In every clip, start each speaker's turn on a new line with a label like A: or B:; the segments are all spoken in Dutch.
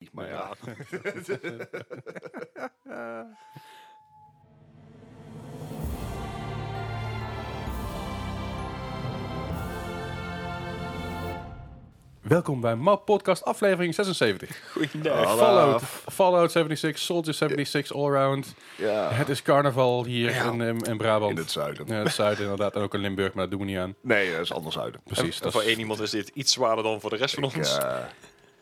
A: aan.
B: Welkom bij MAP Podcast aflevering 76.
A: Goeiedag.
B: Eh, Fallout, Fallout 76, Soldier 76, Allround.
C: Ja,
B: Het is carnaval hier in, ehm, in Brabant.
C: Ah. in het zuiden.
B: Ja, het zuiden inderdaad. En ook in Limburg, maar dat doen we niet aan.
C: Nee, dat is anders zuiden.
B: Precies.
A: En
B: dat
A: voor
B: is-
A: één iemand is dit iets zwaarder dan voor de rest van
C: Ik,
A: ons.
C: eh,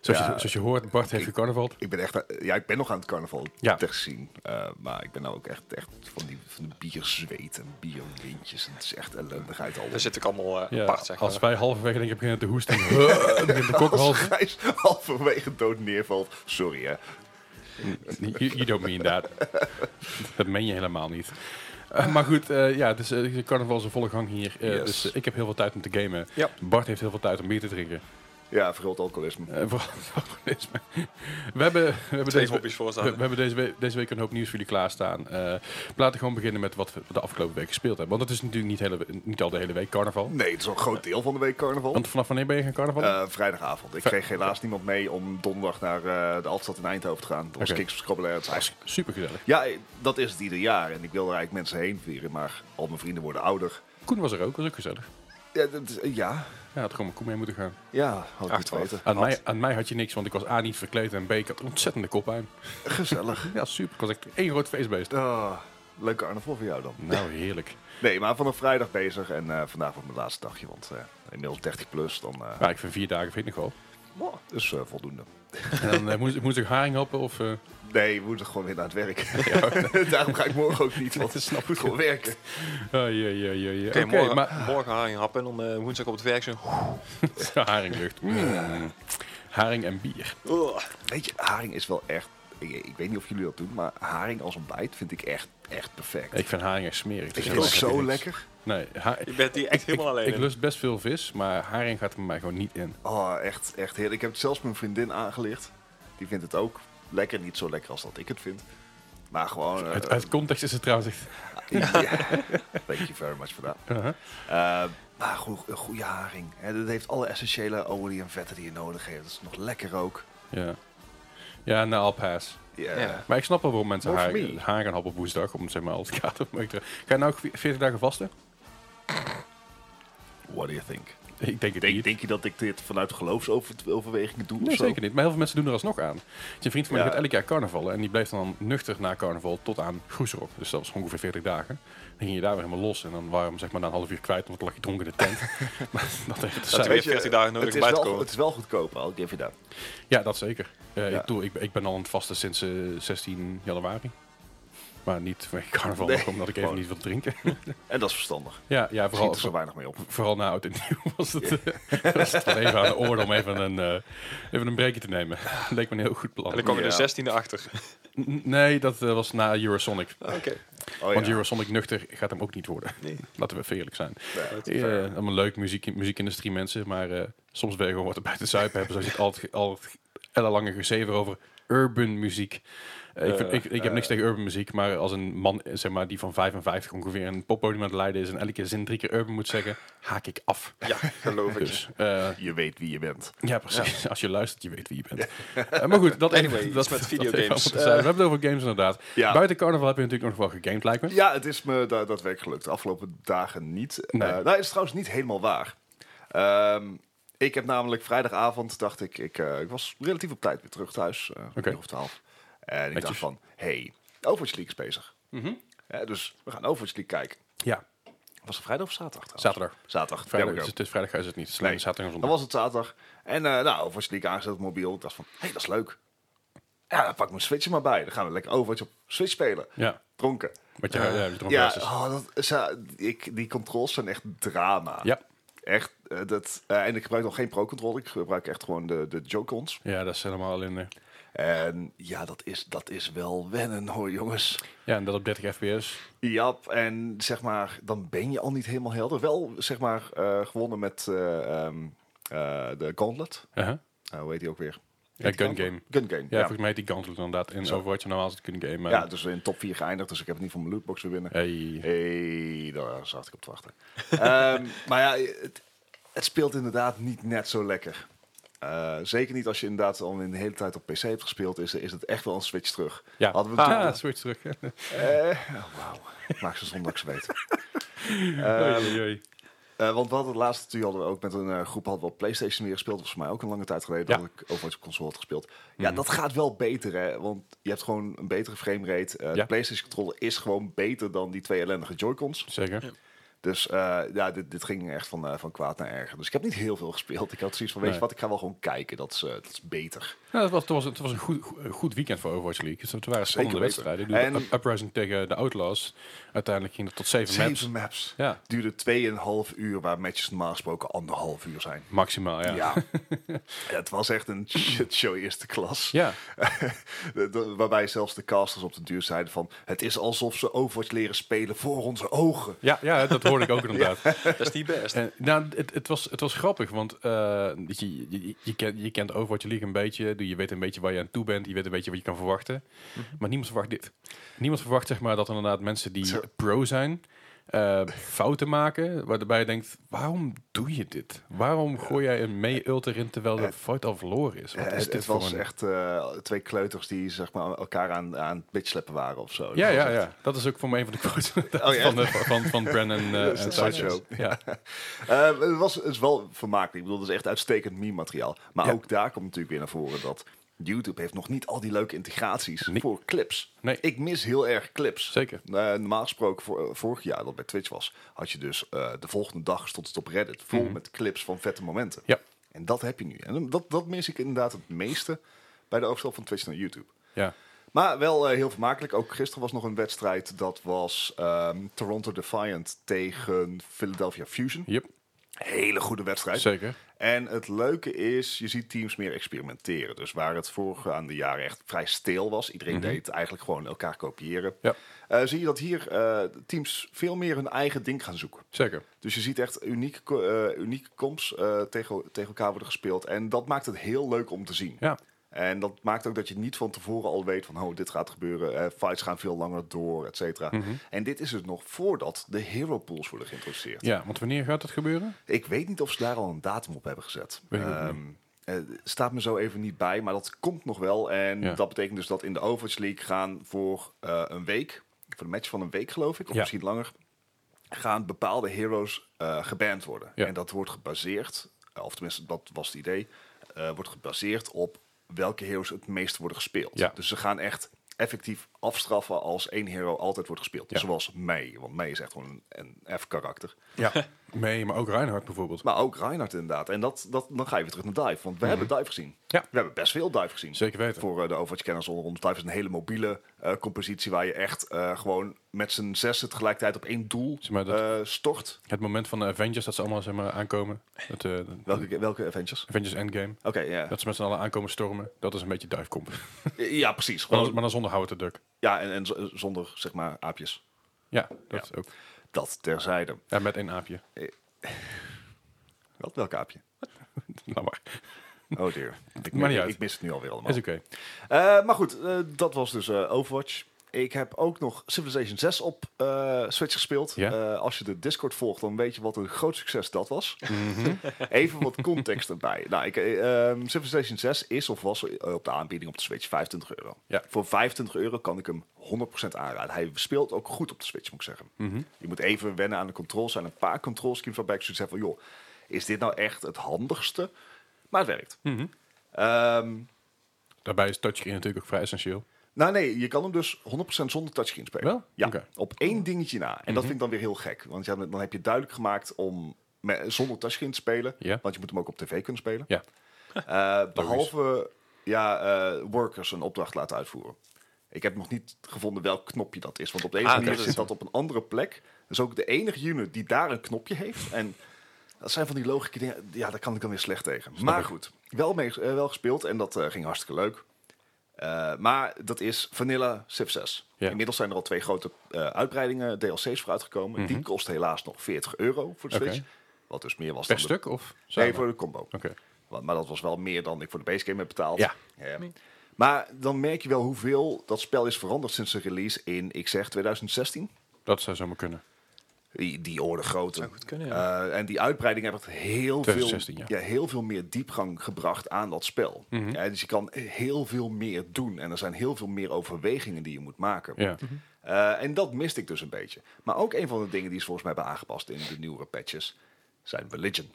B: zoals, je,
C: ja.
B: zoals je hoort, Bart heeft gecarnaval.
C: ik ben echt, eh, ja, ik ben nog aan het carnaval
B: Ja.
C: te zien. Eh, maar ik ben nou ook echt, echt van die, van die bierzweet en bierwindjes. Het is echt ellendigheid al.
A: We zitten ook allemaal eh,
B: Ja,
A: apart, zeg
B: als
A: maar.
B: wij halverwege denk ik beginnen te hoesten, dan begint de kok
C: Als
B: half.
C: Gijs halverwege dood neervalt. Sorry hè.
B: You, you don't mean that. Dat meen je helemaal niet. Eh, maar goed, eh, ja, dus, eh, carnaval is een volle gang hier. Eh,
C: Yes.
B: Dus eh, ik heb heel veel tijd om te gamen.
A: Ja.
B: Bart heeft heel veel tijd om bier te drinken.
C: Ja, verguld alcoholisme.
B: Eh, voor- voor deze- we hebben, we hebben,
A: Twee
B: deze, we,
A: hobby's voor ons
B: we hebben deze, we- deze week een hoop nieuws voor jullie klaarstaan. Eh laten we gewoon beginnen met wat we de afgelopen week gespeeld hebben. Want het is natuurlijk niet, hele, niet al de hele week carnaval.
C: Nee, het is al een groot deel van de week carnaval.
B: Want vanaf wanneer ben je gaan carnaval?
C: Eh, vrijdagavond. Ik kreeg helaas niemand mee om donderdag naar eh, de Altstad in Eindhoven te gaan. Dat was
B: Oké.
C: Kings of Scrabble. Het is eigenlijk-
B: Super gezellig.
C: Ja, eh, dat is het ieder jaar. En ik wil er eigenlijk mensen heen vieren, maar al mijn vrienden worden ouder.
B: Koen was er ook, was ook gezellig.
C: Ja, dat is- ja,
B: Ja, had gewoon met Koen mee moeten gaan.
C: ja had ik
A: Echt
C: het
A: waar.
C: weten.
B: Aan mij, aan mij had je niks, want ik was A niet verkleed en B, ik had ontzettende koppijn.
C: Gezellig.
B: Ja, super. Ik was echt één groot feestbeest.
C: Ah, leuke carnaval voor jou dan.
B: Nou, heerlijk.
C: Nee, maar vanaf vrijdag bezig en eh, vandaag wordt mijn laatste dagje, want eh, inmiddels 30 plus, dan eh
B: Maar ik vind vier dagen vind ik nog wel.
C: wow, is eh, voldoende.
B: En dan eh, moest, moest ik haring happen of... eh,
C: Nee, we moeten gewoon weer naar het werk. Daarom ga ik morgen ook niet, want het moet gewoon werken.
B: oh, ja, ja, ja, ja.
A: Oké,
B: Oké,
A: morgen,
B: maar
A: morgen haring happen en dan eh, woensdag op het werk zo.
B: Haringlucht. Mm. Haring en bier.
A: Ugh.
C: Weet je, haring is wel echt, ik, ik weet niet of jullie dat doen, maar haring als ontbijt vind ik echt, echt perfect.
B: Ik vind haring echt smerig.
C: ik
B: dus
C: vind
B: heel
C: het
B: erg
C: zo
B: niks.
C: lekker.
B: Nee, ha-
A: Je bent hier echt helemaal alleen.
B: ik
A: in.
B: lust best veel vis, maar haring gaat er bij mij gewoon niet in.
C: Oh, echt, echt heerlijk. Ik heb het zelfs mijn vriendin aangelicht. Die vindt het ook lekker. Niet zo lekker als dat ik het vind. Maar gewoon... eh,
B: Uit,
A: Oh.
B: uit context is het trouwens echt...
C: ja. Thank you very much for that.
B: Uh-huh.
C: Eh, maar goed, een goede haring. Hè, dat heeft alle essentiële olie en vetten die je nodig hebt. Dat is nog lekker ook.
B: Ja. Ja, nou, I'll pass.
C: Ja.
A: Ja.
B: Maar ik snap wel waarom mensen
C: More
B: haar,
C: for me.
B: haar gaan happen op woensdag, om zeg maar als het gaat. Maar ik dacht, Ga je nou ook 40 dagen vasten?
C: What do you think?
B: Ik denk het
C: Denk,
B: niet.
C: denk je dat ik dit vanuit geloofsoverwegingen doe?
B: Nee,
C: of zo?
B: zeker niet. Maar heel veel mensen doen er alsnog aan. Dus een vriend van mij
C: Ja.
B: gaat elk jaar carnaval en die bleef dan nuchter na carnaval tot aan Groeserop. Dus dat was ongeveer 40 dagen. Dan ging je daar weer helemaal los en dan waren we hem zeg maar na een half uur kwijt, want dan lag je dronken in de tent. maar dat even te
A: Dat
B: zijn.
A: weet- 40 dagen
C: het
A: nodig
C: is
A: bij te
C: wel-
A: komen.
C: Het is wel goedkoop, I'll give you that.
B: Ja, dat zeker. Eh,
C: Ja.
B: Ik, bedoel, ik, ik ben al aan het vasten sinds eh, 16 januari. Maar niet vanwege carnaval,
C: Nee,
B: maar omdat ik even
C: gewoon.
B: niet wil drinken.
C: En dat is verstandig.
B: ja, ja
C: Vooral,
B: vooral,
C: er zo weinig mee op.
B: vooral na oud en nieuw was het, eh, was het wel even aan de orde om even een, eh, even een breakje te nemen. Leek me een heel goed
A: En
B: plan.
A: dan kwam je
C: Ja.
A: de 16e achter.
B: N- Nee, dat eh, was na Eurosonic.
A: Oké.
C: Oh,
B: Want
C: ja.
B: Eurosonic nuchter gaat hem ook niet worden.
A: Nee.
B: Laten we even eerlijk zijn.
C: Ja.
B: Eh, allemaal leuk muziek, muziekindustrie mensen, maar eh, soms ben je gewoon wat erbij te zuipen hebben. Zoals je het altijd, altijd ellenlange gezever over urban muziek. Eh, ik, vind- ik, ik heb niks tegen urban muziek, maar als een man eh, zeg maar, die van 55 ongeveer een poppodium aan het leiden is en elke zin drie keer urban moet zeggen, haak ik af.
A: Ja, geloof ik.
B: Dus, eh,
C: Je weet wie je bent.
B: ja, precies. Als je luistert, je weet wie je bent. Eh, maar goed, dat even-
A: Anyway, iets
B: dat,
A: met
B: dat
A: videogames.
B: even om te zijn. We hebben het over games inderdaad.
C: Ja.
B: Buiten carnaval heb je natuurlijk nog wel gegamed, lijkt me.
C: Ja, het is me da daadwerkelijk gelukt. De afgelopen dagen niet. Eh
B: Nee.
C: nou, het is trouwens niet helemaal waar. Ehm, ik heb namelijk vrijdagavond, dacht ik, ik, eh, ik was relatief op tijd weer terug thuis. eh
B: Oké.
C: uur of twaalf. En ik
B: Netjes.
C: dacht van, hey, Overwatch League is bezig.
B: Mhm.
C: Eh, dus we gaan Overwatch League kijken.
B: Ja,
C: Was het vrijdag of zaterdag trouwens?
B: zaterdag.
C: Zaterdag, there
B: Vrijdag
C: we
B: is
C: go.
B: het, dus vrijdag is het niet. Het is alleen
C: Nee.
B: zaterdag en
C: Dan
B: zondag.
C: was het zaterdag. En eh nou, Overwatch League aangezet op mobiel. Ik dacht van, hey, dat is leuk. Ja, dan pak ik mijn Switch er maar bij. Dan gaan we lekker Overwatch op Switch spelen.
B: Ja,
C: Dronken.
B: met je, ja, je dronken
C: Ja,
B: hersens.
C: oh, dat, is, eh, ik, die controls zijn echt drama.
B: ja.
C: Echt, eh, dat, eh, en ik gebruik nog geen pro-controller, ik gebruik echt gewoon de, de Joy-Cons.
B: ja, dat is helemaal alleen. eh,
C: En ja, dat is, dat is wel wennen hoor, jongens.
B: ja, en dat op 30 fps.
C: Ja, en zeg maar, dan ben je al niet helemaal helder. Wel, zeg maar, eh, gewonnen met eh, ehm, eh, de Gauntlet.
B: Uh-huh.
C: Eh, hoe heet die ook weer?
B: Ja, gun game.
C: Gun Game,
B: Ja,
C: ja.
B: volgens mij heet die Gauntlet inderdaad. In Overwatch en normaal is het gun game. Maar,
C: Ja, dus in top 4 geëindigd, dus ik heb het niet van mijn lootbox weer winnen.
B: hey.
C: hey, daar zat ik op te wachten. Ehm, maar ja, het, het speelt inderdaad niet net zo lekker. eh, zeker niet als je inderdaad al een hele tijd op PC hebt gespeeld, is, is het echt wel een switch terug.
B: Ja,
C: Hadden we
B: ah,
C: natuurlijk-
B: switch terug. hè.
C: Eh, oh, wauw, maak ze zondags weten.
B: Oei, oei, oei.
C: Eh, want we hadden het laatste natuurlijk hadden we ook met een eh, groep hadden we op PlayStation weer gespeeld. Volgens mij ook een lange tijd geleden
B: Ja. Mhm.
C: dat ik Overwatch op console had gespeeld. Ja, dat gaat wel beter, hè? Want je hebt gewoon een betere framerate. Eh
B: Ja.
C: De PlayStation controller is gewoon beter dan die twee ellendige Joy-Cons.
B: Zeker.
C: Dus eh, ja, dit, dit ging echt van, eh, van kwaad naar erger. Dus ik heb niet heel veel gespeeld. Ik had zoiets van, weet je
B: Nee.
C: wat, ik ga wel gewoon kijken. Dat is, eh, dat is beter.
B: Nou, het was, het was, het was een goed, goed- goed weekend voor Overwatch League. Dus het waren spannende
C: weten.
B: wedstrijden. Ik bedoel,
C: En-
B: Up- Uprising tegen de Outlaws. Uiteindelijk ging het tot zeven, maps.
C: Zeven maps.
B: Ja,
C: Duurde 2,5 uur, waar matches normaal gesproken anderhalf uur zijn.
B: maximaal, ja.
C: Ja. het was echt een shitshow eerste klas.
B: Ja.
C: De- de- waarbij zelfs de casters op de duur zeiden van... het is alsof ze Overwatch leren spelen voor onze ogen.
B: Ja, ja, dat hoorde ik ook inderdaad.
A: Dat is niet best.
B: Eh, nou, het, het, was, het was grappig, want eh, weet je, je, je, je kent, je kent Overwatch League een beetje. Je weet een beetje waar je aan toe bent. Je weet een beetje wat je kan verwachten.
C: Mhm.
B: Maar niemand verwacht dit. Niemand verwacht zeg maar, dat er inderdaad mensen die
C: Zo.
B: pro zijn... eh, fouten maken, waarbij je denkt, waarom doe je dit? Waarom gooi jij een mee-ult erin terwijl de fout al verloren is? Wat
C: Eh,
B: is
C: het
B: dit
C: het
B: voor
C: was
B: een-
C: echt eh, twee kleuters die zeg maar, elkaar aan, aan het bitchsleppen waren of zo.
B: Ja,
C: Dat was
B: ja,
C: echt-
B: ja. Dat is ook voor me een van de quotes
C: Oh, ja.
B: van, de, van, van Brennan eh,
C: Dat is
B: en
C: een
B: Sideshow.
C: sideshow.
B: Ja.
C: Eh, het, was, het is wel vermakelijk. Ik bedoel, het is echt uitstekend meme-materiaal. Maar
B: Ja.
C: ook daar komt natuurlijk weer naar voren dat YouTube heeft nog niet al die leuke integraties
B: Nee.
C: voor clips.
B: Nee.
C: Ik mis heel erg clips.
B: Zeker.
C: Eh, normaal gesproken, voor, vorig jaar dat bij Twitch was, had je dus eh, de volgende dag stond het op Reddit vol met clips van vette momenten.
B: Mhm. Ja.
C: En dat heb je nu. En dat, dat mis ik inderdaad het meeste bij de overstap van Twitch naar YouTube.
B: ja.
C: Maar wel eh, heel vermakelijk. Ook gisteren was nog een wedstrijd. Dat was ehm, Toronto Defiant tegen Philadelphia Fusion.
B: Yep.
C: Hele goede wedstrijd.
B: Zeker.
C: En het leuke is, je ziet teams meer experimenteren. Dus waar het voorgaande jaren echt vrij stil was, iedereen deed eigenlijk gewoon elkaar kopiëren.
B: Mhm. Ja.
C: eh, zie je dat hier eh, teams veel meer hun eigen ding gaan zoeken.
B: Zeker.
C: Dus je ziet echt unieke, co- eh, unieke comps eh, tegen, tegen elkaar worden gespeeld. En dat maakt het heel leuk om te zien.
B: Ja.
C: En dat maakt ook dat je niet van tevoren al weet van, oh, dit gaat gebeuren. eh, fights gaan veel langer door, et cetera.
B: Mhm.
C: En dit is het nog voordat de hero pools worden geïntroduceerd.
B: Ja, want wanneer gaat dat gebeuren?
C: Ik weet niet of ze daar al een datum op hebben gezet.
B: Weet ik ook
C: Ehm, eh, staat me zo even niet bij, maar dat komt nog wel. En
B: Ja.
C: dat betekent dus dat in de Overwatch League gaan voor eh, een week, voor een match van een week geloof ik, of
B: Ja.
C: misschien langer, gaan bepaalde heroes eh, geband worden.
B: Ja.
C: En dat wordt gebaseerd, eh, of tenminste dat was het idee, eh, wordt gebaseerd op welke heroes het meest worden gespeeld.
B: Ja.
C: Dus ze gaan echt effectief afstraffen als één hero altijd wordt gespeeld.
B: Ja.
C: Zoals Mei, want Mei is echt gewoon een, een F-karakter.
B: Ja. Nee, maar ook Reinhardt bijvoorbeeld.
C: Maar ook Reinhardt inderdaad. En dat, dat, dan ga je weer terug naar Dive. Want we hebben Dive gezien.
B: Mhm. Ja.
C: We hebben best veel Dive gezien.
B: Zeker weten.
C: Voor eh, de Overwatch-kenners onder ons. Dive is een hele mobiele eh, compositie waar je echt eh, gewoon met z'n zessen tegelijkertijd op één doel
B: Zeg maar dat-
C: eh, stort.
B: Het moment van de Avengers dat ze allemaal zeg maar, aankomen. Het, eh, de-
C: Welke, welke Avengers?
B: Avengers Endgame.
C: Oké, ja.
B: Dat ze met z'n allen aankomen stormen. Dat is een beetje dive comp.
C: Ja, precies.
B: maar,
C: Gewoon,
B: dan, maar dan zonder houten duck.
C: Ja, en, en z- zonder, zeg maar, aapjes.
B: Ja, dat is ook.
C: Dat terzijde.
B: Ja, met één aapje.
C: Wat, welk aapje?
B: nou maar.
C: Oh dear. Ik,
B: Maar niet
C: ik,
B: uit.
C: ik mis het nu alweer allemaal.
B: Is oké.
C: Eh, maar goed, eh, dat was dus eh, Overwatch. Ik heb ook nog Civilization 6 op eh, Switch gespeeld.
B: Ja.
C: Eh, als je de Discord volgt, dan weet je wat een groot succes dat was.
B: Mhm.
C: Even wat context erbij. Nou, ik, eh, ehm, Civilization 6 is of was eh, op de aanbieding op de Switch 25 euro.
B: Ja.
C: Voor 25 euro kan ik hem 100% aanraden. Hij speelt ook goed op de Switch, moet ik zeggen.
B: Mhm.
C: Je moet even wennen aan de controls. Er zijn een paar control schemes waarbij ik zoiets heb van... joh, is dit nou echt het handigste? Maar het werkt.
B: Mhm.
C: Ehm,
B: Daarbij is touchscreen natuurlijk ook vrij essentieel.
C: nou nee, je kan hem dus 100% zonder touchscreen spelen.
B: Wel?
C: Ja,
B: Oké. Mhm.
C: op één dingetje na. En dat vind ik dan weer heel gek. Want ja, dan heb je het duidelijk gemaakt om me- zonder touchscreen te spelen.
B: Ja.
C: Want je moet hem ook op tv kunnen spelen.
B: Ja.
C: Eh, behalve ja, eh, workers een opdracht laten uitvoeren. Ik heb nog niet gevonden welk knopje dat is. Want op de ene
A: Ah,
C: manier
A: dat is
C: zit dat op een andere plek. Dat is ook de enige unit die daar een knopje heeft. En dat zijn van die logische dingen. Ja, daar kan ik dan weer slecht tegen. maar
B: ik.
C: goed, wel, mee, eh, wel gespeeld. En dat eh, ging hartstikke leuk. Eh, maar dat is Vanilla Civ 6.
B: Ja.
C: Inmiddels zijn er al twee grote eh, uitbreidingen, DLC's voor uitgekomen. Die kost helaas nog 40 euro voor de
B: Mhm. Oké.
C: Switch. Wat dus meer was
B: Per
C: dan de-
B: stuk of samen?
C: Nee, voor de combo.
B: Oké.
C: Want- Maar dat was wel meer dan ik voor de base game heb betaald.
B: Ja.
C: Maar dan merk je wel hoeveel dat spel is veranderd sinds de release in, ik zeg, 2016.
B: Dat zou zomaar kunnen.
C: Die, die orde grootte.
A: Zou goed kunnen, ja.
C: Eh, en die uitbreiding heeft echt heel veel,
B: 2016, ja. Mhm.
C: heel veel meer diepgang gebracht aan dat spel. Ja, dus je kan heel veel meer doen. En er zijn heel veel meer overwegingen die je moet maken.
B: Ja.
A: Mhm.
C: Eh, en dat miste ik dus een beetje. Maar ook een van de dingen die ze volgens mij hebben aangepast in de nieuwere patches, zijn religion.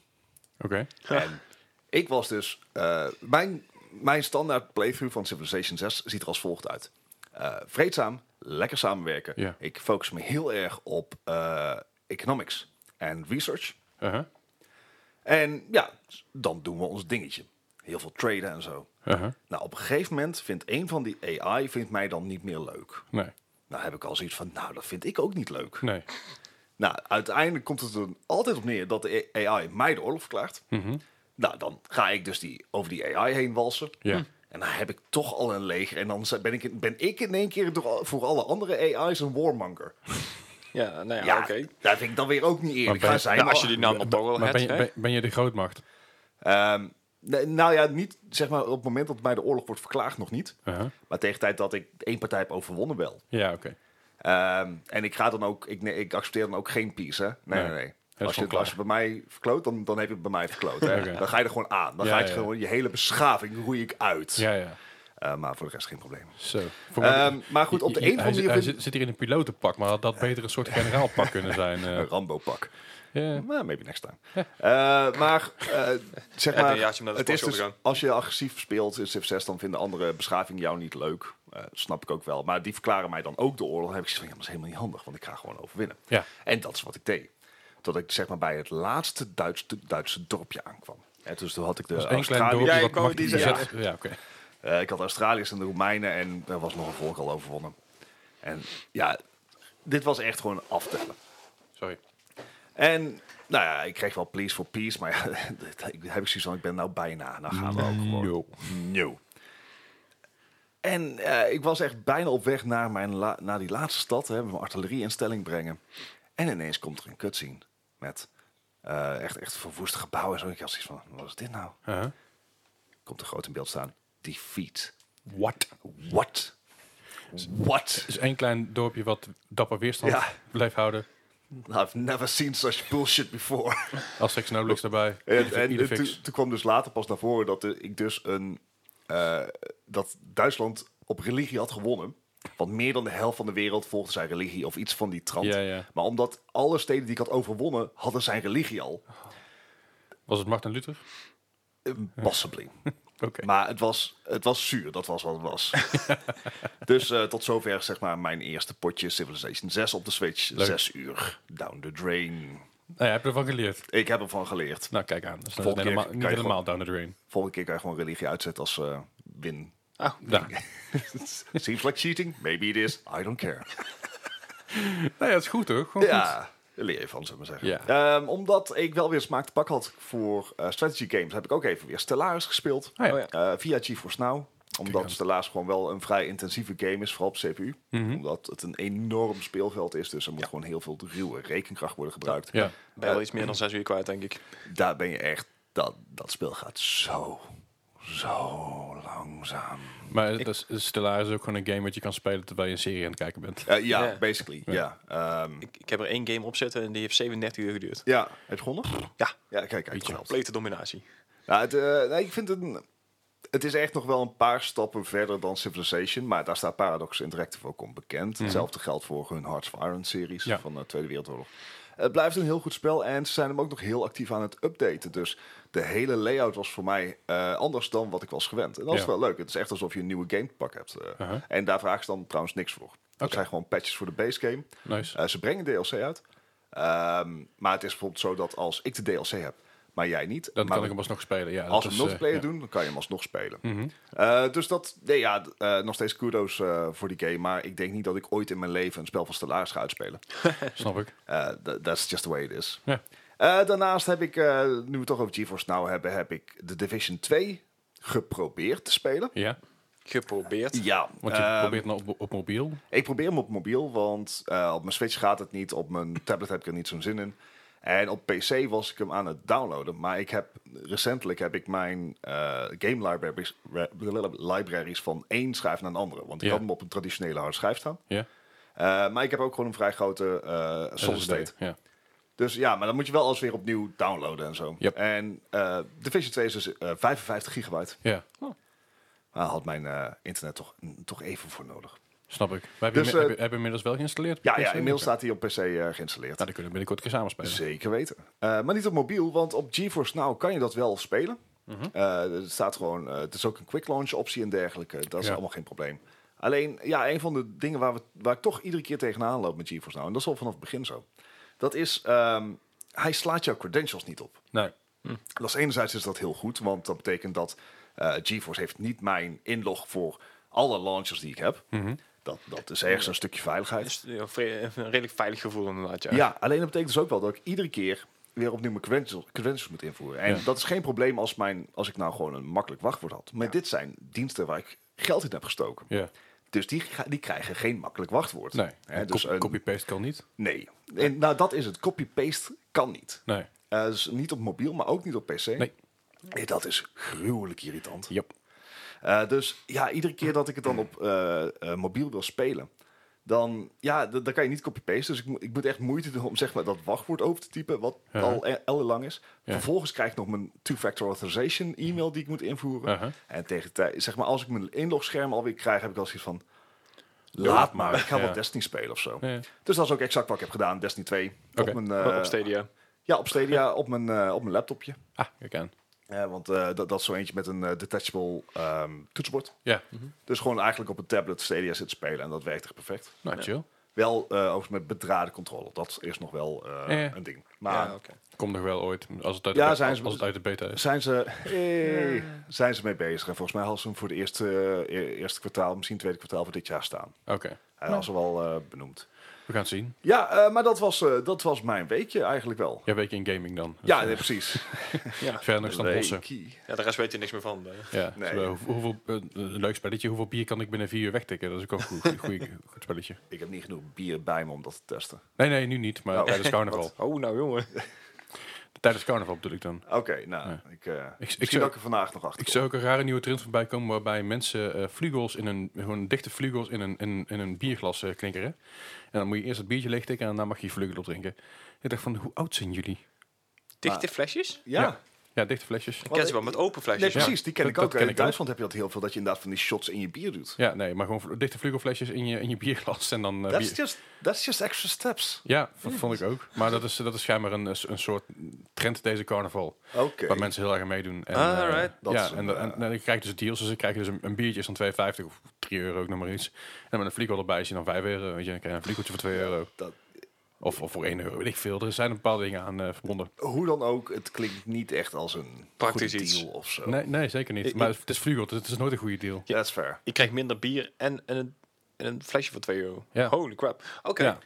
B: Oké.
C: En ik was dus... eh, mijn, mijn standaard playthrough van Civilization 6 ziet er als volgt uit. Eh, vreedzaam, lekker samenwerken.
B: Ja.
C: Ik focus me heel erg op eh, economics en research.
B: Uh-huh.
C: En ja, dan doen we ons dingetje. Heel veel traden en zo.
B: Uh-huh.
C: Nou, op een gegeven moment vindt een van die AI vindt mij dan niet meer leuk.
B: Nee.
C: Nou heb ik al zoiets van, nou dat vind ik ook niet leuk.
B: Nee.
C: Nou, uiteindelijk komt het er altijd op neer dat de AI mij de oorlog verklaart.
A: Mhm.
C: Nou, dan ga ik dus die, over die AI heen walsen.
B: Ja.
C: En dan heb ik toch al een leger. En dan zijn- ben ik, in- ben ik in één keer door al- voor alle andere AI's een warmonger.
A: Ja, nou ja,
C: Ja,
A: oké.
C: dat vind ik dan weer ook niet eerlijk.
B: ben-
C: Ga zij
A: Nou,
C: maar-
A: als je die naam dan toch wel
B: Maar
A: hebt,
B: ben je,
A: hè?
B: ben, ben je de grootmacht?
C: Ehm, nee, nou ja, niet zeg maar op het moment dat mij de oorlog wordt verklaard nog niet.
B: Uh-huh.
C: Maar tegen de tijd dat ik één partij heb overwonnen wel.
B: Ja, oké.
C: Ehm, en ik ga dan ook, ik, ne- ik accepteer dan ook geen peace, hè? Nee,
B: Nee.
C: nee, nee.
B: is
C: Als je,
B: gewoon
C: het- als je het bij mij verkloot, dan, dan heb je het bij mij verkloot. Hè?
B: Oké.
C: Dan ga je er gewoon aan. Dan
B: Ja,
C: ga je
B: ja.
C: gewoon je hele beschaving roei ik uit.
B: Ja, ja.
C: Eh, maar voor de rest geen probleem.
B: Zo. Voor mij-
C: Ehm, maar goed, op de
B: Hij-
C: een of
B: hij
C: andere
B: zit- Hij
C: manier
B: zit, zit hier in een pilotenpak, maar had dat beter een soort generaalpak kunnen zijn.
C: een
B: eh.
C: Rambo-pak.
B: Ja.
C: Maar Nou, maybe next time. Eh, maar eh, zeg
A: Ja,
C: maar,
A: een jaartje naar de
C: het is
A: sportschool
C: dus,
A: gaan.
C: als je agressief speelt in Civ 6, dan vinden andere beschavingen jou niet leuk. Eh, snap ik ook wel. Maar die verklaren mij dan ook de oorlog. Dan heb ik zoiets van, ja, maar dat is helemaal niet handig, want ik ga gewoon overwinnen.
B: Ja.
C: En dat is wat ik deed. Tot ik zeg maar bij het laatste Duitse, Duitse dorpje aankwam. En dus toen had ik de
B: Dus één klein
C: Australiërs-
B: dorpje
A: Ja,
B: wat
A: ik wou
B: mag
A: die
B: je
A: zeggen.
B: bezet- Ja, oké.
C: eh, ik had Australiërs en de Romeinen en er was nog een volk al overwonnen. En ja, dit was echt gewoon aftellen.
B: Sorry.
C: En nou ja, ik kreeg wel please for peace, maar ja, dat- ik heb ik zoiets van, ik ben nou bijna. Nou gaan we ook gewoon.
B: No.
C: No. En eh, ik was echt bijna op weg naar, mijn la- naar die laatste stad, hè, mijn artillerie in stelling brengen. En ineens komt er een cutscene met eh, echt, echt verwoest gebouw en zo. Ik had zoiets van, wat is dit nou?
B: Uh-huh.
C: Komt er groot in beeld staan. Defeat.
B: What?
C: What? What?
B: Dus één klein dorpje wat dapper weerstand
C: Ja.
B: blijft houden.
C: I've never seen such bullshit before.
B: Als Sex Noblix daarbij.
C: En,
B: Ieder-
C: en
B: ieder
C: toen,
B: fix.
C: toen kwam dus later pas naar voren dat eh, ik dus een. eh, dat Duitsland op religie had gewonnen. Want meer dan de helft van de wereld volgde zijn religie of iets van die trant.
B: Ja, ja.
C: Maar omdat alle steden die ik had overwonnen, hadden zijn religie al.
B: Was het Martin Luther? Nou
C: Eh, Possibly.
B: Oké.
C: Maar het was, het was zuur, dat was wat het was. dus eh, tot zover zeg maar mijn eerste potje Civilization 6 op de Switch. Zes uur, down the drain.
B: Nou ja, heb je ervan geleerd?
C: Ik heb ervan geleerd.
B: Nou, kijk aan. Dat is
C: Volgende keer
B: helemaal,
C: kan
B: niet
C: je
B: helemaal down the drain.
C: Volgende keer kan je gewoon religie uitzetten als eh, win
A: Ah,
B: Nou,
C: Seems like cheating. Maybe it is. I don't care.
B: nou ja, het is goed hoor. Gewoon goed.
C: ja, daar leer je van, zullen we maar zeggen. Ehm, omdat ik wel weer smaak te pak had voor eh, strategy games, heb ik ook even weer Stellaris gespeeld.
B: Ah, ja.
A: Oh ja.
C: Eh, via GeForce Now. Omdat Stellaris gewoon wel een vrij intensieve game is, vooral op CPU. Omdat het een enorm speelveld is, dus er moet gewoon heel veel ruwe rekenkracht worden gebruikt.
B: Ja.
A: ben je wel iets meer dan zes uur kwijt, denk ik.
C: Daar ben je echt... Dat, dat spel gaat zo, zo langzaam.
B: Maar het is, Stellaris is ook gewoon een game wat je kan spelen terwijl je een serie aan het kijken bent.
C: Eh, ja,
A: Ja.
C: basically. Ja, Ehm,
A: ik. Ik heb er één game op zitten en die heeft 37 uur geduurd.
C: ja. heb je het gewonnen?
A: Ja,
C: Ja, kijk, kijk. wel.
A: complete dominatie.
C: Nou, het, eh, nee, ik vind het, een- het is echt nog wel een paar stappen verder dan Civilization. Maar daar staat Paradox Interactive ook om bekend. Hetzelfde geldt voor hun Hearts of Iron series
B: Mhm. Ja.
C: van de Tweede Wereldoorlog. Het blijft een heel goed spel en ze zijn hem ook nog heel actief aan het updaten. Dus de hele layout was voor mij eh, anders dan wat ik was gewend. En dat is
B: Ja.
C: wel leuk. Het is echt alsof je een nieuwe game te pakken hebt. eh.
B: Uh-huh.
C: En daar vragen ze dan trouwens niks voor. Dat
B: Oké.
C: zijn gewoon patches voor de base game.
B: Nice.
C: Eh, ze brengen DLC uit. Ehm, maar het is bijvoorbeeld zo dat als ik de DLC heb, maar jij niet.
B: Dan
C: maar
B: kan ik hem alsnog spelen. Ja,
C: als
B: dat
C: we
B: is, eh,
C: multiplayer
B: ja. Mhm.
C: doen, dan kan je hem alsnog spelen. Eh, dus dat, nee, ja, d- eh, nog steeds kudos eh, voor die game. Maar ik denk niet dat ik ooit in mijn leven een spel van Stellaris ga uitspelen.
B: Snap ik.
C: Eh, tha- that's just the way it is.
B: Ja.
C: Eh, daarnaast heb ik, eh, nu we het toch over GeForce Now hebben, heb ik de Division 2 geprobeerd te spelen.
B: ja.
A: Geprobeerd.
C: Ja,
B: Want je
C: eh,
B: probeert nou op, op mobiel.
C: ik probeer hem op mobiel, want eh, op mijn Switch gaat het niet. Op mijn tablet heb ik er niet zo'n zin in. En op PC was ik hem aan het downloaden. Maar ik heb recentelijk heb ik mijn eh, game libraries, ra- libraries van één schijf naar een andere. Want ik
B: Ja.
C: had hem op een traditionele harde schijf staan.
B: Ja.
C: Eh, maar ik heb ook gewoon een vrij grote eh solid
B: SSD,
C: state.
B: Ja.
C: Dus ja, maar dan moet je wel alles weer opnieuw downloaden en zo.
B: Yep.
C: En eh Division 2 is dus eh, 55 gigabyte.
B: Ja,
C: Oh. Daar had mijn eh, internet toch, mm, toch even voor nodig.
B: snap ik. Maar heb, je,
C: Dus,
B: me-
C: eh,
B: heb, je, heb je inmiddels wel geïnstalleerd? op
C: Ja,
B: je
C: ja
B: PC?
C: inmiddels
B: Oké.
C: staat hij op PC eh, geïnstalleerd.
B: Nou, dan kunnen we binnenkort een keer samen spelen.
C: Zeker weten. Eh, maar niet op mobiel, want op GeForce Now kan je dat wel spelen. Eh, er staat gewoon, eh, het is ook een quick launch optie en dergelijke. Dat is
B: Ja.
C: allemaal geen probleem. Alleen, ja, een van de dingen waar, we, waar ik toch iedere keer tegenaan loop met GeForce Now, en dat is al vanaf het begin zo, dat is, ehm, hij slaat jouw credentials niet op.
B: Nee.
C: Dat is enerzijds is dat heel goed, want dat betekent dat eh, GeForce heeft niet mijn inlog voor alle launchers die ik heb. Dat, dat is ergens een stukje veiligheid.
A: Dus, ja, vre- een redelijk veilig gevoel inderdaad, ja.
C: Ja, alleen dat betekent dus ook wel dat ik iedere keer weer opnieuw mijn credentials, credentials moet invoeren. En
B: Ja.
C: dat is geen probleem als, mijn, als ik nou gewoon een makkelijk wachtwoord had. Maar dit zijn diensten waar ik geld in heb gestoken.
B: Ja.
C: Dus die, ga- die krijgen geen makkelijk wachtwoord.
B: Nee.
C: Hè,
B: En
C: dus
B: copy-
C: een-
B: Copy-paste kan niet.
C: nee. En, nou, dat is het. Copy-paste kan niet.
B: Nee.
C: Eh, dus niet op mobiel, maar ook niet op PC.
B: Nee.
C: Nee, dat is gruwelijk irritant.
B: Yep.
C: Eh, dus ja, iedere keer dat ik het dan op eh, eh, mobiel wil spelen, dan, ja, d- dan kan je niet copy-paste. Dus ik, moet- ik moet echt moeite doen om zeg maar, dat wachtwoord over te typen, wat
B: Ja.
C: al e- ellenlang is.
B: Ja.
C: Vervolgens krijg ik nog mijn two-factor authorization e-mail die ik moet invoeren.
B: Uh-huh.
C: En tegen de tijd, zeg maar, als ik mijn inlogscherm alweer krijg, heb ik al zoiets van, laat maar, ik ga
B: Ja.
C: wel Destiny spelen of zo.
B: Ja.
C: Dus dat is ook exact wat ik heb gedaan, Destiny 2.
B: Oké.
C: Op mijn, eh,
A: op Stadia.
C: Ja, op Stadia, op mijn, eh, op mijn laptopje.
B: Ah, kijk aan.
C: Eh, want eh, dat, dat is zo eentje met een eh, detachable ehm, toetsenbord.
B: Ja. Nou,
C: Dus gewoon eigenlijk op een tablet Stadia zitten spelen en dat werkt echt perfect.
B: Nou, chill.
C: Wel eh overigens met bedraden controle. Dat is nog wel eh,
B: Ja, ja.
C: een ding. Maar
A: ja,
B: Komt nog wel ooit. Als het uit,
C: Ja,
B: de, beta,
C: zijn
B: als,
C: ze-
B: het uit de beta is.
C: zijn, ze, hey, zijn ze mee bezig? En volgens mij hadden ze hem voor het eerste, eh, e- eerste kwartaal, misschien tweede kwartaal van dit jaar staan.
B: Oké.
C: Hij was er wel eh, benoemd.
B: We gaan het zien.
C: Ja, eh, maar dat was, eh, dat was mijn weekje eigenlijk wel.
B: Jij weet je in gaming dan. Dus,
C: Ja,
B: eh,
C: nee, precies.
B: Verder nog dan bossen.
C: Weekie.
A: Ja, de rest weet je niks meer van. eh.
B: Ja,
C: Nee.
B: dus, eh, hoe- hoeveel, eh, een leuk spelletje. Hoeveel bier kan ik binnen vier uur wegtikken? Dat is ook een goed, goed, goed spelletje.
C: Ik heb niet genoeg bier bij me om dat te testen.
B: Nee, nee, nu niet. Maar
C: Oh.
B: tijdens carnaval.
A: Oh, nou jongen.
B: Tijdens carnaval bedoel ik dan.
C: Oké, nou, ik, eh
B: ik
C: misschien
B: zou-
C: dat ik er vandaag nog achter
B: Ik
C: kom.
B: zou ook een rare nieuwe trend voorbij komen waarbij mensen eh vlugels in een, gewoon dichte vlugels in een, in, in een bierglas eh, knikkeren. En dan moet je eerst het biertje leegtikken en daarna mag je je vlugel opdrinken. Ik dacht van, hoe oud zijn jullie?
A: Dichte flesjes?
C: Ja,
B: Ja. Ja, dichte flesjes.
A: Ik ken ze wel met open
C: Nee,
A: flesjes.
C: precies, die ken
B: dat-
C: ik ook.
B: dat ken
C: in
B: ik ook.
C: Duitsland heb je dat heel veel, dat je inderdaad van die shots in je bier doet.
B: Ja, nee, maar gewoon vl- dichte vlugelflesjes in je, in je bierglas en dan... eh, bier-
C: That's just, that's just extra steps.
B: Ja, dat vond ik ook. Maar dat is, dat is schijnbaar een, een soort trend deze carnaval.
C: Oké.
B: Waar mensen heel erg aan meedoen. En,
A: Ah,
B: eh,
A: alright.
C: Dat
B: ja,
C: is een,
B: en, en, en dan krijg je dus deals. Dus dan krijg je dus een, een biertje is dan 2,50 of 3 euro, ook nog maar iets. En met een fliegel erbij is je dan 5 euro. Weet je, dan krijg je een fliegeltje voor 2 euro.
C: Dat,
B: Of, of voor 1 euro, weet ik veel. Er zijn een bepaalde dingen aan eh, verbonden.
C: hoe dan ook, het klinkt niet echt als een
A: Praktisch
C: goede
A: iets.
C: deal of zo.
B: Nee, nee, zeker niet.
A: Ik-
B: Maar het is vliegel, dus het is nooit een goede deal.
C: That's fair.
A: Ik krijg minder bier en, en, een, en een flesje voor 2 euro.
B: Ja.
A: Holy crap. Oké.
B: Ja.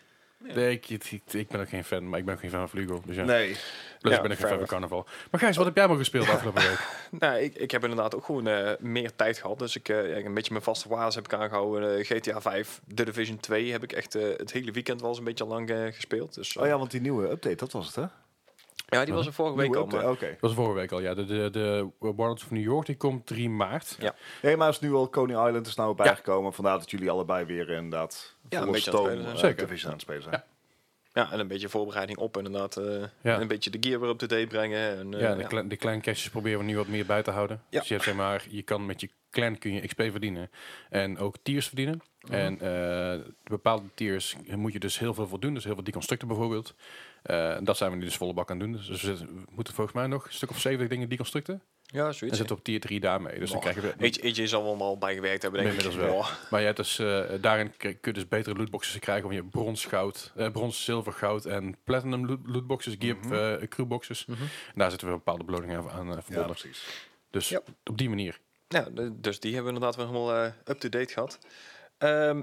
B: Nee, ik, ik, ik ben ook geen fan, maar ik ben ook geen fan van vliegel. Dus ja,
C: Nee,
B: plus
A: Ja,
B: ik ben ook geen
A: fair
B: fan van carnaval. Maar Gijs, wat heb jij maar gespeeld afgelopen week?
A: Nou, ik, ik heb inderdaad ook gewoon eh, meer tijd gehad. Dus ik eh, ja, een beetje mijn vaste waardes heb ik aangehouden. Eh, GTA 5, The Division 2 heb ik echt eh, het hele weekend wel eens een beetje lang eh, gespeeld. Dus, eh,
C: oh ja, want die nieuwe update, dat was het hè?
A: ja, die was
B: Mhm.
A: er vorige week
C: Nieuwe
A: al.
C: update,
A: maar-
C: Oké.
B: Dat was vorige week al, ja. De, de, de Warlords of New York, die komt 3 maart.
A: Ja.
C: Nee, maar is nu al Koning Island is nou
A: Ja.
C: bijgekomen. Vandaar dat jullie allebei weer inderdaad
A: Ja,
C: volle
A: een beetje aan het
C: stoom,
A: spelen zijn.
C: eh,
B: Zeker.
C: Division aan het spelen zijn.
A: Ja, en een beetje voorbereiding op inderdaad. eh, en een beetje de gear weer op de date brengen. En, eh,
B: Ja, de, Klein, de kleine cashjes proberen we nu wat meer bij te houden.
A: Ja.
B: Dus je hebt zeg maar, je kan met je clan kun je XP verdienen en ook tiers verdienen. En eh, bepaalde tiers moet je dus heel veel voor doen. Dus heel veel deconstructen bijvoorbeeld. Eh, dat zijn we nu dus volle bak aan het doen. Dus we zitten- we moeten volgens mij nog een stuk of 70 dingen deconstructen.
A: ja
B: En
A: zoiets.
B: zitten op tier 3 daarmee. Dus dan krijgen we...
A: AJ, AJ zal wel allemaal bijgewerkt hebben, denk ik.
B: Inmiddels wel.
A: Oh,
B: Maar je hebt dus, eh, daarin k- kun je dus betere lootboxes krijgen. Want je hebt brons, goud, eh, brons, zilver, goud en platinum loot- lootboxes, gear, eh, crewboxes. En daar zitten we een bepaalde beloningen aan, aan eh,
C: Ja,
B: verbonden.
C: precies.
B: dus
A: Ja.
B: op die manier.
A: Ja, de- dus die hebben we inderdaad weer helemaal eh, up-to-date gehad. Ehm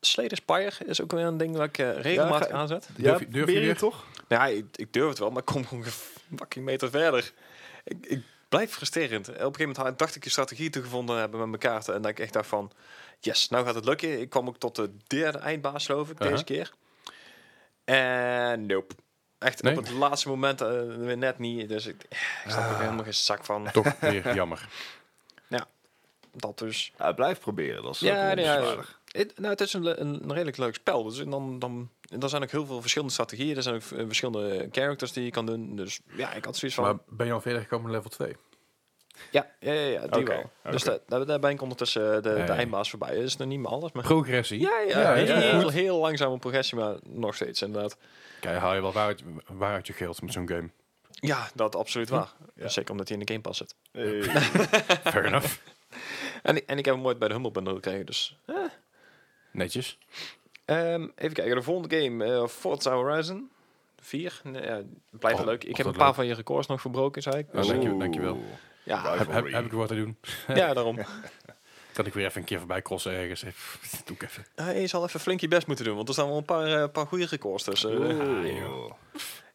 A: Slade Spire is ook weer een ding dat ik eh, regelmatig
C: ga-
A: aanzet.
C: Ja,
B: Durf je- durf je
C: weer je
B: weer?
C: toch?
A: Nou ja, ik, ik durf het wel, maar ik kom gewoon een fucking meter verder. Ik, ik blijf frustrerend. Op een gegeven moment had- dacht ik een strategie te gevonden hebben met mijn kaarten. En dat ik echt dacht van, yes, nou gaat het lukken. Ik kwam ook tot de derde eindbaas, geloof ik,
B: Aha.
A: deze keer. En nope. Echt
B: Nee?
A: op het laatste moment eh, weer net niet. Dus ik, ik snap er helemaal geen zak van.
B: Toch weer jammer.
A: Dat dus.
C: Ja, blijf proberen, dat is eh,
A: Ja, nee, ja,
C: bewonderenswaardig.
A: Het- nou, het is een, le- een redelijk leuk spel. Dus en dan, dan, en er zijn ook heel veel verschillende strategieën. Er zijn ook eh, verschillende characters die je kan doen. Dus ja, ik had zoiets van...
B: Maar ben je al verder gekomen met level 2?
A: ja, ja, ja, ja, die
C: Oké,
A: wel. Dus
C: oké.
A: daar- daar, daar ben ik ondertussen eh, de, de
B: Hey.
A: eindbaas voorbij. Dat is nog niet meer alles. Maar...
B: Progressie.
A: Ja, ja,
B: Ja,
A: heel,
B: ja, ja.
A: heel, langzame progressie, maar nog steeds inderdaad.
B: Kijk, haal je wel waar uit, waar uit je geld met zo'n game.
A: Ja, dat absoluut waar.
C: Ja.
A: Zeker omdat hij in de Game Pass zit.
C: Eh,
B: Fair enough.
A: En, ik- en ik heb hem ooit bij de Humble Bundle gekregen, dus...
B: Netjes.
A: Ehm, even kijken, de volgende game, eh, Forza Horizon 4. Nee, ja, blijft
B: Oh,
A: leuk. Ik
B: oh,
A: heb
B: dat
A: een paar
B: leuk.
A: van je records nog verbroken, zei ik.
B: Oh, dank je-
C: oeh,
B: dankjewel.
A: Ja,
B: Heb, heb,
C: rivalry.
B: heb ik er wat te doen?
A: ja daarom.
B: Kan ik weer even een keer voorbij crossen ergens? Even- Doe ik even.
A: Eh, je zal even flink je best moeten doen, want er staan wel een paar, eh, paar goede records tussen. Eh,
C: Oeh.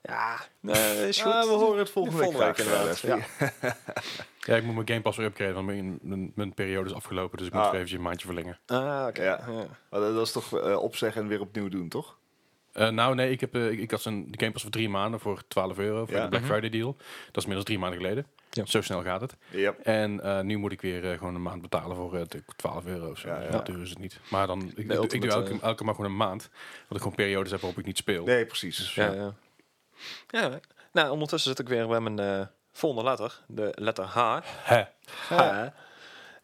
A: ja, nee, is goed.
C: Ah, we horen het volgende week
A: Volgende week
C: graag
A: inderdaad.
C: verder.
A: Ja.
B: Ja, ik moet mijn Game Pass weer upgraden, want mijn, mijn, mijn periode is afgelopen, dus ik moet
C: Ah.
B: weer eventjes een maandje verlengen.
A: Ah, oké.
C: Ja.
A: Ja.
C: Maar dat, dat is toch eh, opzeggen en weer opnieuw doen, toch?
B: Eh, nou, nee, ik, heb, eh, ik, ik had een, de Game Pass voor drie maanden voor 12 euro voor
C: Ja.
B: de Black Friday deal. Dat is inmiddels drie maanden geleden.
A: Ja.
B: Zo snel gaat het.
C: Ja.
B: En eh, nu moet ik weer eh, gewoon een maand betalen voor eh, de 12 euro. of Zo Dus
C: Ja, ja.
B: Heel duur is het niet. Maar dan, ik,
A: De
B: ik doe
A: ultimate,
B: elke,
A: eh.
B: elke maand gewoon een maand. Want ik gewoon periodes heb waarop ik niet speel.
C: Nee, precies.
A: Ja, ja. ja. Nou, ondertussen zit ik weer bij mijn eh, volgende letter, de letter H.
B: Hè.
A: H.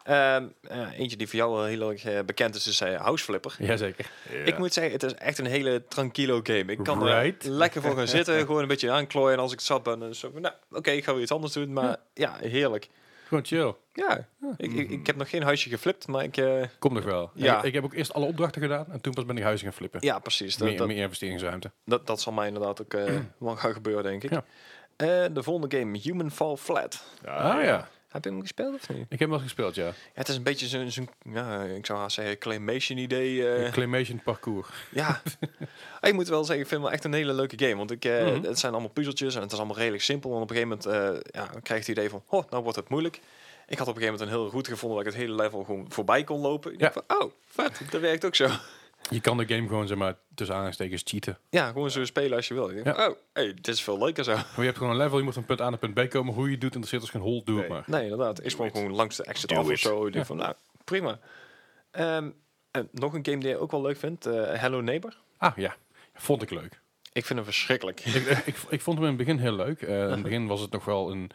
A: Ehm, ja, eentje die voor jou wel heel erg eh, bekend is, is eh, House Flipper.
B: Jazeker.
C: Ja.
A: Ik moet zeggen, het is echt een hele tranquilo game. Ik kan
B: Right.
A: er lekker voor gaan zitten, gewoon een beetje aanklooien. En als ik zat ben, dan is het zo van, nou, oké, ik ga weer iets anders doen. Maar ja, heerlijk.
B: Gewoon chill.
A: Ja, ik, ik, ik heb nog geen huisje geflipt, maar ik... eh,
B: Komt nog wel.
A: Ja.
B: Ik, ik heb ook eerst alle opdrachten gedaan en toen pas ben ik huizen gaan flippen.
A: ja, precies. Dat,
B: Meer,
A: dat,
B: meer investeringsruimte.
A: dat, dat zal mij inderdaad ook eh, wel gaan gebeuren, denk ik.
B: Ja.
A: Eh, de volgende game, Human Fall Flat.
C: Ja,
B: Ah ja,
A: Heb je hem gespeeld of niet?
B: ik heb wel eens gespeeld, ja.
A: Ja, het is een beetje zo'n, zo'n, ja, ik zou haast zeggen, claymation idee. eh,
B: Claymation parcours.
A: Ja, ik moet wel zeggen, ik vind het wel echt een hele leuke game. Want ik, eh, het zijn allemaal puzzeltjes en het is allemaal redelijk simpel. En op een gegeven moment eh, ja, krijg je het idee van, oh, nou wordt het moeilijk. Ik had op een gegeven moment een hele route gevonden dat ik het hele level gewoon voorbij kon lopen. Ik
B: Ja.
A: dacht van, oh, vet, dat werkt ook zo.
B: Je kan de game gewoon, zeg maar, tussen aanhalingstekens cheaten.
A: Ja, gewoon zo spelen als je wil. Ik denk,
B: Ja.
A: Oh, hey, dit is veel leuker zo.
B: Maar je hebt gewoon een level, je moet van punt A naar punt B komen. Hoe je het doet, interesseert als geen hol, doe het
C: Nee.
B: maar.
A: Nee, inderdaad. Ik sprong
C: it.
A: gewoon langs de exit
C: Do
A: af of
C: it.
A: zo. Ik denk van, nou, prima. Ehm, en nog een game die je ook wel leuk vindt, eh, Hello Neighbor.
B: Ah ja, vond ik leuk.
A: Ik vind hem verschrikkelijk.
B: ik, eh, ik, ik vond hem in het begin heel leuk. Eh, in het begin was het nog wel een,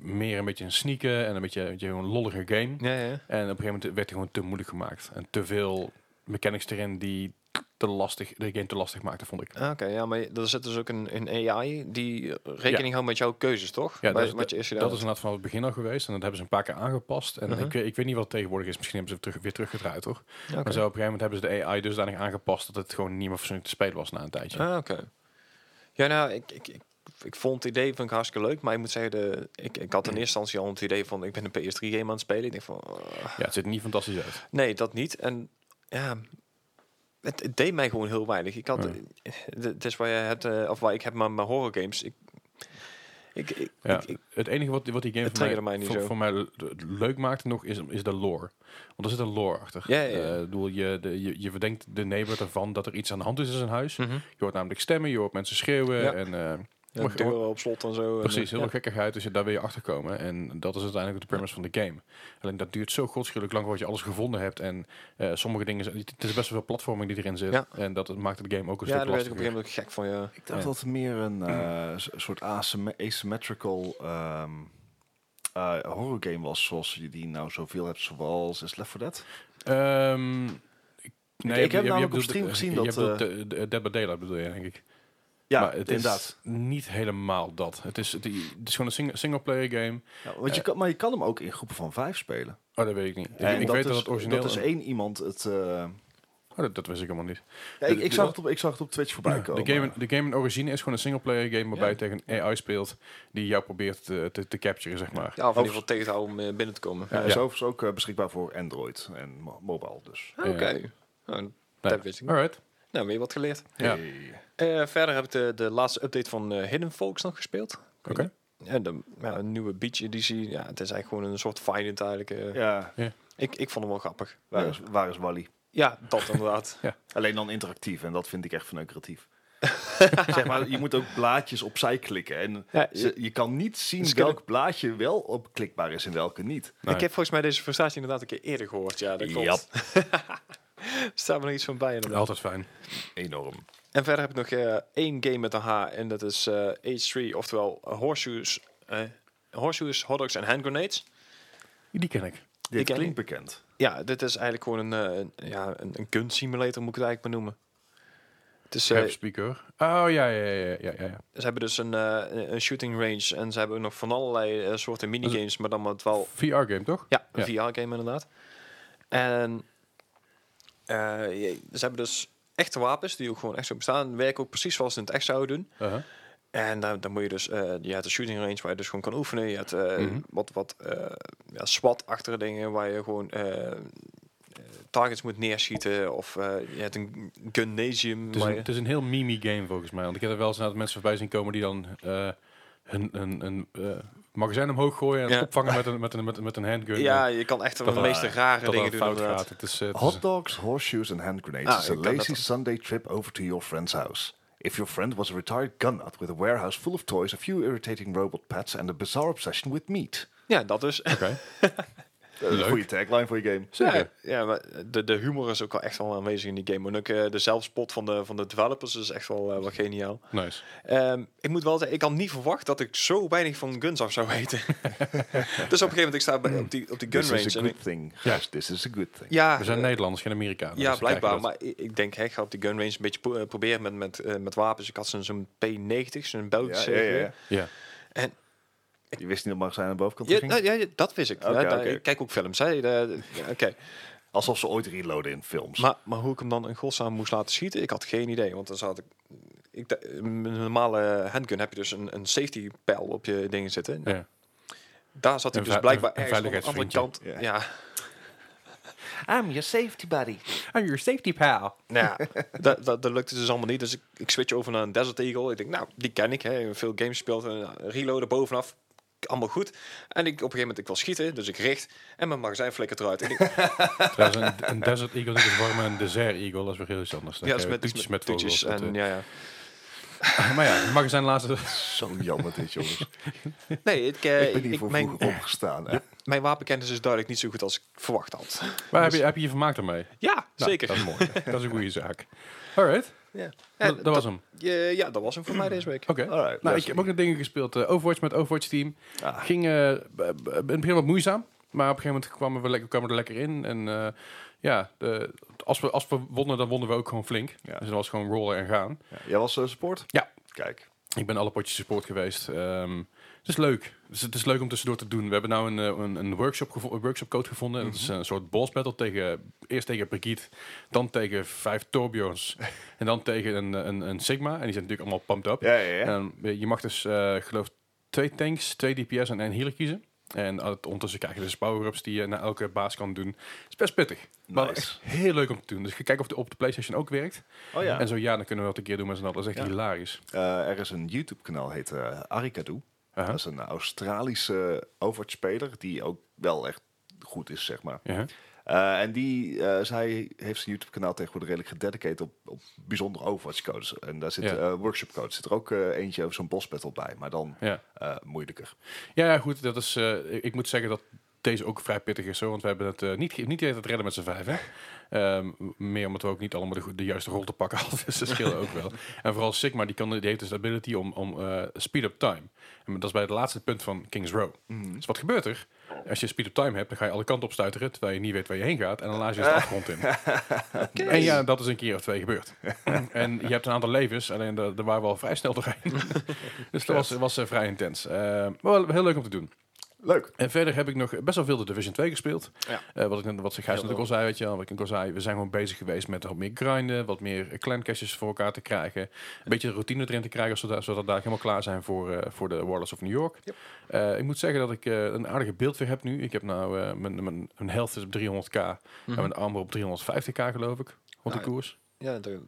B: meer een beetje een sneaken en een beetje, een beetje een lollige game.
A: Ja, ja.
B: En op een gegeven moment werd hij gewoon te moeilijk gemaakt. En te veel mechanics erin die te lastig, de game te lastig maakte, vond ik.
A: Ah, Oké, ja, maar je- er zit dus ook een, een AI die rekening houdt met jouw keuzes, toch?
B: Ja,
A: Bij-
B: dat, is-
A: wat je eerst
B: dat
A: gedaan
B: is inderdaad vanaf het begin al geweest. En dat hebben ze een paar keer aangepast. En
A: Mhm.
B: ik, weet- ik weet niet wat het tegenwoordig is. Misschien hebben ze het terug, weer teruggedraaid, hoor.
A: hebt. Ah, Oké.
B: Maar zo op een gegeven moment hebben ze de AI dusdanig aangepast... dat het gewoon niet meer verzoenlijk te spelen was na een tijdje.
A: Ah, oké. Ja, nou, ik, ik, ik, ik vond het idee van ik hartstikke leuk, maar ik moet zeggen, de, ik, ik had in eerste instantie al het idee van ik ben een PS3-game aan het spelen. Ik denk van, eh,
B: Ja, het ziet er niet fantastisch uit.
A: nee, dat niet. En ja, het, het deed mij gewoon heel weinig. Ik had,
B: Ja.
A: eh, d- het is waar je hebt, eh, of waar ik heb maar mijn horror games. Ik, ik, ik,
B: Ja,
A: ik- ik-
B: het enige wat, wat die game
A: Het
B: voor mij,
A: triggerde mij niet
B: voor,
A: zo.
B: voor mij le- le- leuk maakte nog is, is de lore. Want er zit een lore achter.
A: Ja, ja, ja.
B: Eh, ik bedoel, je, de, je, je verdenkt de neighbor ervan dat er iets aan de hand is in zijn huis.
A: Mhm.
B: Je hoort namelijk stemmen, je hoort mensen schreeuwen.
A: Ja.
B: En, eh,
A: ja,
B: maar-
A: deuren op slot en zo. en, eh,
B: precies, heel
A: ja.
B: veel gekkigheid. Dus je- daar wil je achter komen. En dat is uiteindelijk de premise van de game. Alleen dat duurt zo godschuwelijk lang voordat je alles gevonden hebt. En eh, sommige dingen... zijn- Het is best wel veel platforming die erin zit.
A: Ja.
B: En dat maakt de game ook een
A: Ja,
B: stuk
A: daar werd ik op een
B: lastiger.
A: gegeven moment gek van, ja.
C: Ik dacht
B: Ja.
C: dat het meer een eh, s- soort asym- asymmetrical ehm eh, horror game was, zoals je die nou zoveel hebt, zoals is Left 4 Dead.
B: Ehm,
C: ik heb
B: je- je- je
C: namelijk op
B: bedoelt-
C: stream
B: eh,
C: gezien
B: je
C: dat,
B: bedoelt, eh, de- de- Dead by Daylight bedoel je, denk ik.
C: Ja,
B: maar het
C: inderdaad.
B: is niet helemaal dat. Het is, het, is het is gewoon een sing- singleplayer game.
C: Ja, want je kan, maar je kan hem ook in groepen van vijf spelen.
B: Oh, dat weet ik niet. Ik,
C: En
B: ik
C: dat
B: weet
C: is,
B: dat het origineel...
C: Dat is één iemand het... eh,
B: oh, dat, dat wist ik helemaal niet.
C: ja,
B: De-
C: ik, ik,
B: de-
C: zag het op, ik zag het op Twitch voorbij komen.
B: De game, de game in origine is gewoon een singleplayer game waarbij je tegen een AI speelt die jou probeert te, te, te capturen, zeg maar.
A: Ja, of in ieder geval tegen te houden om eh, binnen te komen.
C: Ja,
A: Ja.
C: Is
B: ja.
C: overigens ook eh, beschikbaar voor Android en mo- mobile dus.
A: Oké. Nou,
B: Nee.
A: dat wist ik niet.
B: Alright.
A: Nou, weer wat geleerd.
B: Ja.
C: Hey.
A: Eh, verder heb ik de, de laatste update van eh, Hidden Folks nog gespeeld.
B: Oké.
A: En de ja, een nieuwe Beach editie. Ja, het is eigenlijk gewoon een soort Finding eigenlijk. eh.
C: Ja,
A: ik, ik vond hem wel grappig.
C: waar is, waar is Wally?
A: Ja, dat inderdaad.
C: Alleen dan interactief en dat vind ik echt verneukeratief. zeg maar, je moet ook blaadjes opzij klikken. En
A: Ja, Dus
C: ze- je kan niet zien
A: Ze kunnen-
C: welk blaadje wel op klikbaar is en welke niet.
B: Nee.
A: Ik heb volgens mij deze frustratie inderdaad een keer eerder gehoord. Ja, dat klopt.
C: Jap.
A: Dus staat me nog iets van bij. inderdaad.
B: Altijd fijn.
C: Enorm.
A: En verder heb ik nog eh, één game met een H. En dat is eh H3, oftewel Horseshoes, eh, Horseshoes, Hotdogs en Hand Grenades.
B: Die ken ik.
A: Die
C: Dit
A: ken
C: klinkt
A: ik.
C: bekend.
A: Ja, dit is eigenlijk gewoon een, eh, een- ja, een, een gunsimulator, moet ik het eigenlijk maar noemen. Het is, eh,
B: Cap Speaker. Oh ja, ja, ja, ja, ja. ja.
A: ze hebben dus een, eh, een shooting range en ze hebben ook nog van allerlei eh, soorten minigames, maar dan wat
C: Oh.
A: wel
B: VR-game toch?
A: Ja, een
B: Ja.
A: VR-game inderdaad. En eh, je- ze hebben dus echte wapens die ook gewoon echt zo bestaan. Werken ook precies zoals ze in het echt zouden doen.
B: Uh-huh.
A: En dan, dan moet je dus, eh, je hebt de shooting range waar je dus gewoon kan oefenen. Je hebt eh,
B: Mhm.
A: wat, wat eh, ja, SWAT-achtige dingen waar je gewoon eh, eh, targets moet neerschieten. Of eh, je hebt een gymnasium.
B: Het, is
A: waar
B: een,
A: je-
B: het is een heel mimi-game volgens mij. Want ik heb er wel eens een aantal mensen voorbij zien komen die dan eh hun, hun, hun, eh, magazijn omhoog gooien en
A: Ja.
B: het opvangen met een, met een, met een, met een handgun.
A: ja,
B: eh,
A: je kan echt wel
B: dat
A: de
B: er-
A: meeste rare
B: dat
A: dingen
B: dat
A: doen.
B: fout
A: inderdaad.
B: gaat. Het is, eh, het is
C: Hot dogs, horseshoes and hand grenades
A: Ah,
C: is
A: ik
C: a
A: kan dat
C: lazy
A: ook.
C: Sunday trip over to your friend's house. If your friend was a retired gun nut with a warehouse full of toys, a few irritating robot pets and a bizarre obsession with meat.
A: Ja, dat dus.
B: oké.
C: Dat is een goede tagline voor je game.
A: Ja,
B: Zeker.
A: ja, maar de, de humor is ook wel echt wel aanwezig in die game. En ook eh, de zelfspot van de, van de developers is echt wel, eh, wel geniaal.
B: Nice.
A: Ehm, ik moet wel zeggen, ik had niet verwacht dat ik zo weinig van guns af zou weten. dus op een gegeven moment, ik sta bij, op die, op die gun
C: This
A: range.
C: is a
A: en ik-
C: good thing. Yes, this is a good thing.
A: ja,
B: We zijn
A: eh,
B: Nederlanders, geen Amerikanen.
A: ja
B: dus we kijken
A: blijkbaar.
B: dat.
A: Maar ik, ik denk, hè, ik ga op die gun range een beetje pro- eh, proberen met, met, eh, met wapens. Ik had zo'n zo'n P90, zo'n Belgische.
C: ja, ja,
A: geweer.
C: ja.
B: Ja.
C: Je wist niet dat magazijn aan de bovenkant
A: Ja,
C: ging?
A: nou, ja, ja, dat wist ik.
C: Oké,
A: Ja, daar-
C: oké.
A: Ik kijk ook films. hè. De- ja, Oké.
C: Alsof ze ooit reloaden in films.
A: Maar, maar hoe ik hem dan in godsnaam moest laten schieten, ik had geen idee. Want dan zat ik... ik d- een normale handgun heb je dus een, een safety pijl op je dingen zitten.
B: Ja.
A: Daar zat hij
B: Een
A: dus
B: ve-
A: blijkbaar
B: een- een
A: ergens aan de andere kant.
C: veiligheidsvriendje.
A: Ja.
C: I'm your safety buddy.
B: I'm your Oh, safety pal.
A: Nou, ja, dat, dat, dat lukte dus allemaal niet. Dus ik, ik switch over naar een Desert Eagle. Ik denk, nou, die ken ik. Hè. Veel games speelt. en, nou, Reloaden bovenaf. Allemaal goed. En ik op een gegeven moment, ik wil schieten. Dus ik richt. En mijn magazijn flikkert eruit. Ik denk,
B: Trouwens, een, een Desert Eagle is warm en een Desert Eagle. Dat is weer heel iets anders. Dan
A: ja, dat is
B: krijgen we
A: met,
B: toetjes met
A: toetjes.
B: vogels,
A: En,
B: dat,
A: ja, ja.
B: eh. Maar ja, het magazijn laatste...
C: Zo jammer dit, jongens.
A: Nee, ik, eh,
C: ik ben
A: ik-
C: hiervoor
A: mijn,
C: vroeg opgestaan. hè.
A: mijn wapenkennis is duidelijk niet zo goed als ik verwacht had.
B: Waar heb je heb je, je vermaakt ermee?
A: Ja,
B: Nou,
A: zeker.
B: Dat is mooi. dat is een goede zaak. Alright.
A: Ja.
B: Dat, dat was hem.
A: Ja, ja, dat was hem voor mij deze week.
B: Oké.
C: Alright,
B: Nou, ik
C: luister.
B: heb ook nog dingen gespeeld. eh, Overwatch met Overwatch Team.
C: Ah.
B: Ging eh, b- b- in het begin wat moeizaam. Maar op een gegeven moment kwamen we, lekker, kwamen we er lekker in. En eh, ja, de- als, we, als we wonnen, dan wonnen we ook gewoon flink.
C: Ja.
B: Dus dat was gewoon rollen en gaan.
C: Ja. Jij was eh, support?
B: Ja.
C: Kijk.
B: Ik ben alle potjes support geweest. Ehm, het is leuk. Dus het is leuk om tussendoor te doen. We hebben nou een, eh, een, een workshop, gevo- een workshop code gevonden. Dat
C: Mhm.
B: is een soort boss battle. Tegen, eerst tegen Brigitte, dan tegen vijf Torbjorns. en dan tegen een, een, een Sigma. En die zijn natuurlijk allemaal pumped up.
C: Ja, ja, ja.
B: En je mag dus, eh geloof twee tanks, twee DPS en één healer kiezen. En eh, ondertussen krijg je dus power-ups die je na elke baas kan doen. Het is best pittig. Maar
C: Nice.
B: echt heel leuk om te doen. Dus ga kijken of het op de PlayStation ook werkt.
C: Oh ja.
B: En zo ja, dan kunnen we dat een keer doen met z'n allen. Dat is echt hilarisch.
C: Eh, er is een YouTube-kanaal, heet eh Arikadu.
B: Uh-huh.
C: Dat is een Australische Overwatch-speler die ook wel echt goed is, zeg maar.
B: Ja.
C: Eh, en die, eh, zij heeft zijn YouTube-kanaal tegenwoordig redelijk gededicated op, op bijzondere Overwatch-codes. En daar zit
B: Ja.
C: eh, workshop-codes. Zit er ook eh, eentje over zo'n boss battle bij, maar dan
B: Ja.
C: eh, moeilijker.
B: Ja, ja, goed. Dat is, eh, ik- ik moet zeggen dat deze ook vrij pittig is. Hoor, want we hebben het eh, niet, ge- niet het redden met z'n vijven. Ehm, meer omdat we ook niet allemaal de, goe- de juiste rol te pakken hadden. Dus dat scheelde ook wel. En vooral Sigma, die, kan, die heeft dus de ability om, om eh, speed up time. En dat is bij het laatste punt van King's Row. Dus wat gebeurt er? Als je speed up time hebt, dan ga je alle kanten op stuiteren... terwijl je niet weet waar je heen gaat. En dan laat je dus de afgrond in. En ja, dat is een keer of twee gebeurd. en je hebt een aantal levens, alleen daar daar waren we al vrij snel doorheen. dus dat was, was eh, vrij intens. Eh, maar wel heel leuk om te doen.
C: Leuk.
B: En verder heb ik nog best wel veel de Division 2 gespeeld.
A: Ja.
B: Eh, wat ik net- wat Gijs natuurlijk al zei, weet je wel, wat ik al zei, we zijn gewoon bezig geweest met wat meer grinden, wat meer clancaches voor elkaar te krijgen, een beetje routine erin te krijgen, zodat, zodat we daar helemaal klaar zijn voor, eh, voor de Warlords of New York. Eh, ik moet zeggen dat ik eh, een aardige beeld weer heb nu. Ik heb nou, eh, mijn, mijn, mijn health is op 300k en mijn armor op 350k geloof ik, rond de
A: Mhm. Nou,
B: koers.
A: Ja, de-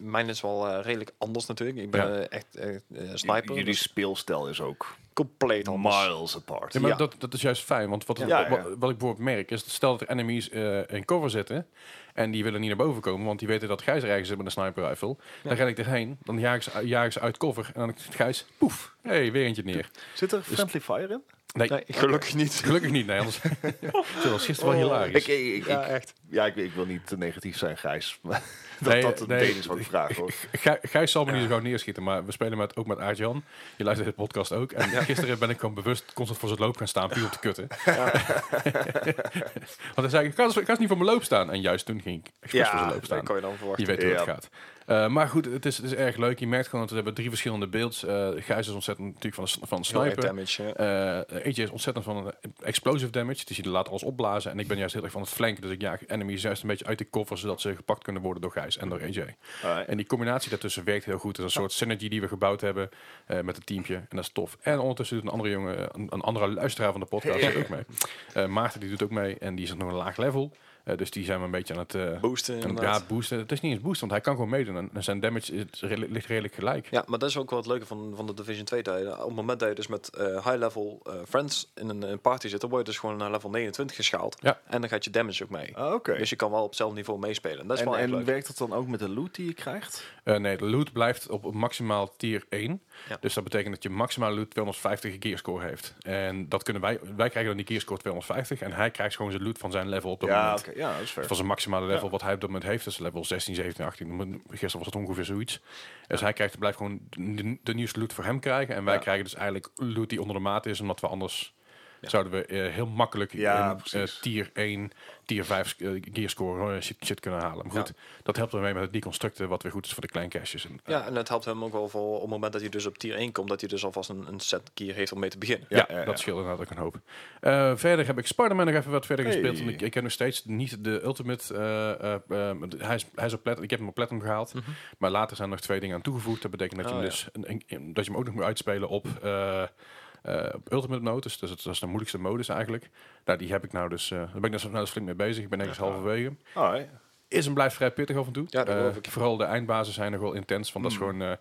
A: mijn is wel eh, redelijk anders natuurlijk. Ik ben
B: Ja.
A: eh, echt eh, eh, sniper.
C: Jullie
A: dus
C: speelstijl is ook
A: compleet anders.
C: miles apart.
B: Ja, maar
A: Ja.
B: Dat, dat is juist fijn, want wat,
C: Ja.
B: wa-
C: Ja, ja.
B: wa- wat ik bijvoorbeeld merk is, dat stel dat er enemies eh, in cover zitten en die willen niet naar boven komen, want die weten dat Gijs er ergens zit met een sniper rifle. Dan ren ik erheen, dan jaag ik, ze, jaag ik ze uit cover en dan Gijs, poef, hey, weer eentje neer.
C: Zit er friendly fire in?
B: Nee,
A: Nee, gelukkig niet.
B: gelukkig niet. Nee, anders Zo was gisteren wel
A: Oh,
B: hilarisch.
C: Ik, ik, ik-
A: Ja,
C: ik-
A: echt.
C: ja, ik, ik wil niet te negatief zijn, Gijs. maar dat
B: Nee,
C: dat het
B: nee,
C: ding is wat ik
B: ik-
C: vraag, hoor.
B: Gij- Gijs zal me niet zo gauw neerschieten, maar we spelen met, ook met Aart-Jan. Je luistert de podcast ook. En gisteren ben ik gewoon bewust constant voor zijn loop gaan staan, puur om te kutten. Want hij zei, ik kan, kan eens niet voor mijn loop staan. En juist toen ging ik expres voor zijn
A: Ja,
B: loop
A: dat
B: staan.
A: kan je dan verwachten.
B: Je weet hoe het
C: Ja.
B: gaat. Eh, maar goed, het is, het is erg leuk. Je merkt gewoon dat we hebben drie verschillende beelds. Eh Gijs is ontzettend natuurlijk van, de s- van
A: Heel erg
B: sniper.
A: damage, ja.
B: Eh AJ is ontzettend van eh, explosive damage. Dus je laat alles opblazen. En ik ben juist heel erg van het flanken. Dus ik jaag enemies juist een beetje uit de koffer. Zodat ze gepakt kunnen worden door Gijs en door AJ.
C: Alright.
B: En die combinatie daartussen werkt heel goed. Het is een soort synergy die we gebouwd hebben eh, met het teampje. En dat is tof. En ondertussen doet een andere jongen, een, een andere luisteraar van de podcast
C: Hey.
B: doet ook mee. Eh, Maarten die doet ook mee. En die is nog een laag level. Eh, dus die zijn we een beetje aan het... eh,
A: Boosten
B: en
A: inderdaad.
B: ja, boosten. Het is niet eens boosten, want hij kan gewoon meedoen. En- En zijn damage is redelijk- ligt redelijk gelijk.
A: Ja, maar dat is ook wel het leuke van, van de Division 2 tijden. Op het moment dat je dus met eh, high-level eh, friends in een, een party zit, dan word je dus gewoon naar level 29 geschaald.
B: Ja.
A: En dan gaat je damage ook mee.
C: Ah, Oké.
A: Dus je kan wel op hetzelfde niveau meespelen. Dat is
C: En,
A: wel echt
C: en
A: leuk.
C: werkt dat dan ook met de loot die je krijgt?
B: Eh, nee, de loot blijft op maximaal tier 1.
A: Ja.
B: Dus dat betekent dat je maximaal loot 250 gearscore heeft. En dat kunnen wij... Wij krijgen dan die gearscore 250. En hij krijgt gewoon zijn loot van zijn level op dat
C: Ja,
B: moment.
C: oké. Ja, dat is fair.
B: Het was een maximale level wat hij op dat moment heeft. Dus level 16, 17, 18. Gisteren was het ongeveer zoiets. Dus hij krijgt, blijft gewoon de, de nieuwste loot voor hem krijgen. En wij
C: Ja.
B: krijgen dus eigenlijk loot die onder de maat is. Omdat we anders zouden we eh, heel makkelijk
C: Ja,
B: in, eh,
C: precies.
B: tier 1, tier 5 eh, gearscore eh, shit, shit kunnen halen. Maar goed, dat helpt ermee met het deconstructen wat weer goed is voor de kleincaches. En,
A: Ja, en het helpt hem ook wel voor op het moment dat hij dus op tier 1 komt, dat hij dus alvast een, een set gear heeft om mee te beginnen.
B: Ja,
C: Ja, ja,
B: dat
C: ja.
B: scheelt inderdaad ook een hoop. Eh, verder heb ik Spider-Man nog even wat verder
C: Hey.
B: gespeeld. want Ik, ik heb nog steeds niet de Ultimate... eh, eh, eh, hij, is, hij is op platinum. Ik heb hem op platinum gehaald. Maar later zijn er nog twee dingen aan toegevoegd. Dat betekent dat, je,
A: Mhm. Oh,
B: hem
A: ja.
B: dus, een- een- dat je hem ook nog moet uitspelen op... eh, eh, op Ultimate Notice, dus dat, dat is de moeilijkste modus eigenlijk. Nou, die heb ik nou dus, eh, daar ben ik dus, nou dus flink mee bezig. Ik ben ergens halverwege
C: Alright.
B: is en blijft vrij pittig af en toe.
A: Ja, dat
B: Eh,
A: geloof ik. Mhm.
B: Vooral de eindbazen zijn nog wel intens. Want dat is gewoon eh,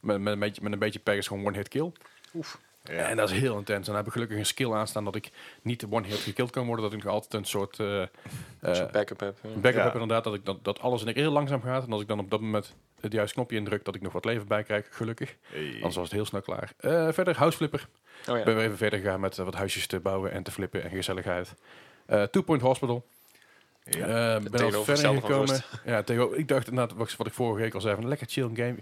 B: met, met, een beetje, met een beetje pech is gewoon one-hit kill. Oef.
C: Ja.
B: En dat is heel intens. En dan heb ik gelukkig een skill aanstaan dat ik niet one-hit gekilld kan worden. Dat ik nog altijd een soort eh, eh,
A: Zo'n backup heb. ja.
B: backup
C: Ja.
B: heb inderdaad. Dat, ik dan, dat alles in één keer heel langzaam gaat. En als ik dan op dat moment het juiste knopje indruk, dat ik nog wat leven bij krijg. Gelukkig.
C: Hey.
B: Anders was het heel snel klaar. Eh, verder, houseflipper.
A: Oh ja.
B: Ik ben weer even verder gegaan met eh, wat huisjes te bouwen en te flippen en gezelligheid. Eh Two Point Hospital.
C: Ja.
B: Eh, ben al verder
A: tegenovergestelde van
B: gekomen. Ja, tegen, ik dacht inderdaad, wat, wat ik vorige week al zei, van een lekker chill game.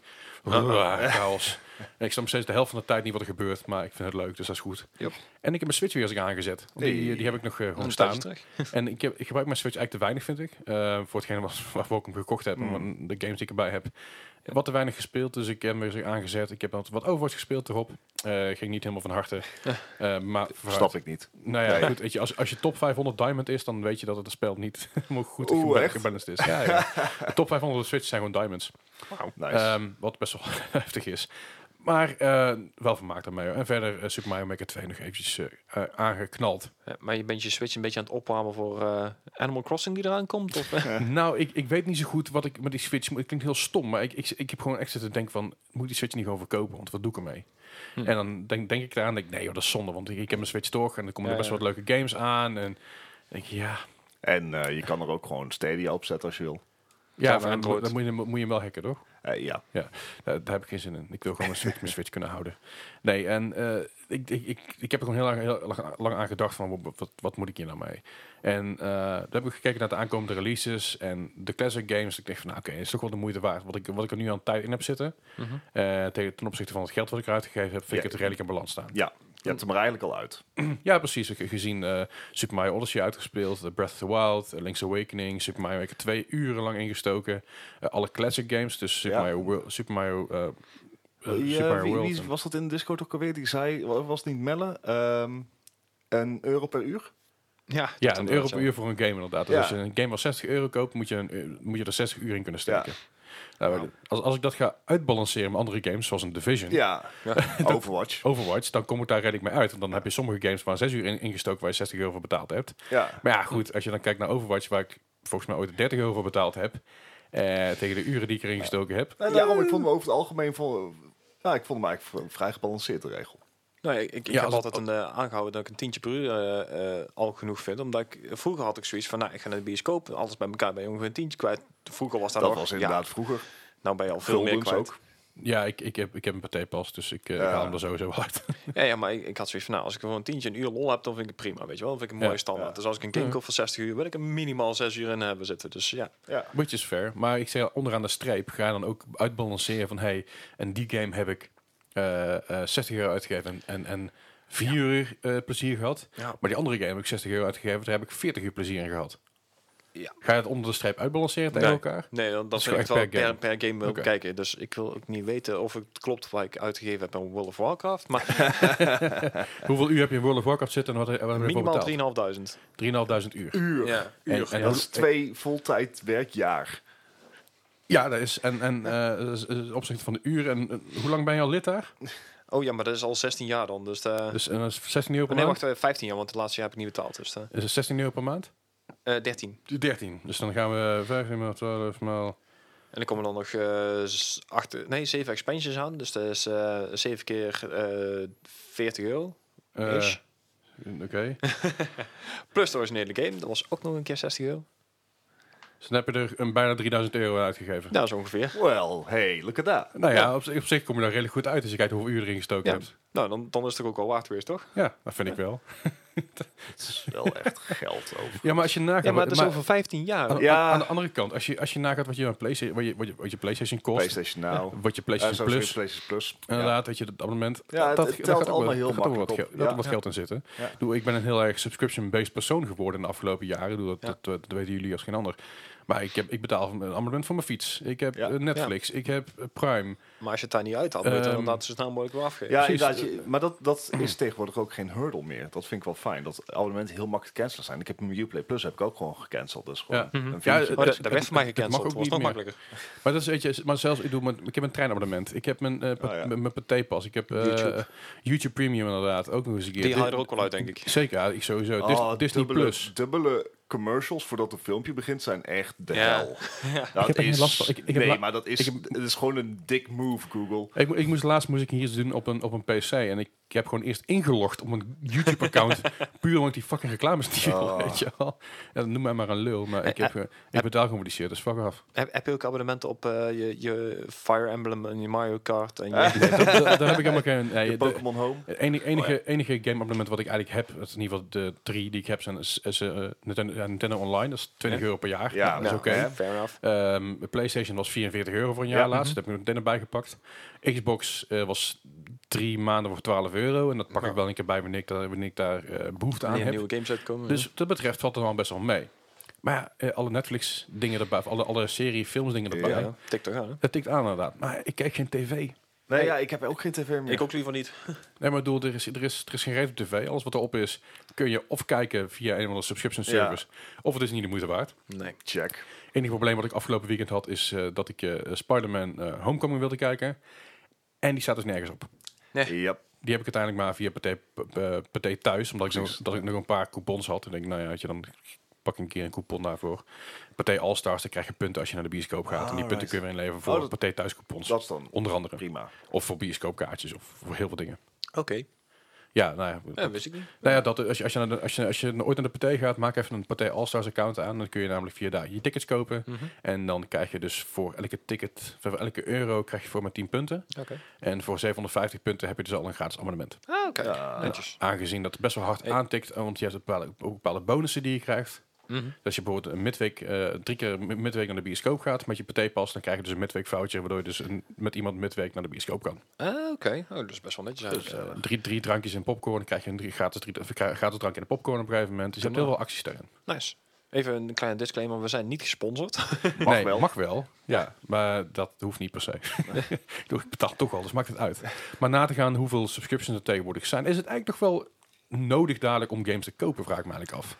A: Ah,
B: Ruah, chaos. En ik snap nog steeds de helft van de tijd niet wat er gebeurt, maar ik vind het leuk, dus dat is goed.
A: Yep.
B: En ik heb mijn Switch weer eens aangezet. want Die,
C: Hey.
B: die heb ik nog eh, gewoon
A: Dan
B: staan.
A: staat je terug.
B: En ik, heb, ik gebruik mijn Switch eigenlijk te weinig, vind ik. Eh, voor hetgene wat- waarvoor ik hem gekocht heb.
A: Hmm.
B: en De games die ik erbij heb. Wat te weinig gespeeld, dus ik heb hem weer eens aangezet. Ik heb wat wat Overwatch gespeeld erop. Eh, ging niet helemaal van harte. Eh, maar vooruit.
C: Snap ik niet.
B: Nou ja,
C: Nee.
B: goed, weet je, als, als je top 500 diamond is, dan weet je dat het spel niet helemaal goed
C: Oeh,
B: geba-
C: echt?
B: gebalanced is. Ja, ja. De top 500 op Switch zijn gewoon diamonds.
C: Nice.
B: Ehm, wat best wel heftig is. Maar eh, wel vermaakt daarmee. hoor. En verder eh, Super Mario Maker 2 nog eventjes eh, eh, aangeknald.
A: Ja, maar je bent je Switch een beetje aan het opwarmen voor eh, Animal Crossing die eraan komt? Of, eh?
B: Nou, ik, ik weet niet zo goed wat ik met die Switch moet. Het klinkt heel stom, maar ik, ik, ik heb gewoon echt zitten denken van... Moet die Switch niet gewoon verkopen? Want wat doe ik ermee?
A: Hm.
B: En dan denk, denk ik daaraan, denk, ik, nee joh, dat is zonde. Want ik, ik heb mijn Switch toch en er komen
A: Ja,
B: er best
A: ja.
B: wat leuke games aan. En denk ik, ja...
C: En eh, je kan er ook gewoon Stadia op zetten als je wil.
B: Ja,
A: Of
B: maar dan,
A: Android.
B: dan moet, je, hem- moet je hem wel hacken, toch?
C: Eh, ja.
B: Ja, daar, daar heb ik geen zin in. Ik wil gewoon mijn Switch, mijn Switch kunnen houden. Nee, en eh, ik, ik, ik, ik heb er gewoon heel lang, heel lang- lang aan gedacht van wat, wat, wat moet ik hier nou mee? En eh daar heb ik gekeken naar de aankomende releases en de classic games. Ik dacht van nou oké, is toch wel de moeite waard. Wat ik, wat ik er nu aan tijd in heb zitten,
A: Mhm.
B: eh, tegen ten opzichte van het geld wat ik eruit gegeven heb, vind
C: Ja.
B: ik het redelijk in balans staan.
C: ja, je hebt hem er eigenlijk al uit.
B: Ja, precies. Ik heb gezien eh, Super Mario Odyssey uitgespeeld, The Breath of the Wild, eh, Link's Awakening, Super Mario Maker 2 uren lang ingestoken. Eh, alle classic games, dus Super
C: Ja.
B: Mario World, Super Mario, eh, eh,
C: Ja,
B: Super Mario
C: wie,
B: World.
C: wie
B: en-
C: was dat in de Discord ook alweer? Die zei, wa- was het niet Melle? Ehm, een euro per uur?
A: ja,
B: ja,
A: dat
B: een
A: inderdaad,
B: euro per
A: ja.
B: uur voor een game inderdaad. Dus
C: Ja.
B: als je een game van 60 euro koopt, moet je, een, eh, moet je er 60 uur in kunnen steken. Nou,
C: Ja.
B: als, als ik dat ga uitbalanceren met andere games, zoals een Division,
C: Ja, Overwatch.
B: Overwatch, dan kom ik daar redelijk mee uit. Want dan heb je sommige games waar 6 uur in, ingestoken waar je 60 euro voor betaald hebt.
C: Ja.
B: Maar ja, goed, als je dan kijkt naar Overwatch, waar ik volgens mij ooit 30 euro voor betaald heb. eh, tegen de uren die ik erin gestoken heb.
C: En daarom, ik vond hem over het algemeen... Vond, ja, ik vond hem eigenlijk v- vrij gebalanceerd, de regel.
A: Nou, ik, ik, ik
B: Ja,
A: heb
B: als-
A: altijd een, eh, aangehouden dat ik een tientje per uur eh, eh, al genoeg vind. Omdat ik, vroeger had ik zoiets van, nou, ik ga naar de bioscoop. Alles bij elkaar ben je ongeveer een tientje kwijt. Vroeger was dat,
C: Dat
A: nog,
C: was
A: ja,
C: inderdaad vroeger.
A: nou ben je al veel meer
C: Guldens
A: kwijt.
C: ook.
B: Ja, ik, ik, heb, ik heb een partijpas, dus ik, eh, ik
C: Ja.
B: haal hem er sowieso wel uit.
A: Ja, ja, maar ik, ik had zoiets van, nou, als ik gewoon een tientje een uur lol heb, dan vind ik het prima, weet je wel. Dan vind ik een
B: Ja.
A: mooie standaard.
C: Ja.
A: Dus als ik een game koop van 60 uur, wil ik er minimaal 6 uur in hebben zitten. Dus ja,
C: Ja.
B: Which is fair. Maar ik zeg onderaan de streep ga je dan ook uitbalanceren van hey, en die game heb ik eh, eh, 60 euro uitgegeven en, en, en 4 uur eh, plezier gehad.
A: ja.
B: Maar die andere game heb ik 60 euro uitgegeven, daar heb ik 40 uur plezier in gehad.
A: Ja.
B: Ga je het onder de streep uitbalanceren tegen
A: Nee.
B: elkaar?
A: Nee, dan, dan
B: is
A: vind ik het
B: gewoon
A: wel
B: echt per
A: per game, per, game wil
B: Oké.
A: kijken. Dus ik wil ook niet weten of het klopt wat ik uitgegeven heb aan World of Warcraft. Maar
B: Hoeveel uur heb je in World of Warcraft zitten en wat, wat heb je ervoor
A: minimaal
B: betaald?
A: 3.500.
B: 3.500 uur.
C: Uur.
A: Ja.
C: Uur.
B: En- en
C: dat
B: hoe-
C: is twee voltijd werkjaar.
B: Ja, dat is. En, en eh, is- is opzicht van de uur. En eh, hoe lang ben je al lid daar?
A: Oh ja, maar dat is al 16 jaar dan. Dus, eh,
B: Dus en dat is 16 euro per
A: nee,
B: maand?
A: wacht, eh, 15 jaar, want het laatste jaar heb ik niet betaald. Dus eh,
B: Is het 16 euro per maand?
A: eh, 13.
B: 13. Dus dan gaan we 15 maal 12 maal...
A: En er komen dan nog eh, z- acht, nee, 7 expansions aan. Dus dat is eh 7 keer eh 40 euro.
B: eh,
A: Ish.
B: Oké.
A: Plus de originele game, dat was ook nog een keer 60 euro.
B: Dus dan heb je er een bijna 3000 euro aan uitgegeven.
A: Nou, zo ongeveer.
C: Well, hey, look at that.
B: Nou ja, Op, zich- op zich kom je daar redelijk goed uit als je kijkt hoeveel uur erin gestoken
A: Ja.
B: hebt.
A: Nou, dan, dan is het toch ook al waard geweest, toch?
B: Ja, dat vind ik wel.
C: Het is wel echt geld over.
B: Ja, maar als je nagaat...
A: Ja, maar het is
B: maar-
A: over 15
B: aan,
A: jaar.
C: Ja.
B: aan- aan de andere kant, als je, als je nagaat wat je, aan PlayStation, wat je, wat je, wat je PlayStation kost,
C: PlayStation Now.
B: wat je
C: Eh,
B: PlayStation
C: zo
B: Plus...
C: is PlayStation Plus. Ja.
B: Inderdaad, dat je dat abonnement...
C: Ja, het-
B: dat,
C: het
B: dat
C: telt
B: gaat ook
C: allemaal
B: wel-
C: heel
B: daar gaat ook wel wat,
C: makkelijk
B: ge-
C: op.
B: daar gaat
C: Ja.
B: ook wat
C: Ja.
B: geld in zitten.
C: Ja.
B: Doe, ik ben een heel erg subscription-based persoon geworden in de afgelopen jaren. Doe, dat,
A: Ja.
B: dat, dat weten jullie als geen ander. Maar ik, heb, ik betaal een abonnement voor mijn fiets. Ik heb
C: Ja.
B: eh, Netflix. Ik heb eh, Prime.
A: Maar als je het daar niet uit had, moet je het
B: Ehm,
A: inderdaad zo snel mogelijk wel afgeven.
C: Ja,
B: Precies. Eh,
C: inderdaad, je- maar dat, dat is tegenwoordig ook geen hurdle meer. Dat vind ik wel fijn. Dat abonnementen heel makkelijk te cancelen zijn. Ik heb mijn Uplay Plus heb ik ook gewoon gecanceld. Dus gewoon
B: Ja. Mhm.
C: een
B: Ja,
C: vinkje.
A: Oh,
B: het-
A: dat, dat werd voor mij
B: het- het mag
A: gecanceld.
B: ook
A: Dat was
B: niet
A: nog
B: meer.
A: makkelijker.
B: Maar, dat is, weet je, maar zelfs, ik, doe mijn, ik heb een treinabonnement. Ik heb mijn, eh pa-
C: Oh, ja.
B: mijn, mijn partijpas. Ik heb eh,
C: YouTube.
B: YouTube Premium inderdaad. Ook nog eens een keer.
A: Die haal je
B: Dit-
A: er ook wel uit, denk ik.
B: Zeker, ja, ik sowieso. Dis-
C: Ah,
B: Disney
C: dubbele,
B: Plus.
C: Dubbele commercials voordat een filmpje begint zijn echt de
A: Ja.
C: hel. Nou, Dat
B: heb er geen
C: is-
B: last van. Ik- ik heb la-
C: nee, maar dat is,
B: ik heb-
C: het is gewoon een dik move, Google.
B: Ik, mo- ik moest laatst moest ik hier iets doen op een, op een PC. En ik, ik heb gewoon eerst ingelogd op een YouTube-account. puur omdat ik die fucking reclames die wil,
C: Oh.
B: weet je wel. Ja, noem mij maar een lul. Maar ik, heb, eh, ik betaal gewoon voor die shit, dus fuck af.
A: Heb, heb je ook abonnementen op eh, je, je Fire Emblem en je Mario Kart? En je,
B: Daar heb ik helemaal geen... Nee,
C: De
B: de-
C: Pokémon Home.
B: het enige, enige, enige game-abonnement wat ik eigenlijk heb, dat is in ieder geval de drie die ik heb, zijn is, is, eh, Nintendo, ja, Nintendo Online. Dat is 20 euro per jaar.
C: Ja,
B: dat is
A: Nou,
B: oké.
A: hè, fair enough.
B: Ehm, de PlayStation was 44 euro voor een jaar
C: Ja.
A: mhm.
B: laatst. Daar heb ik meteen erbij gepakt. Xbox eh, was drie maanden voor 12 euro. En dat pak ik wel een keer bij wanneer ik daar, wanneer ik daar eh, behoefte aan
A: Wanneer
B: heb.
A: nieuwe games uitkomen.
B: Dus wat dat betreft valt er wel best wel mee. Maar ja, eh, alle Netflix dingen erbij, of alle, alle serie, films dingen
A: eh, ja,
B: erbij.
A: ja. TikTok aan. hè?
B: Dat tikt aan inderdaad. Maar ik kijk geen tv.
C: Nee, ja, ik heb ook geen tv meer.
A: Ik ook liever niet.
B: Nee, maar ik bedoel, er is, er, is, er is geen reet op tv. Alles wat erop is, kun je of kijken via een of andere subscription service. Of het is niet de moeite waard.
A: Nee.
C: Check.
B: enige probleem wat ik afgelopen weekend had, is eh, dat ik eh Spider-Man eh, Homecoming wilde kijken. En die staat dus nergens op.
C: Yep.
B: Die heb ik uiteindelijk maar via Pathé, p- eh, Pathé thuis, omdat ik, nog,
C: Precies.
B: dat ik nog een paar coupons had. En ik denk, nou ja, weet je, dan pak ik een keer een coupon daarvoor. Pathé All-Stars, dan krijg je punten als je naar de bioscoop gaat. en die punten
C: Alright.
B: kun je weer inleveren voor
C: Oh,
B: oh,
C: dat-
B: thuis coupons.
C: Dat is dan
B: onder andere.
C: prima.
B: Of voor bioscoopkaartjes, of voor heel veel dingen.
A: Oké.
B: Ja, nou ja.
A: Ja, wist ik niet.
B: Nou ja, dat, als, je, als, je naar de- als, je, als je ooit naar de partij gaat, maak even een partij All-Stars account aan. Dan kun je namelijk via daar je tickets kopen. En dan krijg je dus voor elke ticket, voor elke euro krijg je voor maar 10 punten.
A: Oké.
B: En voor 750 punten heb je dus al een gratis abonnement.
A: Ah, oké.
C: Ja.
A: Netjes.
B: Aangezien dat best wel hard aantikt, eh, want je hebt ook bepaalde, ook bepaalde bonussen die je krijgt.
A: Mhm.
B: Dus je bijvoorbeeld een midweek, eh, drie keer mi- midweek naar de bioscoop gaat met je partijpas, dan krijg je dus een midweek foutje, waardoor je dus een, met iemand midweek naar de bioscoop kan.
A: Ah, oké. Oh, dat is best wel netjes eigenlijk.
B: Eh, drie, drie drankjes en popcorn, dan krijg je een drie gratis, drie, of krijg- gratis drank en een popcorn op een gegeven moment. Dus je hebt heel veel acties daarin.
A: Nice. Even een kleine disclaimer. We zijn niet gesponsord.
C: Mag
B: nee,
C: wel.
B: mag wel. Ja, maar dat hoeft niet per se. Ik bedoel, ik betaal toch al, dus maakt het uit. Maar na te gaan hoeveel subscriptions er tegenwoordig zijn, is het eigenlijk toch wel nodig dadelijk om games te kopen, vraag ik me eigenlijk af.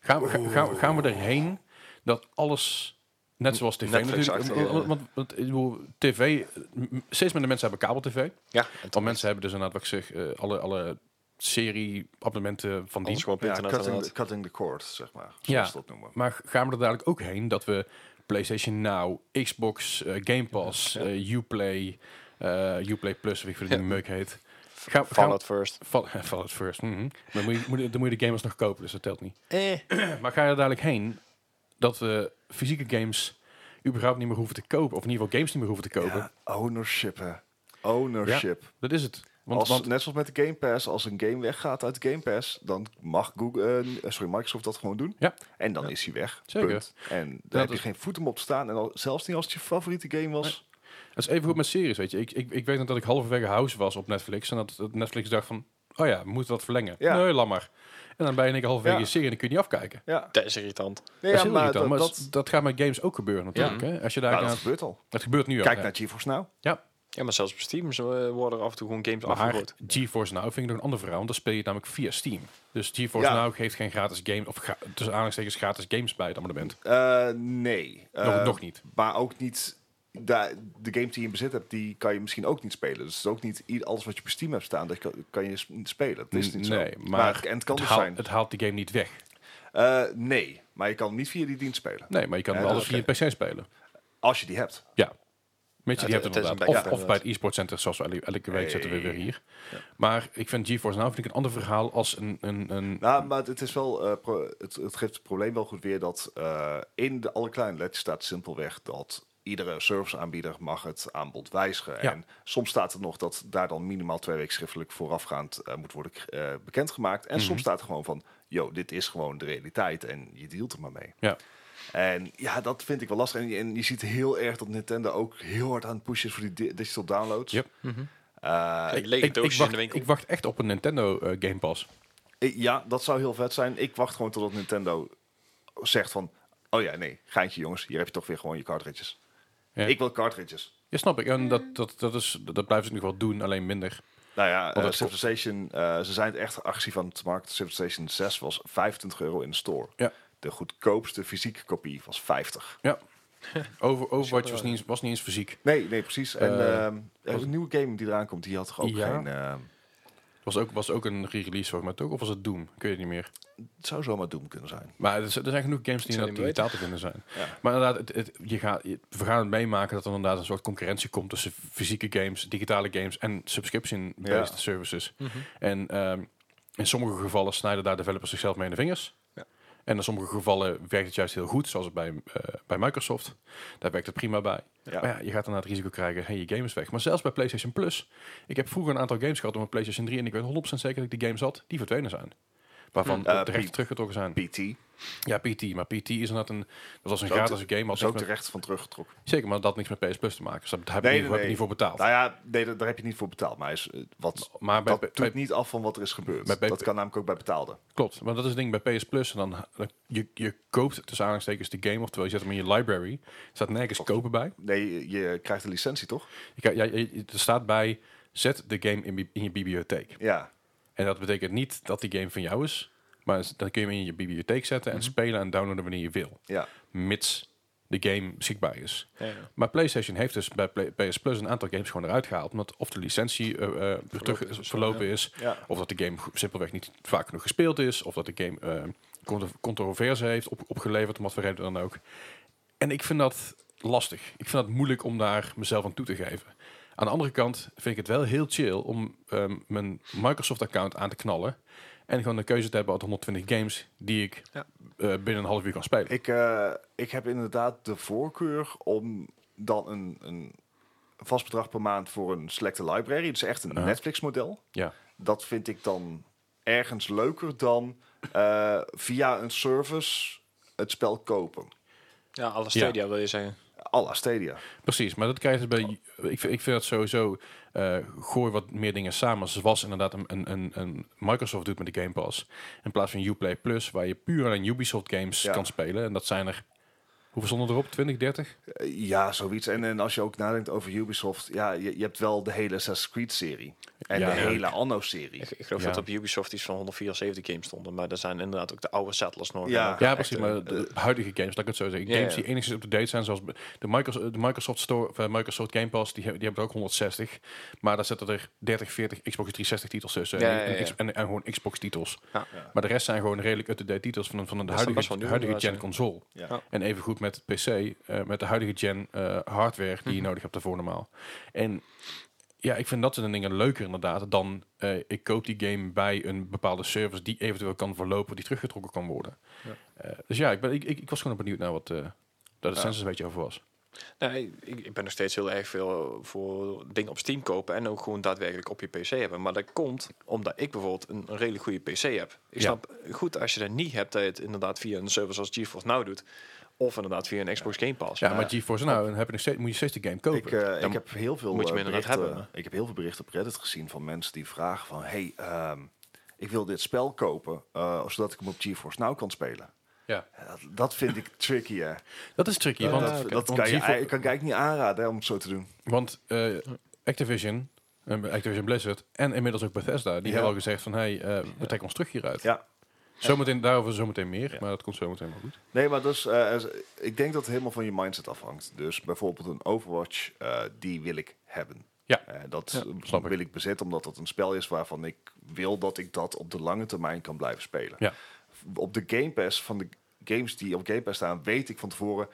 B: Gaan we, ga- gaan, we- gaan we erheen dat alles, net zoals tv
A: Netflix
B: natuurlijk,
A: achter,
B: want,
A: ja.
B: want, want, ik bedoel, tv, m- m- steeds minder mensen hebben kabel-tv.
A: ja. En
B: Want mensen hebben dus inderdaad, wat ik zeg, eh, alle, alle serie abonnementen van
A: Anders
B: dienst.
A: gewoon op
C: Ja,
A: internet
C: cutting, the,
A: inderdaad.
C: cutting the cord, zeg maar. Zoals
B: Ja.
C: ze dat noemen.
B: Maar gaan we er dadelijk ook heen dat we PlayStation Now, Xbox, eh, Game Pass, eh, Uplay, eh, Uplay Plus, of ik vind het meuk heet. Gaan, gaan,
A: Fallout first.
B: Fall, Fallout First. mhm. Dan, moet je, moet je- dan moet je de gamers nog kopen, dus dat telt niet.
A: Eh.
B: Maar ga je er dadelijk heen dat we fysieke games überhaupt niet meer hoeven te kopen. Of in ieder geval games niet meer hoeven te kopen.
C: Ja, ownership, hè. Ownership.
B: Dat is het. Want,
C: Als,
B: want
C: net zoals met de Game Pass, als een game weggaat uit de Game Pass, dan mag Google, eh, sorry, Microsoft dat gewoon doen.
B: Ja.
C: En dan is hij weg.
B: Zeker.
C: Punt. En daar
B: Dat
C: heb je
B: is-
C: geen voet om op te staan. En al, zelfs niet als het je favoriete game was.
B: het is even goed met series, weet je. Ik, ik, ik weet nog dat ik halverwege House was op Netflix. En dat dat Netflix dacht van, oh ja, we moeten dat verlengen.
C: Ja.
B: Nee, laat maar. En dan ben je in één keer halverwege
C: Ja.
B: je serie en dan kun je niet afkijken.
C: Ja,
A: Dat is irritant.
C: nee,
B: dat
C: ja
B: is heel
C: maar,
B: irritant,
C: dat,
B: maar
C: dat,
B: dat, dat gaat met games ook gebeuren natuurlijk. Hè? Als je daar
C: nou, dat
B: aan-
C: gebeurt al.
B: dat gebeurt nu al.
C: Kijk
B: ja.
C: naar GeForce Now.
A: Ja, maar zelfs op Steam zo, eh, worden er af en toe gewoon games
B: Maar
A: afgegooid.
B: GeForce Now vind ik nog een ander verhaal, want dan speel je het namelijk via Steam. Dus GeForce
C: Ja.
B: Now geeft geen gratis games, of gra tussen aanhalingstekens gratis games bij het abonnement.
C: Eh, nee.
B: Nog,
C: Eh,
B: nog niet.
C: Maar ook niet... da- de games die je in bezit hebt, die kan je misschien ook niet spelen. Dus het is ook niet i- alles wat je op Steam hebt staan, dat kan, kan je s- niet spelen. Dat is niet
B: nee,
C: zo.
B: maar,
C: en het kan dus
B: haalt,
C: zijn.
B: het haalt die game niet weg.
C: Eh, nee, maar je kan niet via die dienst spelen.
B: Nee, maar je kan
C: Ja,
B: wel
C: dat
B: alles
C: is
B: via een PC spelen.
C: Als je die hebt.
B: Ja. Met je
A: Ja,
B: die
A: het-
B: hebt
A: het is een
B: inderdaad.
A: backup
B: Of, of bij
A: inderdaad.
B: het e-sport center, zoals we el- elke week
C: Hey.
B: zitten we weer hier. Maar ik vind GeForce Now vind ik een ander verhaal als een... een, een
C: Nou, maar het, is wel, eh, pro- het, het geeft het probleem wel goed weer dat eh, in de alle kleine letters staat simpelweg dat iedere serviceaanbieder mag het aanbod wijzigen.
B: Ja.
C: En soms staat er nog dat daar dan minimaal twee weken schriftelijk voorafgaand eh, moet worden eh, bekendgemaakt. En
B: Mhm.
C: soms staat er gewoon van, yo, dit is gewoon de realiteit en je dealt er maar mee.
B: ja.
C: En ja, dat vind ik wel lastig. En, je- en je ziet heel erg dat Nintendo ook heel hard aan het pushen is voor die di- digital downloads.
B: Yep.
C: Eh,
A: Ik- Lege doosjes in
B: wacht,
A: de winkel.
B: ik wacht echt op een Nintendo eh, Game Pass.
C: Ik- Ja, dat zou heel vet zijn. Ik wacht gewoon totdat Nintendo zegt van... Oh ja, nee, geintje jongens. Hier heb je toch weer gewoon je cartridges.
B: Ja.
C: Ik wil cartridges.
B: Ja, snap ik. En dat, dat, dat, is, dat blijven ze nog wel doen, alleen minder.
C: Nou ja, eh,
B: dat-
C: Civilization... eh, ze zijn het echt actief aan het markten. Civilization 6 was 25 euro in de store.
B: Ja.
C: De goedkoopste fysieke kopie was 50.
B: Ja. Over, Overwatch was niet, eens- was niet eens fysiek.
C: Nee, nee, precies. En
B: Eh,
C: ehm, er is een nieuwe game die eraan komt. Die had toch ook
B: Ja.
C: geen... eh,
B: Was ook, was ook een re-release, volgens mij toch? Of was het Doom? Ik weet het niet meer.
C: het zou zomaar Doom kunnen zijn.
B: Maar er, z- er zijn genoeg games die
A: zou
B: inderdaad
A: niet
B: digitaal te vinden zijn.
C: Ja.
B: Maar inderdaad, het, het- je gaat, je- we gaan het meemaken dat er inderdaad een soort concurrentie komt tussen fysieke games, digitale games en subscription-based
C: Ja. Mhm.
B: services. En ehm, in sommige gevallen snijden daar developers zichzelf mee in de vingers.
A: Ja.
B: En in sommige gevallen werkt het juist heel goed, zoals het bij, eh, bij Microsoft. Daar werkt het prima bij.
C: Ja.
B: Maar ja, je gaat daarna het risico krijgen, hey, je game is weg. Maar zelfs bij PlayStation Plus. Ik heb vroeger een aantal games gehad op mijn PlayStation 3 en ik weet 100% zeker dat ik die games had, die verdwenen zijn. Waarvan
C: Eh,
B: de rechten
C: Piet.
B: teruggetrokken zijn.
C: PT
B: Ja, PT. Maar PT is inderdaad een... Dat was een
C: Zo
B: gratis game. Had
C: was ook
B: niks met-
C: terecht van teruggetrokken.
B: zeker, maar dat had niks met PS Plus te maken. Dus daar heb,
C: Nee,
B: je,
C: nee,
B: heb je
C: nee.
B: niet voor betaald.
C: Nou ja, nee, daar, daar heb je niet voor betaald. Maar hij is, eh, wat,
B: maar bij,
C: dat
B: bij-
C: doet niet af van wat er is gebeurd.
B: Bij- bij-
C: dat kan namelijk ook bij betaalde.
B: klopt. Maar dat is het ding bij PS Plus. En dan, dan- je, je koopt tussen aanhalingstekens de game. Oftewel, je zet hem in je library. Er staat nergens kopen bij.
C: Nee, je krijgt een licentie, toch?
B: Je, kan- ja, je- je- er staat bij, zet de game in, bi- in je bibliotheek.
C: Ja.
B: En dat betekent niet dat die game van jou is. Maar s- dan kun je hem in je bibliotheek zetten en
C: Mhm.
B: spelen en downloaden wanneer je wil.
C: ja.
B: Mits de game beschikbaar is.
A: Ja, ja.
B: Maar PlayStation heeft dus bij Play- PS Plus een aantal games gewoon eruit gehaald. Omdat of de licentie eh, eh, terug
A: is of zo,
B: verlopen is.
C: Ja.
B: Of dat de game go- simpelweg niet vaak genoeg gespeeld is. Of dat de game eh, contro- controverse heeft op- opgeleverd. Om wat voor reden dan ook. En ik vind dat lastig. Ik vind dat moeilijk om daar mezelf aan toe te geven. Aan de andere kant vind ik het wel heel chill om ehm, mijn Microsoft-account aan te knallen. En gewoon de keuze te hebben uit 120 games die ik
A: Ja.
B: eh, binnen een half uur kan spelen.
C: Ik, eh, ik heb inderdaad de voorkeur om dan een, een vast bedrag per maand voor een selecte library. Dus echt een
B: Ja.
C: Netflix-model.
B: ja.
C: Dat vind ik dan ergens leuker dan eh, via een service het spel kopen.
A: ja alle stadia wil je zeggen.
C: A la Stadia.
B: Precies, maar dat krijg je dus bij. Ik, vind- ik vind dat sowieso. eh, gooi wat meer dingen samen. Zoals inderdaad een, een, een, een Microsoft doet met de Game Pass. In plaats van Uplay Plus, waar je puur alleen Ubisoft games
C: Ja.
B: kan spelen. En dat zijn er. Hoeveel stonden erop? 20, 30?
C: Eh, ja, zoiets. En, en als je ook nadenkt over Ubisoft, ja, je, je hebt wel de hele Assassin's Creed-serie. En
B: Ja,
C: de
B: ja.
C: hele Anno-serie.
A: Ik, ik geloof
B: Ja.
A: dat op Ubisoft iets van 174 games stonden. Maar er zijn inderdaad ook de oude Settlers nog.
C: Ja.
A: En ook
B: Ja,
A: echt,
B: precies.
A: eh,
B: Maar de huidige games, laat ik het zo zeggen.
A: Ja,
B: Games
A: ja.
B: die enigszins op de date zijn, zoals de Microsoft, de Microsoft Store, of, eh, Microsoft Game Pass, die, hebben- die hebben er ook 160. Maar daar zitten er 30, 40 Xbox 360 titels tussen.
A: Ja,
B: en-
A: ja,
B: en,
A: ja.
B: X- en, en gewoon Xbox titels.
A: Ja.
C: Ja.
B: Maar de rest zijn gewoon redelijk up-to-date titels van, een- van de
A: Dat is dan best
B: huidige,
A: wel nieuw,
B: huidige
A: inderdaad,
B: gen console.
C: Ja.
A: Ja.
B: En even goed met PC, eh, met de huidige gen eh, hardware die je nodig hebt daarvoor normaal. En ja, ik vind dat soort dingen leuker inderdaad dan eh, ik koop die game bij een bepaalde service die eventueel kan verlopen, die teruggetrokken kan worden. Eh, dus ja, ik, ben, ik, ik, ik was gewoon benieuwd naar wat eh daar de
C: Ja.
B: census een beetje over was.
A: Nou, ik, ik ben nog steeds heel erg veel eh, voor dingen op Steam kopen en ook gewoon daadwerkelijk op je PC hebben. Maar dat komt omdat ik bijvoorbeeld een, een redelijk goede PC heb.
B: Ja.
A: Ik snap goed als je dat niet hebt, dat je het inderdaad via een service als GeForce Now doet. Of inderdaad via een Xbox Game Pass.
B: Ja, maar GeForce nou, dan heb je nog steeds, moet je steeds de game kopen.
C: Ik, eh,
A: Dan
C: ik heb heel veel
A: moet je
C: eh,
A: hem inderdaad
C: berichten,
A: hebben.
C: Ik heb heel veel berichten op Reddit gezien van mensen die vragen van... hey, ehm, ik wil dit spel kopen, eh, zodat ik hem op GeForce Now kan spelen.
B: ja.
C: Ja, Dat, dat vind ik tricky, hè.
B: Dat is tricky,
C: Dat,
B: want,
C: dat, dat
B: want
C: kan, je,
B: GeForce-
C: ei- kan ik eigenlijk niet aanraden hè, om het zo te doen.
B: Want eh, Activision, eh, Activision Blizzard en inmiddels ook Bethesda, die
C: Ja.
B: hebben al gezegd van hey, eh, we trekken ons terug hieruit.
C: Ja.
B: Zometeen, daarover zometeen meer,
C: Ja.
B: maar dat komt zometeen wel goed.
C: Nee, maar dus, eh, als- ik denk dat het helemaal van je mindset afhangt. Dus bijvoorbeeld een Overwatch, eh, die wil ik hebben.
B: Ja.
C: Eh, dat
B: Ja, snap ik.
C: wil ik bezitten, omdat dat een spel is waarvan ik wil dat ik dat op de lange termijn kan blijven spelen.
B: Ja.
C: Op de Game Pass van de games die op Game Pass staan, weet ik van tevoren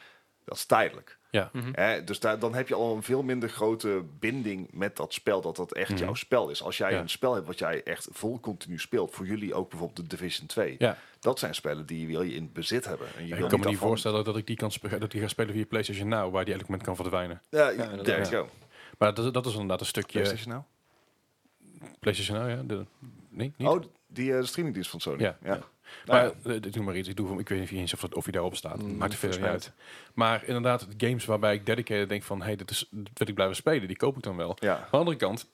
C: dat is tijdelijk.
B: Ja,
C: Hè, dus daar, dan heb je al een veel minder grote binding met dat spel, dat dat echt jouw spel is. Als jij
B: Hm. Ja.
C: een spel hebt wat jij echt vol continu speelt, voor jullie ook bijvoorbeeld de Division 2,
B: ja.
C: dat zijn spellen die wil je in bezit hebben. En je wil
B: ik kan me niet
C: daarvan-
B: voorstellen dat ik die kan spe- dat die ga spelen via PlayStation Now, waar die elk moment kan verdwijnen.
C: Ja,
A: Ja,
C: ja
A: inderdaad.
C: there you go.
B: Maar dat, dat is inderdaad een stukje PlayStation,
C: PlayStation nou?
B: Now, ja. De, nee, niet.
C: Oh, die eh, streamingdienst van Sony.
B: Ja.
C: Ja.
B: maar
C: ja.
B: eh, doe maar iets. Ik, doe, ik weet niet eens of, dat, of je daarop staat. Maakt er verder niet
A: volgens
B: uit. Maar inderdaad, games waarbij ik dedicated denk van... hey, dit, is, dit wil ik blijven spelen, die koop ik dan wel.
C: Ja.
B: Aan de andere kant,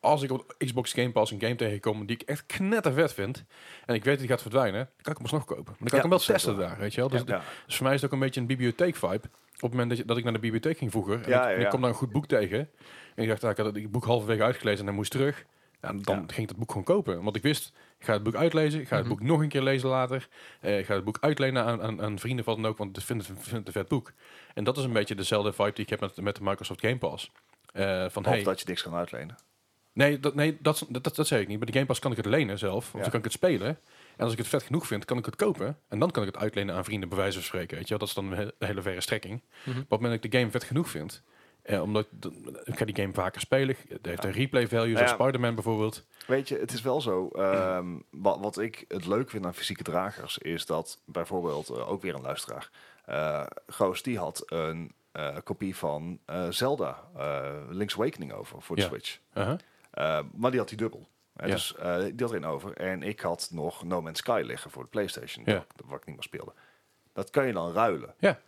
B: als ik op Xbox Game Pass een game tegenkom die ik echt knettervet vind en ik weet dat die gaat verdwijnen, dan kan ik hem alsnog kopen. Maar dan kan ik hem wel
C: dat is
B: testen daar, weet je wel. Dus,
C: Ja. Ja.
B: dus voor mij is het ook een beetje een bibliotheek-vibe. Op het moment dat, je- dat ik naar de bibliotheek ging vroeger en,
C: Ja, ja,
B: ik, en ik
C: ja.
B: kwam daar een goed boek tegen en ik dacht, ah, ik had het boek halverwege uitgelezen en dan moest terug. Ja, dan
C: Ja.
B: ging ik dat boek gewoon kopen. Want ik wist, ik ga het boek uitlezen, ik ga het boek nog een keer lezen later. eh, ik ga het boek uitlenen aan, aan, aan vrienden van dan ook, want ik vind het, vind het een vet boek. En dat is een beetje dezelfde vibe die ik heb met, met de Microsoft Game Pass. Eh, van,
C: Of
B: hey,
C: dat je niks kan uitlenen.
B: Nee, dat, nee dat, dat, dat, dat zeg ik niet. Bij de Game Pass kan ik het lenen zelf. Of
C: Ja.
B: dan kan ik het spelen. En als ik het vet genoeg vind, kan ik het kopen. En dan kan ik het uitlenen aan vrienden, bij wijze van spreken. Weet je wel? Dat is dan een he- een hele verre strekking.
C: Mhm.
B: Maar op het moment dat ik de game vet genoeg vind... eh, omdat dat- ik ga die game vaker spelen. eh, Het heeft een replay value, zoals
C: Ja.
B: Spider-Man bijvoorbeeld.
C: Weet je, het is wel zo. ehm, wa- wat ik het leuk vind aan fysieke dragers is dat bijvoorbeeld eh, ook weer een luisteraar. eh Goos die had een eh, kopie van eh, Zelda eh, Link's Awakening over voor de
B: Ja.
C: Switch.
B: Uh-huh.
C: Eh, maar die had hij dubbel. Eh,
B: Ja.
C: Dus eh, die had er één over. En ik had nog No Man's Sky liggen voor de PlayStation,
B: Ja.
C: wat, ik- wat ik niet meer speelde. Dat kan je dan ruilen.
B: Ja.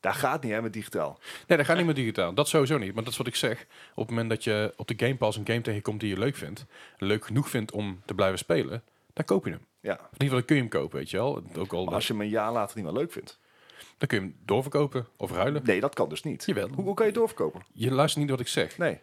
C: Daar gaat niet hè met digitaal.
B: Nee, dat gaat niet meer digitaal. Dat sowieso niet. Maar dat is wat ik zeg. Op het moment dat je op de Game Pass een game tegenkomt die je leuk vindt... leuk genoeg vindt om te blijven spelen... dan koop je hem.
C: Ja.
B: Of in ieder geval dan kun je hem kopen, weet je wel. Ook al,
C: Maar als je hem een jaar later niet meer leuk vindt.
B: Dan kun je hem doorverkopen of ruilen.
C: Nee, dat kan dus niet.
B: Jawel.
C: Hoe, hoe kan je het doorverkopen?
B: Je luistert niet wat ik zeg.
C: Nee.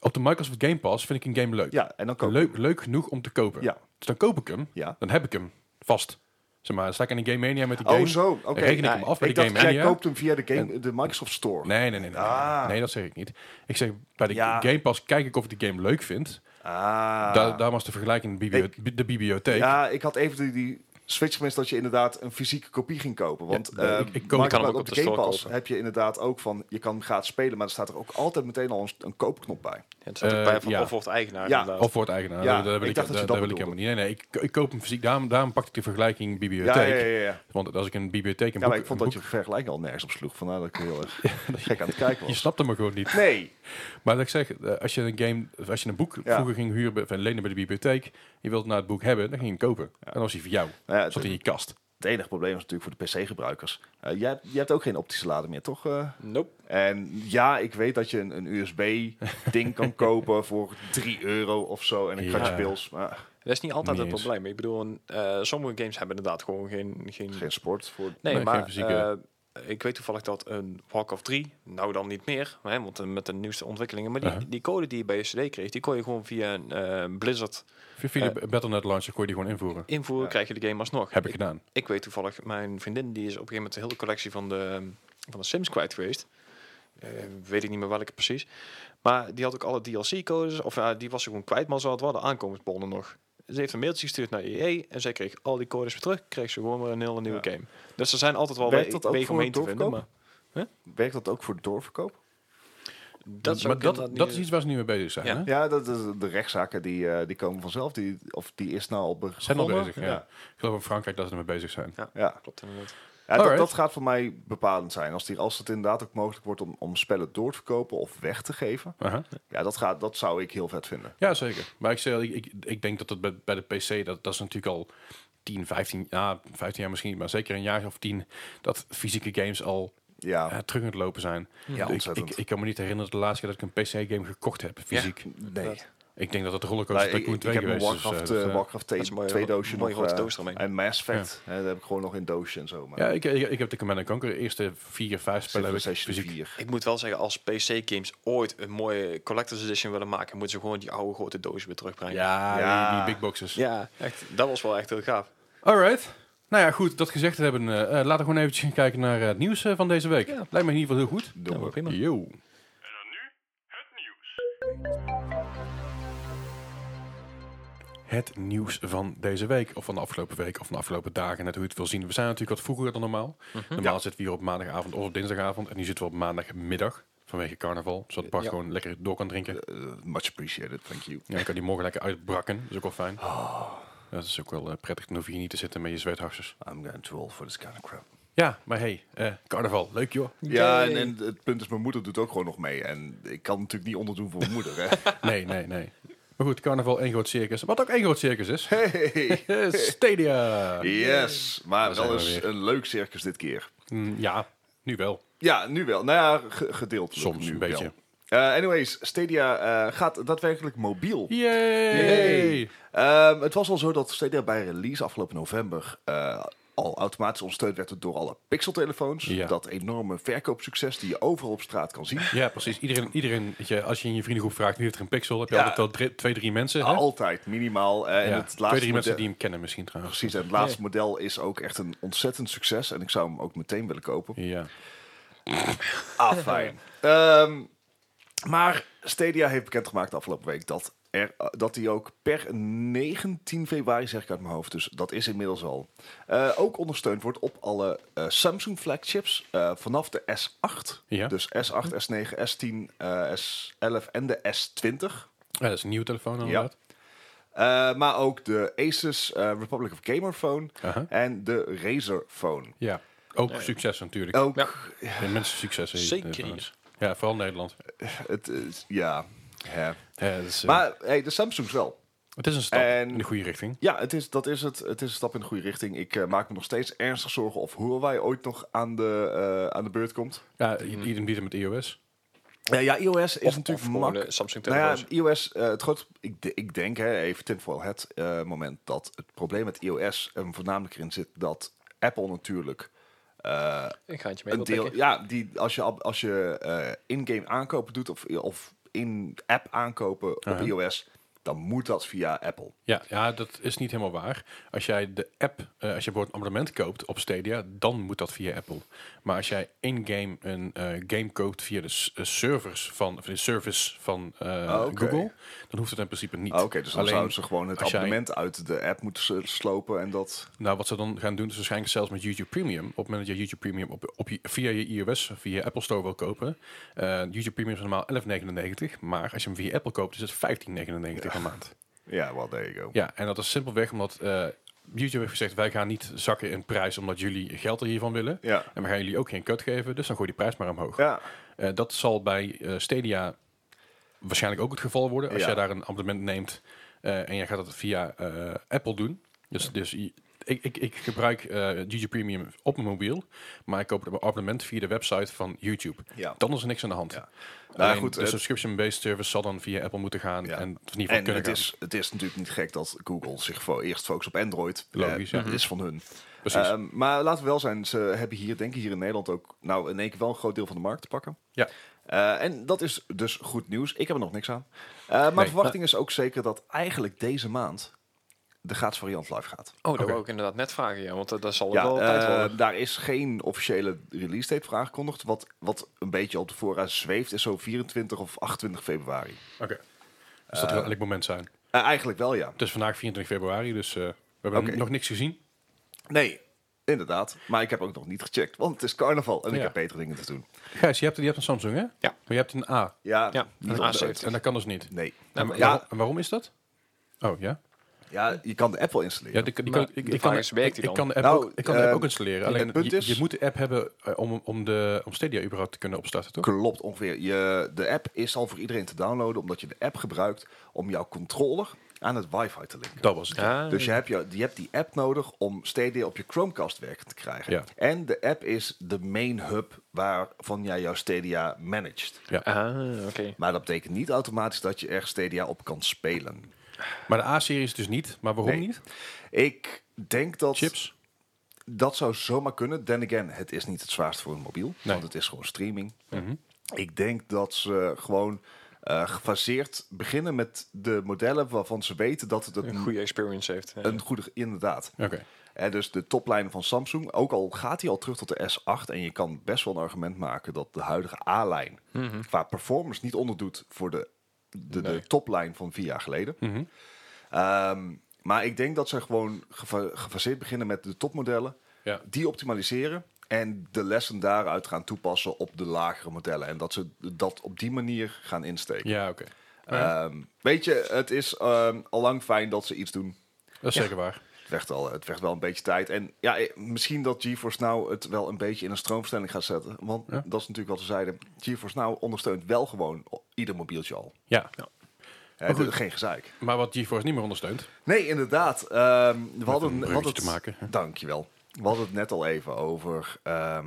B: Op de Microsoft Game Pass vind ik een game leuk.
C: Ja, en dan koop
B: leuk, leuk genoeg om te kopen.
C: Ja.
B: Dus dan koop ik hem.
C: Ja.
B: Dan heb ik hem. Vast. Zeg maar, sta ik in de Game Mania met die game.
C: Oh, zo. Oké.
B: Reken ik hem
C: Ja,
B: af bij
C: ik
B: de
C: dacht,
B: Game
C: jij
B: Mania?
C: koopt hem via de, game, de Microsoft Store.
B: Nee, nee, nee. Nee,
C: Ah.
B: nee, dat zeg ik niet. Ik zeg, bij de
C: Ja.
B: Game Pass kijk ik of ik de game leuk vind.
C: Ah.
B: Daar, daar was de vergelijking in de, biblio- de bibliotheek.
C: ja, ik had even die, die switch gemist dat je inderdaad een fysieke kopie ging kopen. Want
B: Ja,
C: eh,
B: ik- ik koop-
C: Microsoft-
B: je kan
A: hem ook
C: op
A: op
C: de
A: de
C: Game
A: store
C: Pass
A: kopen.
C: heb je inderdaad ook van, je kan hem gratis spelen, maar er staat er ook altijd meteen al een, een koopknop bij.
A: Ja, het staat ook
B: Eh,
A: bij van
B: ja.
A: of wordt eigenaar.
C: Ja,
A: inderdaad.
B: Of voor het eigenaar.
C: Ja,
B: daar, daar wil
C: ik
B: ik,
C: dacht dat je
B: daar,
C: dat
B: daar wil ik helemaal
C: bedoelde.
B: niet. Nee, nee. Ik, ik koop hem fysiek. Daarom, daarom pak ik de vergelijking bibliotheek.
C: Ja, ja, ja, ja.
B: Want als ik in een bibliotheek een
C: ja,
B: boek...
C: maar ik vond
B: een
C: dat je
B: boek-
C: vergelijking al nergens op sloeg. Vandaar dat ik heel erg gek aan het kijken
B: je
C: was.
B: snapte me gewoon niet.
C: Nee.
B: Maar dat ik zeg, eh, als je een game, of als je een boek
C: Ja.
B: vroeger ging huren bij, van lenen bij de bibliotheek, je wilt nou het boek hebben, dan ging je hem kopen. En dan was hij voor jou.
C: Nou ja,
B: Zat in
C: het,
B: je kast.
C: het enige probleem is natuurlijk voor de PC-gebruikers. Eh jij, jij hebt ook geen optische lader meer, toch? eh?
A: Nope.
C: En ja, ik weet dat je een, een USB-ding kan kopen voor 3 euro of zo. En een
B: Ja.
C: kratje pils, maar
A: Dat is niet altijd
B: Niet
A: het
B: eens.
A: probleem. Ik bedoel, een, eh, sommige games hebben inderdaad gewoon geen... geen,
C: geen sport voor...
A: nee,
B: Nee,
A: maar
B: geen fysieke.
A: eh, ik weet toevallig dat een Walk of 3, nou dan niet meer, hè, want eh, met de nieuwste ontwikkelingen, maar die,
B: Uh-huh.
A: die code die je bij je cd kreeg, die kon je gewoon via een eh, Blizzard
B: Via via de Battle.net launcher kon je die gewoon invoeren.
A: invoeren,
C: Ja.
A: krijg je de game alsnog.
B: Heb ik gedaan.
A: Ik weet toevallig, mijn vriendin die is op een gegeven moment de hele collectie van de, van de Sims kwijt geweest. Eh, weet ik niet meer welke precies. Maar die had ook alle DLC-codes, of ja, die was ze gewoon kwijt, maar ze had wel de aankomstbonnen nog. Ze heeft een mailtje gestuurd naar EA en zij kreeg al die codes weer terug. Kreeg ze gewoon weer een hele nieuwe
C: Ja.
A: game. Dus er zijn altijd wel
C: Werkt
A: we-
C: dat ook
A: wegen
C: voor
A: om heen te vinden.
C: doorverkoop?
A: Maar
C: Werkt dat ook voor doorverkoop?
A: dat, zou
B: maar
A: ik
B: dat,
A: inderdaad
B: dat
A: niet-
B: is iets waar ze nu mee bezig zijn.
A: Ja.
B: Hè?
C: Ja, dat is, de rechtszaken die, eh, die komen vanzelf. Die, of die is nou al begonnen.
B: Zijn al bezig, ja.
C: Ja,
B: Ik geloof in Frankrijk dat ze ermee bezig zijn.
A: Ja.
C: ja.
A: eh, Klopt inderdaad.
C: Ja, dat,
B: Alright.
C: dat gaat voor mij bepalend zijn. Als, die, als het inderdaad ook mogelijk wordt om, om spellen door te verkopen of weg te geven.
B: Aha.
C: Ja, dat, gaat, dat zou ik heel vet vinden.
B: Ja, zeker. Maar ik, zeg, al, ik, ik, ik denk dat het bij, bij de PC, dat, dat is natuurlijk al 10, 15, ja, 15 jaar misschien, maar zeker een jaar of 10, dat fysieke games al
C: Ja,
B: eh, terug aan het lopen zijn. Ik- ik,
C: ontzettend.
B: ik, ik kan me niet herinneren de laatste keer dat ik een PC-game gekocht heb, fysiek.
C: nee.
B: Ik denk dat het
C: Maar
B: Rollercoaster
C: ik,
B: Tycoon
C: ik
B: 2
C: heb een
B: geweest is.
C: Warcraft,
B: dus, eh,
C: eh,
B: dat, eh,
C: Warcraft
A: is een mooie
C: 2
A: ro-
C: doosje
A: mooie
C: nog.
A: grote
C: eh,
A: doos eromheen.
C: en Mass Effect. Hè, dat heb ik gewoon nog in doosje en zo. Maar
B: ja, ik, ik, ik heb de Command Conquer eerste vier, vijf spellen heb ik
C: Civilization
B: fysiek.
C: 4.
A: Ik moet wel zeggen, als PC-games ooit een mooie collector's edition willen maken, moeten ze gewoon die oude grote dozen weer terugbrengen.
B: Ja,
C: Ja.
B: Die, die big boxes.
A: Ja, echt, dat was wel echt heel gaaf.
B: Alright. Nou ja, goed, dat gezegd hebben, eh, eh, laten we gewoon eventjes gaan kijken naar eh, het nieuws eh, van deze week.
A: Ja.
B: Lijkt me in ieder geval heel goed.
A: Ja, maar prima.
B: Yo.
D: En dan nu het nieuws.
B: Het nieuws van deze week, of van de afgelopen week, of van de afgelopen dagen, net hoe je het wil zien. We zijn natuurlijk wat vroeger dan normaal.
A: Mhm.
B: Normaal zitten we hier op maandagavond of op dinsdagavond. En nu zitten we op maandagmiddag, vanwege carnaval. Zodat Bart
A: Ja.
B: gewoon lekker door kan drinken.
C: Eh, much appreciated, thank you.
B: Ja, ik kan die morgen lekker uitbrakken. Dat is ook wel fijn.
A: Oh.
B: Dat is ook wel eh, prettig. Dan hoef je hier niet te zitten met je zweetharsers.
C: I'm going to roll for this kind of crap.
B: Ja, maar hey, eh, carnaval. Leuk joh.
C: Ja, en, en het punt is, mijn moeder doet ook gewoon nog mee. En ik kan natuurlijk niet onderdoen voor mijn moeder, hè.
B: Nee, nee, nee. Maar goed, carnaval één groot circus. Wat ook één groot circus is. Eh,
C: Hey.
B: Stadia.
C: Yes, maar
B: zijn
C: wel
B: we
C: eens
B: weer.
C: een leuk circus dit keer.
B: Mm, ja, nu wel.
C: Ja, nu wel. Nou ja, ge- gedeeltelijk
B: Soms
C: nu
B: een beetje.
C: wel. Eh, anyways, Stadia eh, gaat daadwerkelijk mobiel.
B: Yay!
C: Yay. Ehm, het was al zo dat Stadia bij release afgelopen november eh, al automatisch ondersteund werd door alle pixeltelefoons.
B: Ja.
C: Dat enorme verkoopsucces die je overal op straat kan zien.
B: Ja, precies. Iedereen, iedereen weet je, als je in je vriendengroep vraagt wie heeft er een pixel, heb je
C: Ja.
B: altijd wel drie- twee, drie mensen. Hè?
C: Altijd, minimaal. eh, en
B: Ja,
C: het laatste
B: twee, drie
C: model-
B: mensen die hem kennen misschien trouwens.
C: Precies, en het laatste model is ook echt een ontzettend succes. En ik zou hem ook meteen willen kopen.
B: Ja.
C: Ah, fijn. Ehm, maar Stadia heeft bekendgemaakt de afgelopen week dat, er, eh, dat die ook per 19 februari, zeg ik uit mijn hoofd, dus dat is inmiddels al, eh, ook ondersteund wordt op alle eh, Samsung flagships eh, vanaf de S8.
B: Ja.
C: Dus S8, S9, S10, eh, S11 en de S20.
B: Ja, Eh, dat is een nieuwe telefoon inderdaad.
C: Eh, maar ook de Asus eh, Republic of Gamer phone
B: Aha.
C: en de Razer phone.
B: Ja. Ook succes natuurlijk.
C: Ook,
A: Ja.
B: En mensen succes. hè,
A: Zeker
B: telefoons. Ja, vooral Nederland.
C: het is, ja. hè.
B: Ja, dat is, eh,
C: Maar hey, de Samsungs wel.
B: het is een stap
C: en-
B: in de goede richting.
C: Ja, het is, dat is het. Het is een stap in de goede richting. Ik eh, maak me nog steeds ernstig zorgen of Huawei ooit nog aan de, eh, aan de beurt komt.
B: Ja, iedereen biedt met iOS.
C: Eh, ja, iOS is
A: Of,
C: natuurlijk
A: of gewoon
C: mak.
A: de Samsung
C: Nou ja,
A: telefoons.
C: iOS, eh, het grote, ik, de- ik denk, hè, even tinfoil het eh, moment dat het probleem met iOS hem voornamelijk erin zit dat Apple natuurlijk eh,
A: ik ga het je mee
C: een
A: wil
C: deel,
A: pikken.
C: ja, die als je, ab- als je eh, in-game aankopen doet of, of in-app aankopen op
B: Aha.
C: iOS, dan moet dat via Apple.
B: Ja, ja, dat is niet helemaal waar. Als jij de app, eh, als je bijvoorbeeld een abonnement koopt op Stadia, dan moet dat via Apple. Maar als jij in-game een eh, game koopt via de s- eh, servers van, of de service van eh,
C: Ah, oké.
B: Google, dan hoeft het in principe niet.
C: Ah, Oké, dus dan
B: Alleen,
C: zouden ze gewoon het
B: als jij-
C: abonnement uit de app moeten s- slopen en dat...
B: Nou, wat ze dan gaan doen is waarschijnlijk zelfs met YouTube Premium. Op het moment dat je YouTube Premium op, op, je- via je iOS, via je Apple Store wil kopen, eh, YouTube Premium is normaal 11,99, maar als je hem via Apple koopt, is het 15,99 per maand.
C: Ja, well, there you go.
B: Ja, en dat is simpelweg omdat eh, YouTube heeft gezegd: wij gaan niet zakken in prijs omdat jullie geld er hiervan willen.
C: Ja.
B: En we gaan jullie ook geen cut geven, dus dan gooi je die prijs maar omhoog.
C: Ja,
B: Eh, dat zal bij eh, Stadia waarschijnlijk ook het geval worden. Als
C: Ja.
B: jij daar een abonnement neemt eh, en jij gaat dat via eh, Apple doen. Dus, dus i- ik, ik, ik gebruik eh YouTube Premium op mijn mobiel, maar ik koop het abonnement via de website van YouTube.
C: Ja.
B: Dan is er niks aan de hand.
C: Ja. Nou,
B: Alleen
C: goed,
B: de
C: het-
B: subscription-based service zal dan via Apple moeten gaan.
C: Ja.
B: En, of in ieder geval
C: en
B: kunnen
C: het
B: gaan.
C: is, het is natuurlijk niet gek dat Google zich voor eerst focust op Android.
B: Logisch,
C: Eh,
B: ja.
C: Het is van hun.
B: Precies.
C: Ehm, maar laten we wel zijn, ze hebben hier, denk ik hier in Nederland ook, nou in één keer wel een groot deel van de markt te pakken.
B: ja.
C: Eh, en dat is dus goed nieuws. Ik heb er nog niks aan. Eh, maar de verwachting is ook zeker dat eigenlijk deze maand de gratis variant live gaat.
A: Oh, dat
B: Oké.
A: wou ik inderdaad net vragen, ja, want dat, dat zal
C: Ja,
A: wel tijd
C: eh,
A: worden.
C: daar is geen officiële release date voor aangekondigd. Wat, wat een beetje op de voorraad zweeft, is zo 24 of 28 februari.
B: Oké. Dus dat wil elk moment zijn.
C: Eh, eigenlijk wel, ja.
B: Het is vandaag 24 februari, dus eh, we hebben
C: Oké.
B: nog niks gezien.
C: Nee, inderdaad. Maar ik heb ook nog niet gecheckt, want het is carnaval en ik
B: Ja.
C: heb betere dingen te doen.
B: Gijs, je hebt, je hebt een Samsung, hè? Ja. Maar je hebt een A.
C: Ja,
A: Ja,
C: niet
A: een
C: op de-
A: A70.
B: En dat kan dus niet.
C: Nee.
B: En,
A: maar-
B: waarom,
C: ja.
B: en waarom is dat? Oh, ja?
C: Ja, je kan de app wel installeren.
B: Ja, die, die kan,
A: Maar
B: ik,
A: de
B: ik, kan,
A: vraag is, werkt
B: ik,
A: die
B: ik
A: dan?
B: kan de app,
C: Nou,
B: ook, ik kan de app
C: eh,
B: ook installeren.
C: het
B: Alleen
C: punt
B: je,
C: is-
B: je moet de app hebben eh, om, om, de, om Stadia überhaupt te kunnen opstarten, toch?
C: Klopt ongeveer. Je, de app is al voor iedereen te downloaden, omdat je de app gebruikt om jouw controller aan het wifi te linken.
B: Dat was het.
A: Ah,
C: Dus je hebt, je, je hebt die app nodig om Stadia op je Chromecast werkend te krijgen.
B: Ja.
C: En de app is de main hub waarvan jij jouw Stadia managt.
A: ah, oké.
C: Maar dat betekent niet automatisch dat je er Stadia op kan spelen.
B: Maar de A-series dus niet. Maar waarom
C: Nee.
B: niet?
C: Ik denk dat
B: Chips?
C: dat zou zomaar kunnen. Then again, het is niet het zwaarst voor een mobiel.
B: Nee.
C: Want het is gewoon streaming.
A: Mhm.
C: Ik denk dat ze gewoon eh, gefaseerd beginnen met de modellen waarvan ze weten dat het
A: Een
C: een,
A: goede experience heeft. eh. Ja.
C: een goede... Inderdaad.
B: Oké.
C: Hè, dus de toplijnen van Samsung, ook al gaat hij al terug tot de S8... en je kan best wel een argument maken dat de huidige A-lijn... qua performance niet onderdoet voor de, de, de
A: Mhm. Nee.
C: toplijn van vier jaar geleden.
B: Mhm.
C: Ehm, maar ik denk dat ze gewoon gefa- gefaseerd beginnen met de topmodellen...
B: Ja.
C: die optimaliseren en de lessen daaruit gaan toepassen op de lagere modellen. En dat ze dat op die manier gaan insteken.
B: Ja, oké.
C: Ehm, weet je, het is ehm allang fijn dat ze iets doen.
B: Dat is zeker waar.
C: Het werd, al, het werd wel een beetje tijd. En ja, eh, misschien dat GeForce Now het wel een beetje in een stroomversnelling gaat zetten. Want
B: Ja.
C: dat is natuurlijk wat ze zeiden. GeForce Now ondersteunt wel gewoon o- ieder mobieltje al.
B: Ja.
C: Hè,
B: goed.
C: dus geen gezeik.
B: Maar wat GeForce niet meer ondersteunt.
C: Nee, inderdaad. Ehm, we hadden,
B: een
C: we
B: bruggetje
C: hadden
B: te maken, hè?
C: Dankjewel. We hadden het net al even over ehm,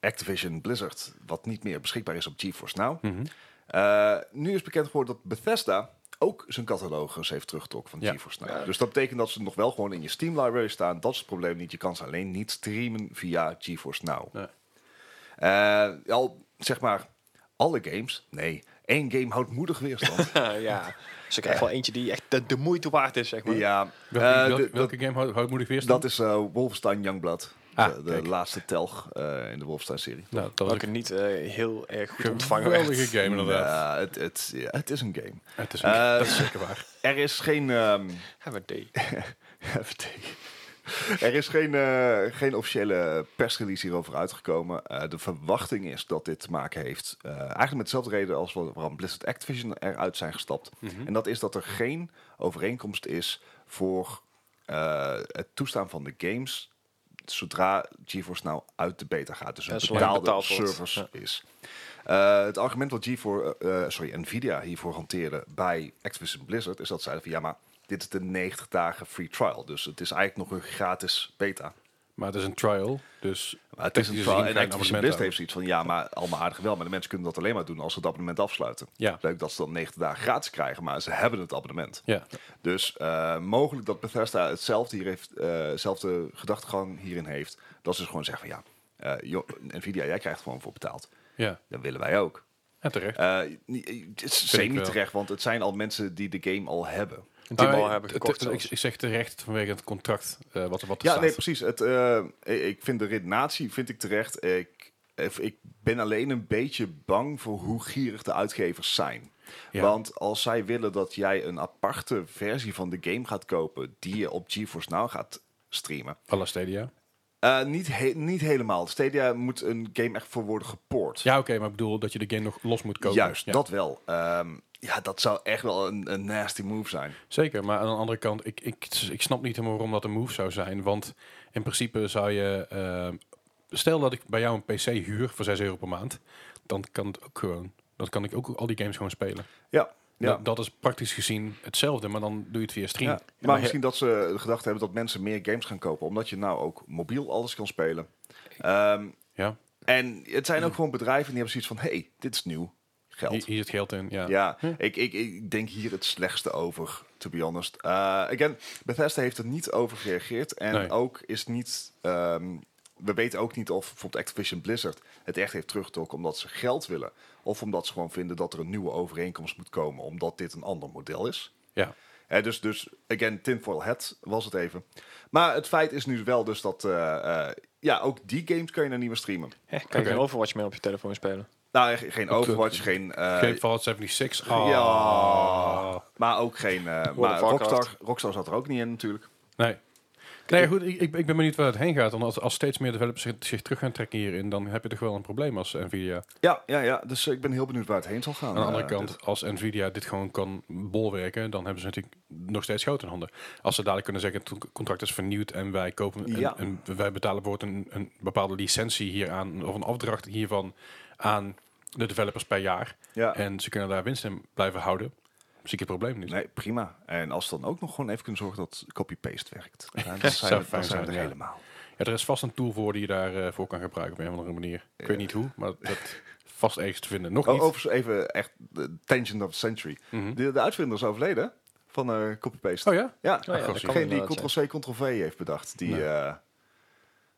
C: Activision Blizzard, wat niet meer beschikbaar is op GeForce Now.
B: Mhm.
C: Eh, nu is bekend geworden dat Bethesda ook zijn catalogus heeft teruggetrokken van
B: Ja.
C: GeForce Now. Dus dat betekent dat ze nog wel gewoon in je Steam library staan. Dat is het probleem niet. Je kan ze alleen niet streamen via GeForce Now.
B: Nee.
C: Eh, al zeg maar alle games. Nee, één game houdt moedig weerstand.
A: ja. Dus ik krijg wel eentje die echt de, de moeite waard is, zeg maar.
C: ja.
B: Welke,
C: eh,
B: welke,
C: de- dat-
B: welke game houdt houdt moedig weerstand?
C: Dat is eh, Wolfenstein Youngblood.
B: Ah,
C: de de
B: kijk.
C: laatste telg eh, in de Wolfenstein-serie.
B: nou, dat was
A: Welke
B: een
A: niet eh, heel erg goed ontvangen werd.
B: geweldige game inderdaad.
C: Ja, het, het, ja, het is een game.
B: Het is een-
C: Eh,
B: dat is zeker waar.
C: Er is geen... ehm,
A: Have a day.
B: Eh,
C: even tegen. er is geen, eh, geen officiële persrelease hierover uitgekomen. Eh, de verwachting is dat dit te maken heeft... eh, eigenlijk met dezelfde reden als wa- waarom Blizzard Activision eruit zijn gestapt.
A: Mhm.
C: En dat is dat er geen overeenkomst is voor eh, het toestaan van de games... zodra GeForce nou uit de beta gaat. Dus een
A: Ja, zolang
C: betaalde
A: betaald wordt.
C: service is. Eh, het argument wat G4, eh, eh, sorry, Nvidia hiervoor hanteerde bij Activision Blizzard is dat zeiden van ja, maar dit is de 90 dagen free trial. Dus het is eigenlijk nog een gratis beta.
B: Maar het is een trial, dus...
C: Maar het is een
B: technisch
C: trial. En
B: gezien ga je een
C: Activision
B: abonnement
C: Blizzard
B: houden.
C: heeft zoiets van ja, maar allemaal aardig wel. Maar de mensen kunnen dat alleen maar doen als ze het abonnement afsluiten.
B: Ja.
C: Leuk dat ze dan 90 dagen gratis krijgen, maar ze hebben het abonnement.
B: Ja,
C: Dus eh, mogelijk dat Bethesda hetzelfde, hier heeft, eh, zelfde gedachtegang hierin heeft. Dat ze dus gewoon zeggen van ja, eh, joh, Nvidia, jij krijgt er gewoon voor betaald.
B: ja.
C: Dat willen wij ook.
B: En terecht.
C: Eh, niet- eh, het is
B: ik
C: zeker
B: wel.
C: niet terecht, want het zijn al mensen die de game al hebben.
A: Een
B: Nou,
A: team al
B: eh,
A: hebben
B: t-
A: gekocht.
B: t- ik,
A: zelfs.
B: ik zeg terecht vanwege het contract eh, wat, wat er
C: ja,
B: staat.
C: nee, precies. Het, eh, ik- ik vind de redenatie vind ik terecht. Ik, eh, ik ben alleen een beetje bang voor hoe gierig de uitgevers zijn.
B: Ja.
C: Want als zij willen dat jij een aparte versie van de game gaat kopen... die je op GeForce Now gaat streamen...
B: À la Stadia.
C: eh, niet, he- niet helemaal. Stadia moet een game echt voor worden gepoord.
B: Ja, oké, maar ik bedoel dat je de game nog los moet kopen.
C: Juist,
B: Ja.
C: dat wel. Ehm, ja, dat zou echt wel een, een nasty move zijn.
B: Zeker, maar aan de andere kant, ik, ik, ik snap niet helemaal waarom dat een move zou zijn. Want in principe zou je... eh, stel dat ik bij jou een PC huur voor 6 euro per maand. Dan kan het ook gewoon. Dan kan ik ook al die games gewoon spelen.
C: Ja, ja.
B: Dat, dat is praktisch gezien hetzelfde, maar dan doe je het via stream.
C: Ja, maar misschien dat ze de gedachte hebben dat mensen meer games gaan kopen, omdat je nou ook mobiel alles kan spelen. Ehm,
B: Ja,
C: en het zijn ook gewoon bedrijven die hebben zoiets van, hey, dit is nieuw
B: hier,
C: geld.
B: hier zit geld in. Ja.
C: Ja, ik, ik, ik denk hier het slechtste over, to be honest. Eh, again, Bethesda heeft er niet over gereageerd en
B: Nee.
C: ook is niet... ehm, we weten ook niet of bijvoorbeeld Activision Blizzard het echt heeft teruggetrokken omdat ze geld willen. Of omdat ze gewoon vinden dat er een nieuwe overeenkomst moet komen omdat dit een ander model is.
B: Ja.
C: Hè, dus, dus, again, tinfoil hat was het even. Maar het feit is nu wel dus dat... eh, eh, ja, ook die games kan je nou niet meer streamen.
A: Eh, kan je
B: Oké.
A: geen Overwatch meer op je telefoon spelen?
C: Nou, ge- geen Overwatch, geen... eh,
B: Geen Fallout Ah. 76. Ah.
C: Ja, maar ook geen... eh, maar
A: Warcraft.
C: Rockstar, Rockstar zat er ook niet in natuurlijk.
B: Nee. Nee, goed, ik, ik ik ben benieuwd waar het heen gaat. Want als, als steeds meer developers zich, zich terug gaan trekken hierin, dan heb je toch wel een probleem als Nvidia.
C: Ja, ja, ja. Dus eh, ik ben heel benieuwd waar het heen zal gaan.
B: Aan de andere
C: Eh,
B: kant, als Nvidia dit gewoon kan bolwerken, dan hebben ze natuurlijk nog steeds goud in handen. Als ze dadelijk kunnen zeggen, het contract is vernieuwd en wij kopen en,
C: Ja.
B: en wij betalen bijvoorbeeld een, een bepaalde licentie hieraan of een afdracht hiervan aan de developers per jaar.
C: dit- ja.
B: En ze kunnen daar winst in blijven houden. Zie ik het probleem niet.
C: Nee, prima. En als we dan ook nog gewoon even kunnen zorgen dat copy-paste werkt. Ja, dan zijn,
B: Zou
C: we- dan
B: fijn
C: zijn we
B: zijn,
C: er
B: ja.
C: helemaal.
B: Ja, er is vast een tool voor die je daarvoor voor kan gebruiken op een of andere manier. Ik weet niet hoe, maar dat vast ergens te vinden. Nog
C: Oh,
B: niet.
C: overigens even echt de tangent of the century.
B: Mhm.
C: De, de uitvinder is overleden van eh, copy-paste.
B: Oh ja?
C: Ja,
A: ja, dat kan
C: degene die
A: inderdaad
C: Ctrl-C, Ctrl-V heeft bedacht, die,
B: Nee.
C: eh,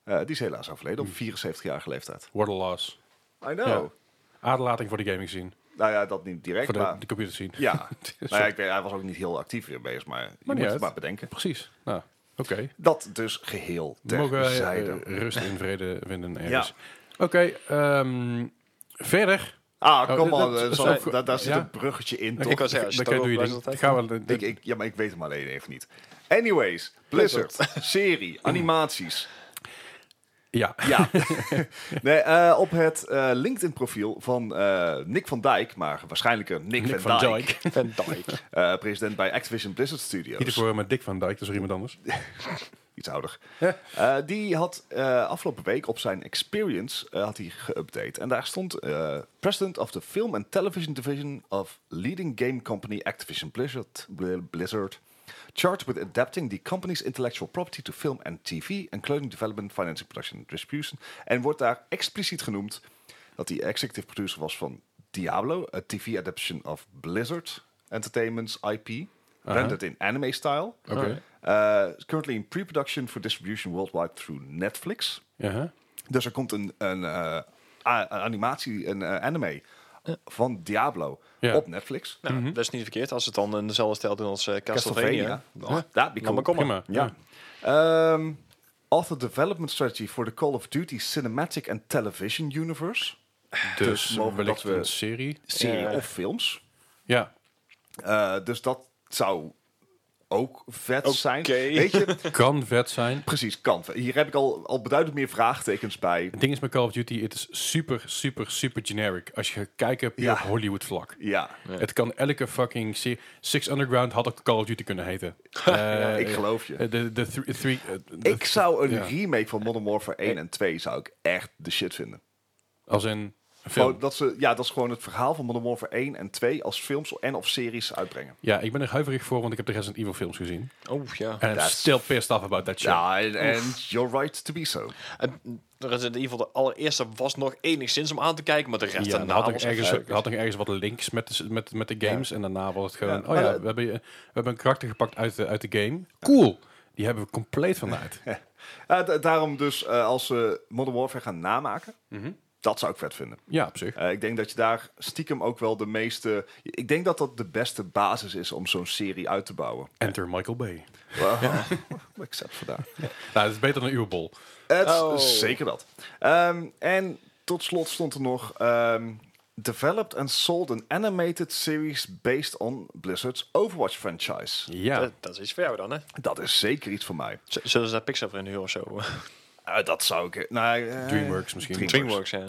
C: eh, die is helaas overleden op 74-jarige leeftijd.
B: What a loss.
C: I know.
B: Ja. Aderlating voor de gaming zien.
C: Nou ja, dat niet direct,
B: Voor de,
C: maar...
B: de computer zien.
C: Ja, nou ja, ik weet, hij was ook niet heel actief weer bezig, maar, je moet
B: niet
C: het
B: uit.
C: maar bedenken.
B: Precies. Nou, oké.
C: Dat dus geheel
B: We Mogen wij eh,
C: terzijde.
B: rust in vrede vinden ergens.
C: Ja.
B: Oké, ehm, verder.
C: ah,
B: Oh,
C: kom
B: dat-
C: maar, eh,
B: dat-
C: zo-
B: dat-
C: daar, daar zit
B: ja.
C: een bruggetje in, toch?
A: Ik was ja, als je
B: Dan doe je
A: daarover
B: die.
A: blijft,
B: Gaan we, de- de-
C: Ik, ik, ja, maar ik weet hem alleen even niet. Anyways, Blizzard, serie, animaties.
B: ja.
C: Ja. nee, eh, op het eh, LinkedIn-profiel van eh, Nick van Dijk, maar waarschijnlijker Nick,
B: Nick
C: van,
B: van
C: Dijk,
B: Dijk.
A: Van Dijk.
C: eh, president bij Activision Blizzard
B: Niet
C: Studios.
B: ervoor, maar Dick van Dijk, dat is er iemand anders.
C: Iets ouder.
B: Ja.
C: Eh, die had eh, afgelopen week op zijn Experience eh, had hij geüpdate. En daar stond eh, President of the Film and Television Division of Leading Game Company Activision Blizzard. Bl- Blizzard charged with adapting the company's intellectual property to film and TV, including development, financing, production and distribution. En wordt daar expliciet genoemd dat hij executive producer was van Diablo, a TV adaptation of Blizzard Entertainment's IP, rendered in anime style.
B: Oké.
C: Uh, it's currently in pre-production for distribution worldwide through Netflix.
B: Ja, hè?
C: Dus er komt een, een, eh, a- een animatie, een eh, anime van Diablo
B: Ja.
C: op Netflix.
A: Nou,
B: Mhm.
A: dat is niet verkeerd als ze het dan in dezelfde stijl doen als eh, Castlevania.
C: Castlevania. Ja, that'd be
A: Nou, maar
C: cool.
A: kom maar.
B: Prima.
C: Ja.
B: Ja.
C: Ehm, author development strategy for the Call of Duty cinematic and television universe.
B: Dus,
C: mogelijk
B: wellicht
C: dat eh, we-
B: een serie.
C: Serie
A: Ja.
C: of films.
B: Ja.
C: Eh, dus dat zou ook vet zijn.
A: Oké.
C: Weet je,
B: Kan vet zijn.
C: precies, kan. Hier heb ik al, al beduidend meer vraagtekens bij.
B: Het ding is met Call of Duty, het is super, super, super generic. Als je gaat kijken puur
C: Ja.
B: op Hollywood vlak.
C: Ja,
B: Het kan elke fucking serie. Six Underground had ook Call of Duty kunnen heten. Eh,
C: ik geloof je.
B: eh, De, de three, three, eh, de-
C: Ik zou een
B: ja.
C: remake van Modern Warfare 1 en 2 zou ik echt de shit vinden.
B: Als in een film.
C: Gewoon dat ze, ja, dat is gewoon het verhaal van Modern Warfare 1 en 2 als films en of series uitbrengen.
B: Ja, ik ben er huiverig voor, want ik heb de Resident Evil films gezien.
A: Oh ja.
B: En I'm
C: That's-
B: still pissed off about that shit.
C: Ja, en and you're right to be so.
A: En Resident Evil, de allereerste, was nog enigszins om aan te kijken, maar de rest
B: Ja,
A: daarna
B: dan had, ik
A: was
B: ergens,
A: echt-
B: had ik ergens wat links met de, s- met, met de games. En daarna was het gewoon,
C: Ja,
B: oh
C: maar
B: ja,
C: dat-
B: we hebben, je- we hebben een karakter gepakt uit de, uit de game. Cool. Die hebben we compleet vanuit.
C: Eh, da- daarom dus, eh, als ze Modern Warfare gaan namaken, dat zou ik vet vinden.
B: Ja, op zich.
C: Eh, ik denk dat je daar stiekem ook wel de meeste... Ik denk dat dat de beste basis is om zo'n serie uit te bouwen.
B: Enter Michael Bay.
C: Except voor daar.
B: Nou, dat is beter dan uw bol.
C: Het is
A: Oh.
C: Zeker dat. Ehm, en tot slot stond er nog... ehm, Developed and sold an animated series based on Blizzard's Overwatch franchise.
B: Ja.
A: Dat, dat is iets voor jou dan, hè?
C: Dat is zeker iets voor mij.
A: Z- Zullen ze daar Pixar voor in de huur of zo?
C: Eh, dat zou ik... eh, Nou, eh,
B: Dreamworks misschien.
A: DreamWorks, ja.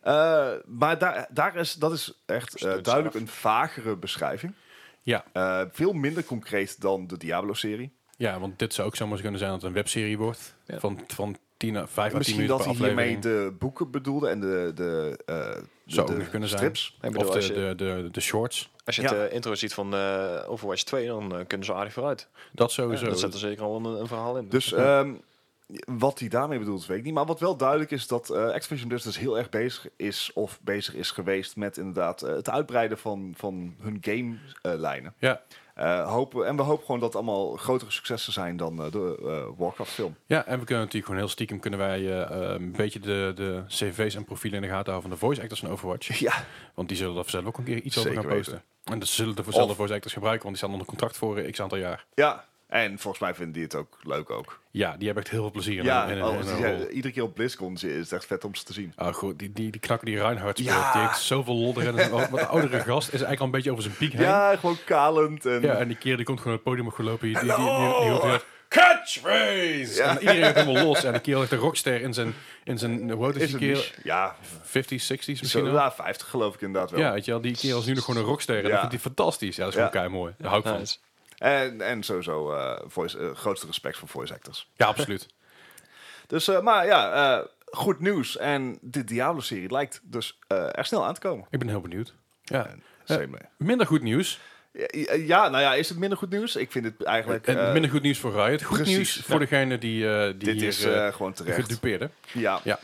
C: eh, maar daar, daar is, dat is echt eh,
A: Stunt
C: duidelijk
A: af.
C: een vagere beschrijving.
B: Ja.
C: Eh, veel minder concreet dan de Diablo-serie.
B: ja, want dit zou ook zomaar eens kunnen zijn dat het een webserie wordt.
A: Ja.
B: Van, van 10 à 5 à 10
C: Misschien
B: minuten
C: dat
B: per
C: hij hiermee
B: aflevering.
C: de boeken bedoelde en de, de, eh, de,
B: zou ook
C: de
B: nog kunnen zijn.
C: strips.
A: Ik bedoel,
B: Of
A: als,
B: de, de,
A: je,
B: de, de shorts.
A: als je
C: Ja.
A: het eh, intro ziet van eh, Overwatch 2, dan eh, kunnen ze aardig vooruit.
B: Dat sowieso.
A: Dat zit er zeker al een, een verhaal in.
C: Dus ehm, wat hij daarmee bedoelt, weet ik niet. Maar wat wel duidelijk is dat eh Activision Blizzard dus heel erg bezig is of bezig is geweest met inderdaad eh, het uitbreiden van, van hun game-lijnen.
B: ja.
C: Eh, hopen, en we hopen gewoon dat het allemaal grotere successen zijn dan eh, de eh, Warcraft-film.
B: Ja, en we kunnen natuurlijk gewoon heel stiekem kunnen wij eh, eh, een beetje de, de cv's en profielen in de gaten houden van de voice actors van Overwatch.
C: Ja,
B: Want die zullen er zelf ook een keer iets
C: Zeker
B: over gaan posten. En dat zullen de zelfde
C: Of-
B: voice actors gebruiken, want die staan onder contract voor eh, x aantal jaar.
C: ja. En volgens mij vinden die het ook leuk ook.
B: Ja, die hebben echt heel veel plezier in
C: ja,
B: hun- in hun-
C: als
B: in hun
C: die zijn-
B: rol.
C: iedere keer op BlizzCon zit, is het echt vet om ze te zien.
B: Ah, goed, die, die, die knakker die Reinhardt speelt,
C: Ja.
B: die heeft zoveel lol erin. En Wat de oudere gast is eigenlijk al een beetje over zijn piek heen.
C: Ja, gewoon kalend en...
B: Ja, en die keer die komt gewoon op het podium opgelopen. Die, die, die, die, die, hoort weer, Catchphrase! En iedereen gaat helemaal los. En de kerel heeft een rockster in zijn, in zijn hoe oud is
C: Is
B: die
C: het
B: kerel?
C: niche? Ja,
B: 50s, 60s misschien
C: zo,
B: wel?
C: ja, 50 geloof ik inderdaad wel.
B: Ja, weet je wel, die kerel is nu nog gewoon een rockster. En dat
C: Ja.
B: vindt hij fantastisch. Ja, dat is gewoon
C: Ja.
B: kei mooi. Daar hou ik van.
A: Nice.
C: En, en sowieso eh voice, eh, grootste respect voor voice actors.
B: Ja, absoluut.
C: Dus, eh, maar ja, eh, goed nieuws. En de Diablo-serie lijkt dus eh er snel aan te komen.
B: Ik ben heel benieuwd. Ja.
C: Same,
B: Eh,
C: eh.
B: minder goed nieuws.
C: Ja, ja, nou ja, is het minder goed nieuws? Ik vind het eigenlijk...
B: En
C: eh,
B: minder goed nieuws voor Riot. Goed
C: precies.
B: nieuws voor degene die, eh, die
C: dit
B: hier
C: is
B: eh,
C: eh, gewoon terecht.
B: gedupeerde.
C: Ja.
B: Ja.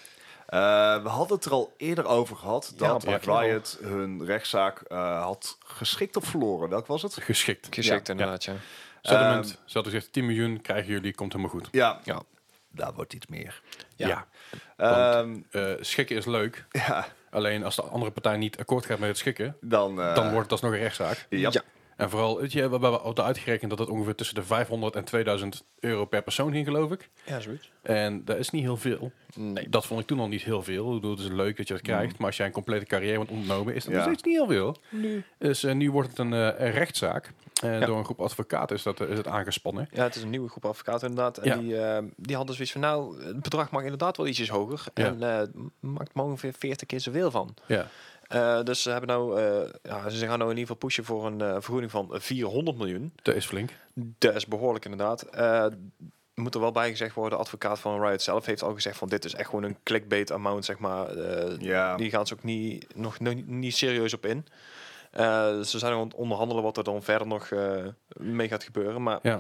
C: Eh, we hadden het er al eerder over gehad
B: Ja,
C: dat
B: maar-
C: Riot hun rechtszaak eh, had geschikt of verloren. Welk was het?
B: Geschikt.
A: Geschikt inderdaad, ja.
B: Settlement. Ze hadden gezegd 10 miljoen krijgen jullie, komt helemaal goed.
C: Ja,
A: Ja.
C: daar wordt iets meer.
B: Ja.
A: Ja.
C: Ehm,
B: Eh, schikken is leuk.
C: ja,
B: Alleen als de andere partij niet akkoord gaat met het schikken,
C: dan... eh,
B: dan wordt het alsnog een rechtszaak.
C: Ja.
A: Ja.
B: En vooral, weet je, we hebben al uitgerekend dat het ongeveer tussen de 500 en 2000 euro per persoon ging, geloof ik.
A: Ja, zoiets.
B: En dat is niet heel veel.
A: Nee.
B: Dat vond ik toen al niet heel veel. Ik bedoel, het is leuk dat je dat krijgt. Maar als jij een complete carrière wordt ontnomen, is dat
C: Ja.
B: nog steeds niet heel veel. Dus eh, nu wordt het een eh, rechtszaak. En door een groep advocaten is, dat, eh, is het aangespannen.
A: Ja, het is een nieuwe groep advocaten inderdaad. En
B: Ja.
A: die, eh, die hadden zoiets van, nou, het bedrag mag inderdaad wel ietsjes hoger.
B: Ja.
A: En eh, maakt maar ongeveer 40 keer zoveel van.
B: Ja.
A: Eh, dus ze, hebben nou, eh, ja, ze gaan nou in ieder geval pushen voor een eh, vergoeding van 400 miljoen.
B: Dat is flink.
A: Dat is behoorlijk inderdaad. Eh, moet er wel bij gezegd worden, de advocaat van Riot zelf heeft al gezegd van dit is echt gewoon een clickbait amount, zeg maar. Eh,
C: Ja.
A: Die gaan ze ook niet, nog, nog niet serieus op in. Eh, ze zijn nog aan het onderhandelen wat er dan verder nog eh, mee gaat gebeuren. Maar
B: Ja.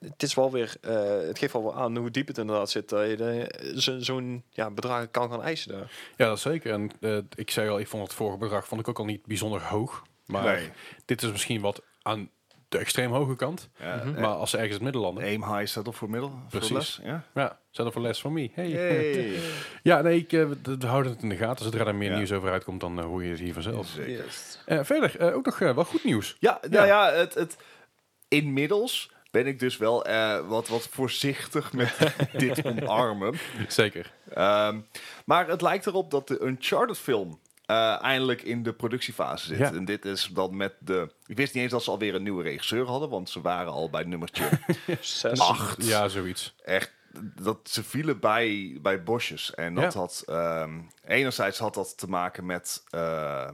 A: het is wel weer, eh, het geeft wel wel aan hoe diep het inderdaad zit. Dat je de- zo- zo'n ja, bedrag kan gaan eisen daar.
B: Ja, dat zeker. En eh, ik zei al, ik vond het vorige bedrag vond ik ook al niet bijzonder hoog. Maar
C: Nee.
B: dit is misschien wat aan de extreem hoge kant.
C: Ja,
B: Maar als ze ergens het midden landen.
C: Aim high staat op voor middel.
B: Precies.
C: Voor les, ja.
B: Ja, zet er voor les van me. Hey.
C: Yay.
B: Ja, nee, ik, eh, we- we houden het in de gaten. Zodra er meer
C: Ja.
B: nieuws over uitkomt, dan eh, hoor je het hier vanzelf.
C: Zeker.
B: Eh, verder, eh, ook nog eh, wel goed nieuws.
C: Ja, nou ja, het, het, inmiddels ben ik dus wel eh, wat, wat voorzichtig met dit omarmen.
B: Zeker.
C: Ehm, maar het lijkt erop dat de Uncharted film eh, eindelijk in de productiefase zit.
B: Ja.
C: En dit is dan met de... Ik wist niet eens dat ze alweer een nieuwe regisseur hadden, want ze waren al bij nummertje
A: Zes.
C: 8.
B: Ja, zoiets.
C: Echt, dat, ze vielen bij, bij bosjes. En dat
B: Ja.
C: had... ehm, enerzijds had dat te maken met... eh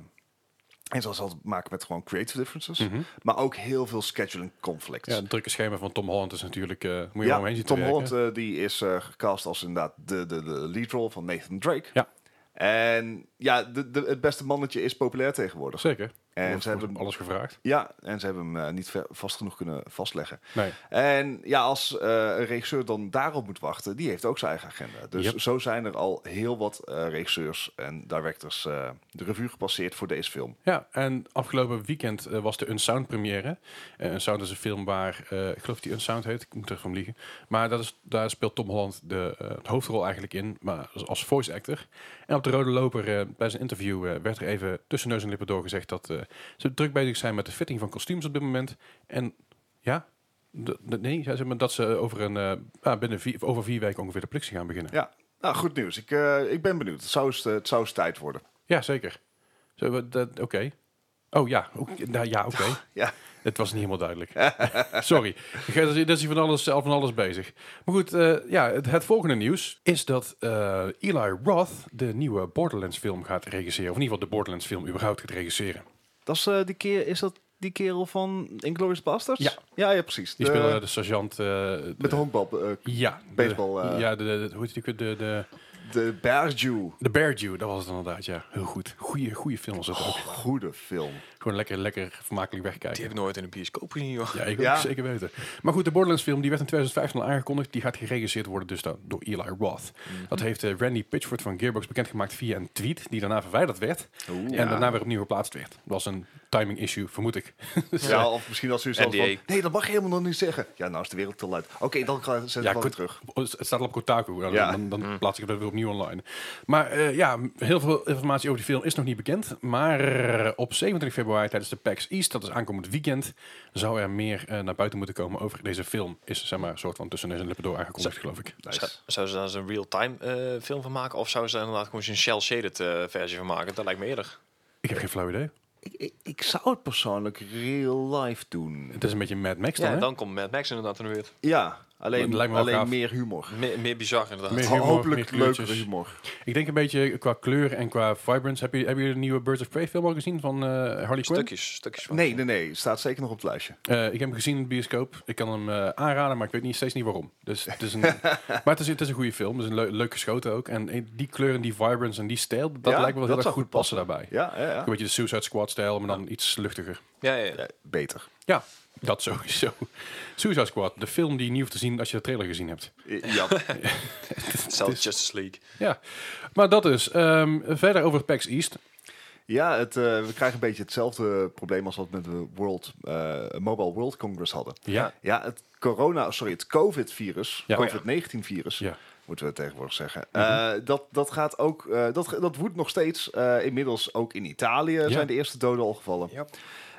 C: enerzijds had het te maken met gewoon creative differences. Maar ook heel veel scheduling conflicts.
B: Mhm. Ja, het drukke schema van Tom Holland is natuurlijk... eh, moet je wel
C: Ja,
B: omheen zien te
C: Tom
B: werken.
C: Holland eh, die is eh, gecast als inderdaad de, de, de lead role van Nathan Drake.
B: Ja.
C: En ja, de, de, het beste mannetje is populair tegenwoordig.
B: Zeker.
C: eh, En
B: Wordt-
C: ze hebben-
B: wordt alles gevraagd.
C: Ja, en ze hebben hem eh, niet ver- vast genoeg kunnen vastleggen.
B: Nee.
C: En ja, als eh, een regisseur dan daarop moet wachten, die heeft ook zijn eigen agenda. Dus
B: Yep.
C: zo zijn er al heel wat eh, regisseurs en directors eh, de revue gepasseerd voor deze film.
B: Ja, en afgelopen weekend eh, was de Unsound première. Eh Unsound is een film waar, eh, ik geloof die Unsound heet, ik moet er van liegen. Maar dat is, daar speelt Tom Holland de, eh, de hoofdrol eigenlijk in, maar als, als voice actor. En op de rode loper eh, bij zijn interview eh, werd er even tussen neus en lippen doorgezegd dat eh, ze druk bezig zijn met de fitting van kostuums op dit moment. En ja, d- d- nee, zij zei maar dat ze over, een, eh, ah, binnen vier, over vier weken ongeveer de productie gaan beginnen.
C: Ja, nou goed nieuws. Ik, eh, ik ben benieuwd. Het zou, eens, eh, het zou eens tijd worden.
B: Ja, zeker. Zo, we- dat- Oké. Oh ja, oké. nou, ja, oké.
C: Ja.
B: Het was niet helemaal duidelijk. Sorry. Ik ga- Er is hier van alles, al van alles bezig. Maar goed, eh, ja, het, het volgende nieuws is dat eh, Eli Roth de nieuwe Borderlands film gaat regisseren. Of in ieder geval de Borderlands film überhaupt gaat regisseren.
C: Dat is, eh, die keer, is dat die kerel van Inglourious Basterds?
B: Ja.
C: ja, ja precies.
B: Die
C: De-
B: speelde de sergeant... eh,
C: Met de honkbal. eh,
B: ja, de-
C: baseball, eh.
B: ja, de, de- hoe heet die? ook weer? De, de,
C: de Berju.
B: de Bear Jew, dat was het inderdaad. Ja, heel goed. Goeie, goeie film was dat
C: Oh.
B: ook.
C: Goede film.
B: Gewoon lekker, lekker vermakelijk wegkijken.
A: Die heb ik nooit in een bioscoop gezien, joh.
B: Ja, ik
C: Ja.
B: ook zeker weten. Maar goed, de Borderlands film die werd in 2015 al aangekondigd. Die gaat geregisseerd worden dus dan door Eli Roth.
C: Mhm.
B: Dat heeft eh, Randy Pitchford van Gearbox bekendgemaakt via een tweet. Die daarna verwijderd werd. en
C: Oh, Ja.
B: daarna weer opnieuw geplaatst werd. Dat was een timing issue, vermoed ik. Dus, eh,
C: Ja, of misschien als u zo
A: NDA.
C: van... Nee, dat mag je helemaal nog niet zeggen. Ja, nou is de wereld te luid. Oké, dan ga zet ik
B: Ja,
C: wel weer
B: Kot-
C: terug.
B: oh, Het staat al op Kotaku. Dan,
C: Ja.
B: dan, dan plaats ik het weer opnieuw online. Maar eh, ja, heel veel informatie over die film is nog niet bekend. Maar eh, op 27 februari tijdens de PAX East, dat is aankomend weekend, zou er meer eh, naar buiten moeten komen over deze film. Is zeg maar een soort van tussen neus en lippen door aangekondigd, geloof ik.
A: Zou, zouden ze daar eens een real-time eh, film van maken? Of zouden ze daar inderdaad gewoon eens een shell-shaded eh, versie van maken? Dat lijkt me eerder.
B: Ik heb geen flauw idee.
C: Ik, ik, ik zou het persoonlijk real life doen.
B: Het is een beetje Mad Max dan,
A: Ja,
B: hè?
A: dan komt Mad Max inderdaad in de buurt.
C: Ja. Alleen,
B: lijkt me wel gaaf.
C: alleen meer humor.
A: Meer, meer bizar inderdaad.
B: Meer-
C: Ho-
B: humor,
C: Hopelijk
B: kleurtjes.
C: leukere humor.
B: Ik denk een beetje qua kleur en qua vibrance. Heb je, heb je de nieuwe Birds of Prey film al gezien van eh, Harley Quinn?
A: Stukjes, stukjes van.
C: Nee, nee, nee. Staat zeker nog op het lijstje.
B: Eh, ik heb hem gezien in de bioscoop. Ik kan hem eh, aanraden, maar ik weet niet, steeds niet waarom. Dus het is een, maar het is, het is een goede film. Het is een leu- leuk geschoten ook. En eh, die kleur en die vibrance en die stijl, dat
C: Ja,
B: lijkt me
C: dat
B: wel heel erg
C: zou
B: goed
C: goed
B: passen daarbij.
C: Ja, ja, ja.
B: Een beetje de Suicide Squad stijl, maar dan iets luchtiger.
A: Ja, ja, ja.
C: Ja, beter.
B: Ja, dat sowieso. Suicide Squad, de film die je niet hoeft te zien als je de trailer gezien hebt.
C: Eh, Ja,
A: Zelfs Justice League.
B: Ja, maar dat is. ehm, verder over PAX East.
C: ja het, eh, we krijgen een beetje hetzelfde probleem als wat we met de World, eh, Mobile World Congress hadden.
B: Ja.
C: Ja, het corona, sorry, het COVID-virus,
B: Ja.
C: COVID-19-virus,
B: Ja.
C: moeten we tegenwoordig zeggen.
A: Mhm.
C: Eh, dat, dat gaat ook, eh, dat, dat woedt nog steeds. Eh, inmiddels ook in Italië zijn de eerste doden al gevallen.
A: Ja.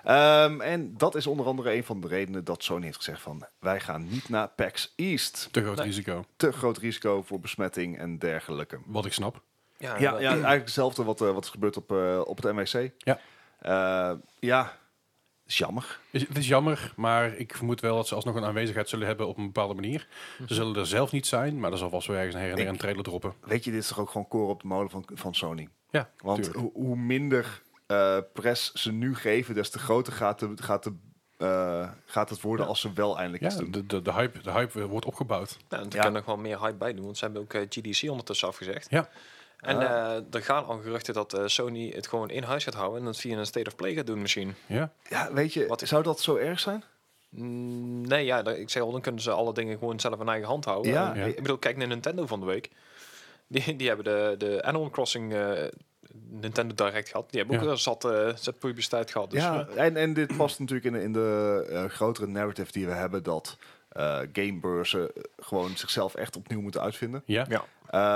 C: Ehm, en dat is onder andere een van de redenen dat Sony heeft gezegd van, wij gaan niet naar PAX East.
B: Te groot
A: Nee.
B: risico.
C: Te groot risico voor besmetting en dergelijke.
B: Wat ik snap.
A: Ja,
C: Ja, ja
A: ja.
C: eigenlijk hetzelfde wat, eh, wat is gebeurd op, eh, op het MEC.
B: Ja.
C: Eh, ja, is jammer.
B: Is- Het is jammer, maar ik vermoed wel dat ze alsnog een aanwezigheid zullen hebben op een bepaalde manier. Ze zullen er zelf niet zijn, maar er zal vast wel ergens her en der
C: Ik-
B: een trailer droppen.
C: Weet je, dit is toch ook gewoon koren op de molen van, van Sony.
B: Ja,
C: Want
B: tuurlijk.
C: ho- hoe minder eh, press ze nu geven, des te groter gaat, de, gaat, de, eh, gaat het worden als ze wel eindelijk
B: ja,
C: iets doen.
B: de, de, de, hype, de hype eh, wordt opgebouwd.
A: Nou, er
C: Ja.
A: kan nog wel meer hype bij doen, want ze hebben ook eh, GDC ondertussen afgezegd.
B: Ja.
A: En eh, er gaan al geruchten dat eh, Sony het gewoon in huis gaat houden en dat via een State of Play gaat doen misschien.
B: Ja,
C: Ja, weet je,
A: Wat-
C: zou dat zo erg zijn?
A: Mm, nee, ja, daar- ik zeg al, dan kunnen ze alle dingen gewoon zelf in eigen hand houden.
C: Ja.
A: En,
B: Ja.
A: Ik bedoel, kijk naar Nintendo van de week. Die, die hebben de, de Animal Crossing eh, Nintendo Direct gehad. Die hebben ook
B: Ja.
A: weer zat, eh zat publiciteit gehad. Dus,
C: ja,
A: eh,
C: en, en dit past natuurlijk in, de- in de eh, grotere narrative die we hebben dat eh, gamebeurzen eh, gewoon zichzelf echt opnieuw moeten uitvinden.
B: ja.
A: ja.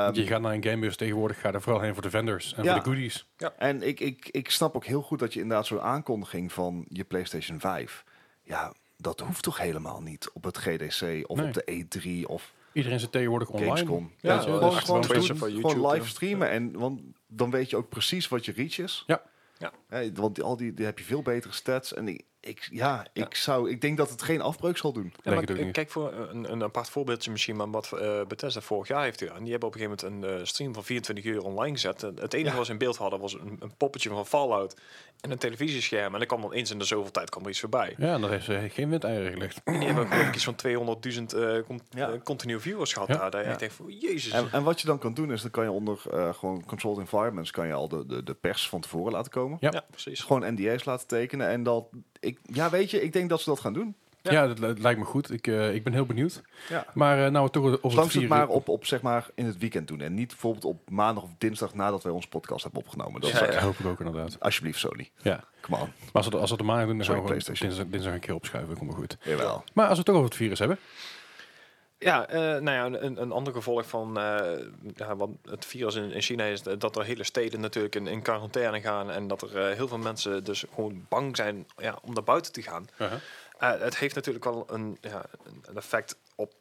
C: Ehm,
B: je gaat naar een gamebus tegenwoordig, ga er vooral heen voor de vendors en
C: Ja.
B: voor de goodies.
C: En ik, ik, ik snap ook heel goed dat je inderdaad zo'n aankondiging van je PlayStation 5. Ja, dat hoeft toch helemaal niet op het GDC of
B: Nee.
C: op de E3 of
B: Iedereen zit tegenwoordig online.
C: Gamescom.
B: Ja,
A: Ja,
B: weet je,
A: wel,
B: dat
C: gewoon,
B: is
A: echt
C: gewoon,
B: gewoon
A: Twitch
C: doen.
A: of, eh,
C: gewoon
A: YouTube,
C: live
A: ja.
C: streamen. En, want dan weet je ook precies wat je reach is.
B: Ja.
A: Ja.
C: Hé, want al die, die heb je veel betere stats. En ik, ik, ja, ik, Zou, ik denk dat het geen afbreuk zal doen.
A: Ja, maar
B: het ook
A: k-
B: niet.
A: kijk, voor eh, een, een apart voorbeeldje misschien, maar wat eh, Bethesda vorig jaar heeft gedaan. Die hebben op een gegeven moment een eh, stream van 24 uur online gezet. En het enige
C: Ja.
A: wat ze in beeld hadden was een, een poppetje van Fallout en een televisiescherm. En dan kwam dan eens in de zoveel tijd kwam er iets voorbij.
B: Ja, en daar heeft ze geen windeieren gelegd.
A: En die hebben geloof ik iets van 200.000 eh con-
C: Ja.
A: eh, continue viewers gehad
B: Ja.
A: daar. Daar
C: Ja.
A: echt denkt van, jezus.
C: En, en wat je dan kan doen is, dan kan je onder eh, gewoon controlled environments... kan je al de, de, de pers van tevoren laten komen.
B: Ja.
A: ja,
C: Dus
A: precies.
C: gewoon NDA's laten tekenen. En dat, ik, ja, weet je, ik denk dat ze dat gaan doen.
B: Ja, dat, li- lijkt me goed. Ik, eh, ik ben heel benieuwd.
C: Ja.
B: Maar eh, nou, we toch over het
C: Zolang ze het maar
B: vieren-
C: op, op, zeg maar in het weekend doen. En niet bijvoorbeeld op maandag of dinsdag nadat wij onze podcast hebben opgenomen. Dat
A: Ja,
C: is
A: ja.
C: echt-
B: Dat hoop ik ook inderdaad.
C: Alsjeblieft, Sony.
B: Ja.
C: Come on.
B: Maar als we dat, als we dat maandag doen, dan gaan
C: Sorry,
B: we gewoon
C: PlayStation.
B: dinsdag, dinsdag een keer opschuiven. Komt wel goed.
C: Jawel.
B: Maar als we het toch over het virus hebben.
A: Ja, eh, nou ja, een, een ander gevolg van eh, ja, wat het virus in, in China is dat er hele steden natuurlijk in, in quarantaine gaan. En dat er eh, heel veel mensen dus gewoon bang zijn ja, om naar buiten te gaan. Eh, het heeft natuurlijk wel een, ja, een- een effect op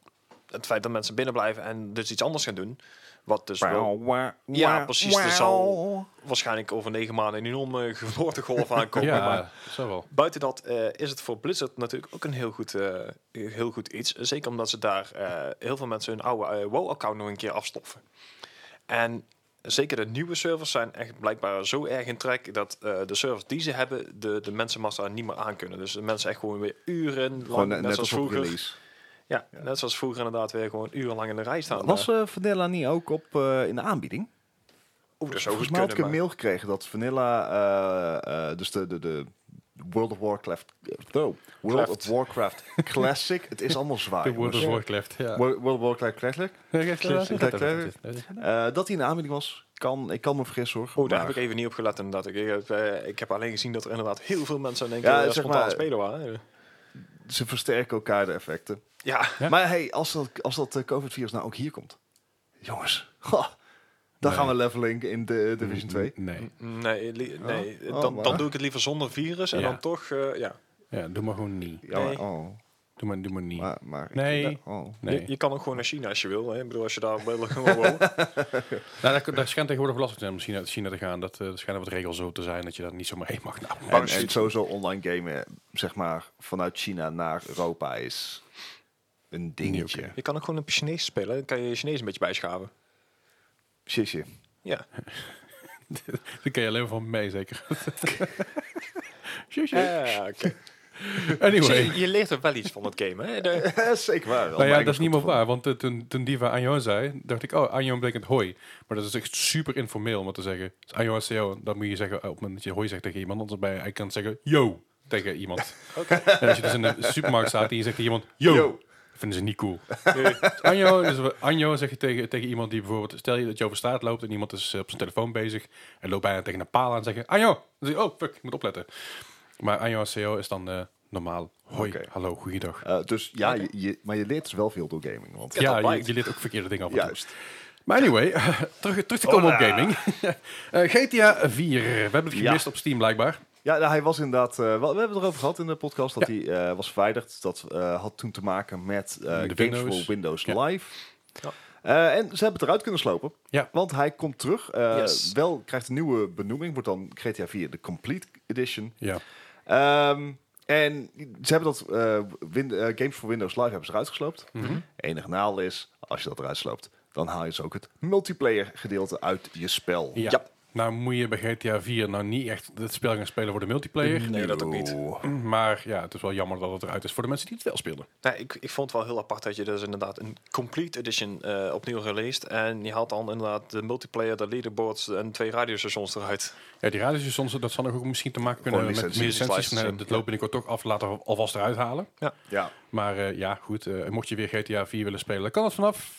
A: het feit dat mensen binnen blijven en dus iets anders gaan doen. Wat dus wel Ja, precies, dus er zal- waarschijnlijk over negen maanden een enorme geboortegolf aankomt. Maar
B: Ja, zo wel.
A: buiten dat eh, is het voor Blizzard natuurlijk ook een heel goed, eh, heel goed iets. Zeker omdat ze daar eh, heel veel mensen hun oude eh, WoW-account nog een keer afstoffen. En zeker de nieuwe servers zijn echt blijkbaar zo erg in trek dat eh, de servers die ze hebben, de, de mensenmassa niet meer aankunnen. Dus de mensen echt gewoon weer uren lang,
C: Gewoon net,
A: net,
C: net
A: zoals
C: als op
A: vroeger.
C: release.
A: Ja, net zoals vroeger inderdaad weer gewoon urenlang in de rij staan.
C: Was eh, Vanilla niet ook op, eh, in de aanbieding?
A: Oeh, Oh, dat zou
C: Volgens
A: goed
C: mij had ik
A: kunnen,
C: een mail gekregen dat Vanilla, eh, eh, dus de, de, de World of Warcraft, no, World
A: Oh, Craft.
C: of Warcraft Classic. het is allemaal zwaar.
B: De World
C: Ah, jongens.
B: of Warcraft. Ja.
C: Wo- World of Warcraft Classic. Eh, dat die in de aanbieding was, kan, ik kan me vergissen hoor.
A: maar- Oh, daar
C: maar-
A: heb ik even niet op gelet inderdaad. Ik, ik, heb, eh, ik heb alleen gezien dat er inderdaad heel veel mensen in één keer
C: Ja,
A: eh,
C: zeg
A: spontaan
C: maar-
A: aan het spelen waren.
C: Ze versterken elkaar de effecten.
A: Ja,
B: Ja.
C: Maar hey, als dat, als dat eh, COVID-virus nou ook hier komt. Jongens, ha, dan
B: Nee.
C: gaan we leveling in de Division 2.
B: Nee.
A: nee, li- nee
C: Oh,
A: dan,
C: maar-
A: dan doe ik het liever zonder virus en
B: Ja.
A: dan toch, eh, ja.
B: Ja, doe maar gewoon niet.
C: Ja, maar,
A: Nee.
C: oh,
B: Doe maar, doe maar niet.
C: maar, maar ik-
B: Nee.
C: oh.
B: Nee.
A: Je, je kan ook gewoon naar China als je wil. Hè? Ik bedoel, als je daar wil, gewoon wonen.
B: Nou, daar, daar schijnt tegenwoordig lastig te zijn om China, China te gaan. Dat eh, er schijnen wat regels zo te zijn dat je daar niet zomaar heen mag. Nou,
C: En, en sowieso online gamen, zeg maar, vanuit China naar Europa is Een dingetje.
B: Oké.
A: Je kan ook gewoon op Chinees spelen. Dan kan je je Chinees een beetje bijschaven.
C: Sisje.
A: Ja.
B: Daar ken je alleen maar van mee, zeker.
A: Ja, oké. Dus
B: Anyway.
A: je, je leert er wel iets van het game, hè? De-
C: Zeker waar.
B: Nou ja,
C: Mijn
B: dat is niet meer
C: Engels
B: waar, want eh, toen, toen Diva Anjo zei, dacht ik, oh, Anjo betekent hoi. Maar dat is echt super informeel om dat te zeggen. Dus Anjo Haseo, dat moet je zeggen eh, op het moment dat je hoi zegt tegen iemand. Anders ben je, hij kan zeggen, yo, tegen iemand. En als je dus in de supermarkt staat en je zegt tegen iemand, yo,
C: Yo.
B: vinden ze niet cool. Dus Anjo, dus we- Anjo zeg je tegen, tegen iemand die bijvoorbeeld, stel je dat je over straat loopt en iemand is eh, op zijn telefoon bezig en loopt bijna tegen een paal aan en zeg je, Anjo. Dan zeg je, oh, fuck, ik moet opletten. Maar Anjo Haseo is dan eh, normaal, hoi,
C: Oké.
B: hallo, goeiedag.
C: Eh, dus ja, je, je- maar je leert dus wel veel door gaming. Want
B: Ja, je,
A: blijkt.
B: je leert ook verkeerde dingen af en toe.
C: juist.
B: Maar anyway, terug, terug te komen op
C: Hola.
B: gaming. Eh, GTA 4. We hebben het gemist op Steam blijkbaar.
C: Ja, nou, hij was inderdaad. eh, wel, we hebben het erover gehad in de podcast dat hij eh, was verwijderd. Dat eh, had toen te maken met eh,
B: De
C: Games
B: Windows.
C: for Windows
B: Ja.
C: Live.
A: Ja.
C: Eh, en ze hebben het eruit kunnen slopen.
B: Ja.
C: Want hij komt terug. eh,
A: Yes.
C: Wel krijgt een nieuwe benoeming. Wordt dan GTA 4 de Complete Edition.
B: Ja.
C: Ehm, en ze hebben dat eh, Win- eh, Games for Windows Live hebben ze eruit gesloopt.
B: Mhm.
C: Enig naal is, als je dat eruit sloopt, dan haal je dus ook het multiplayer gedeelte uit je spel.
B: Ja. Nou moet je bij GTA 4 nou niet echt het spel gaan spelen voor de multiplayer.
A: Nee, dat ook niet.
C: Oeh.
B: Maar ja, het is wel jammer dat het eruit is voor de mensen die het wel speelden.
A: Nou, ik, ik vond het wel heel apart dat je dus inderdaad een complete edition eh, opnieuw released. En je haalt dan inderdaad de multiplayer, de leaderboards en twee radiostations eruit.
B: Ja, die radiostations, dat zal ook misschien te maken kunnen
C: Gewoon
B: met
C: licenties,
B: licenties.
A: licenties,
B: Nee, dat loop binnenkort toch af, laten we alvast eruit halen.
C: Ja.
B: Maar eh, ja, goed, eh, mocht je weer GTA 4 willen spelen, dan kan dat vanaf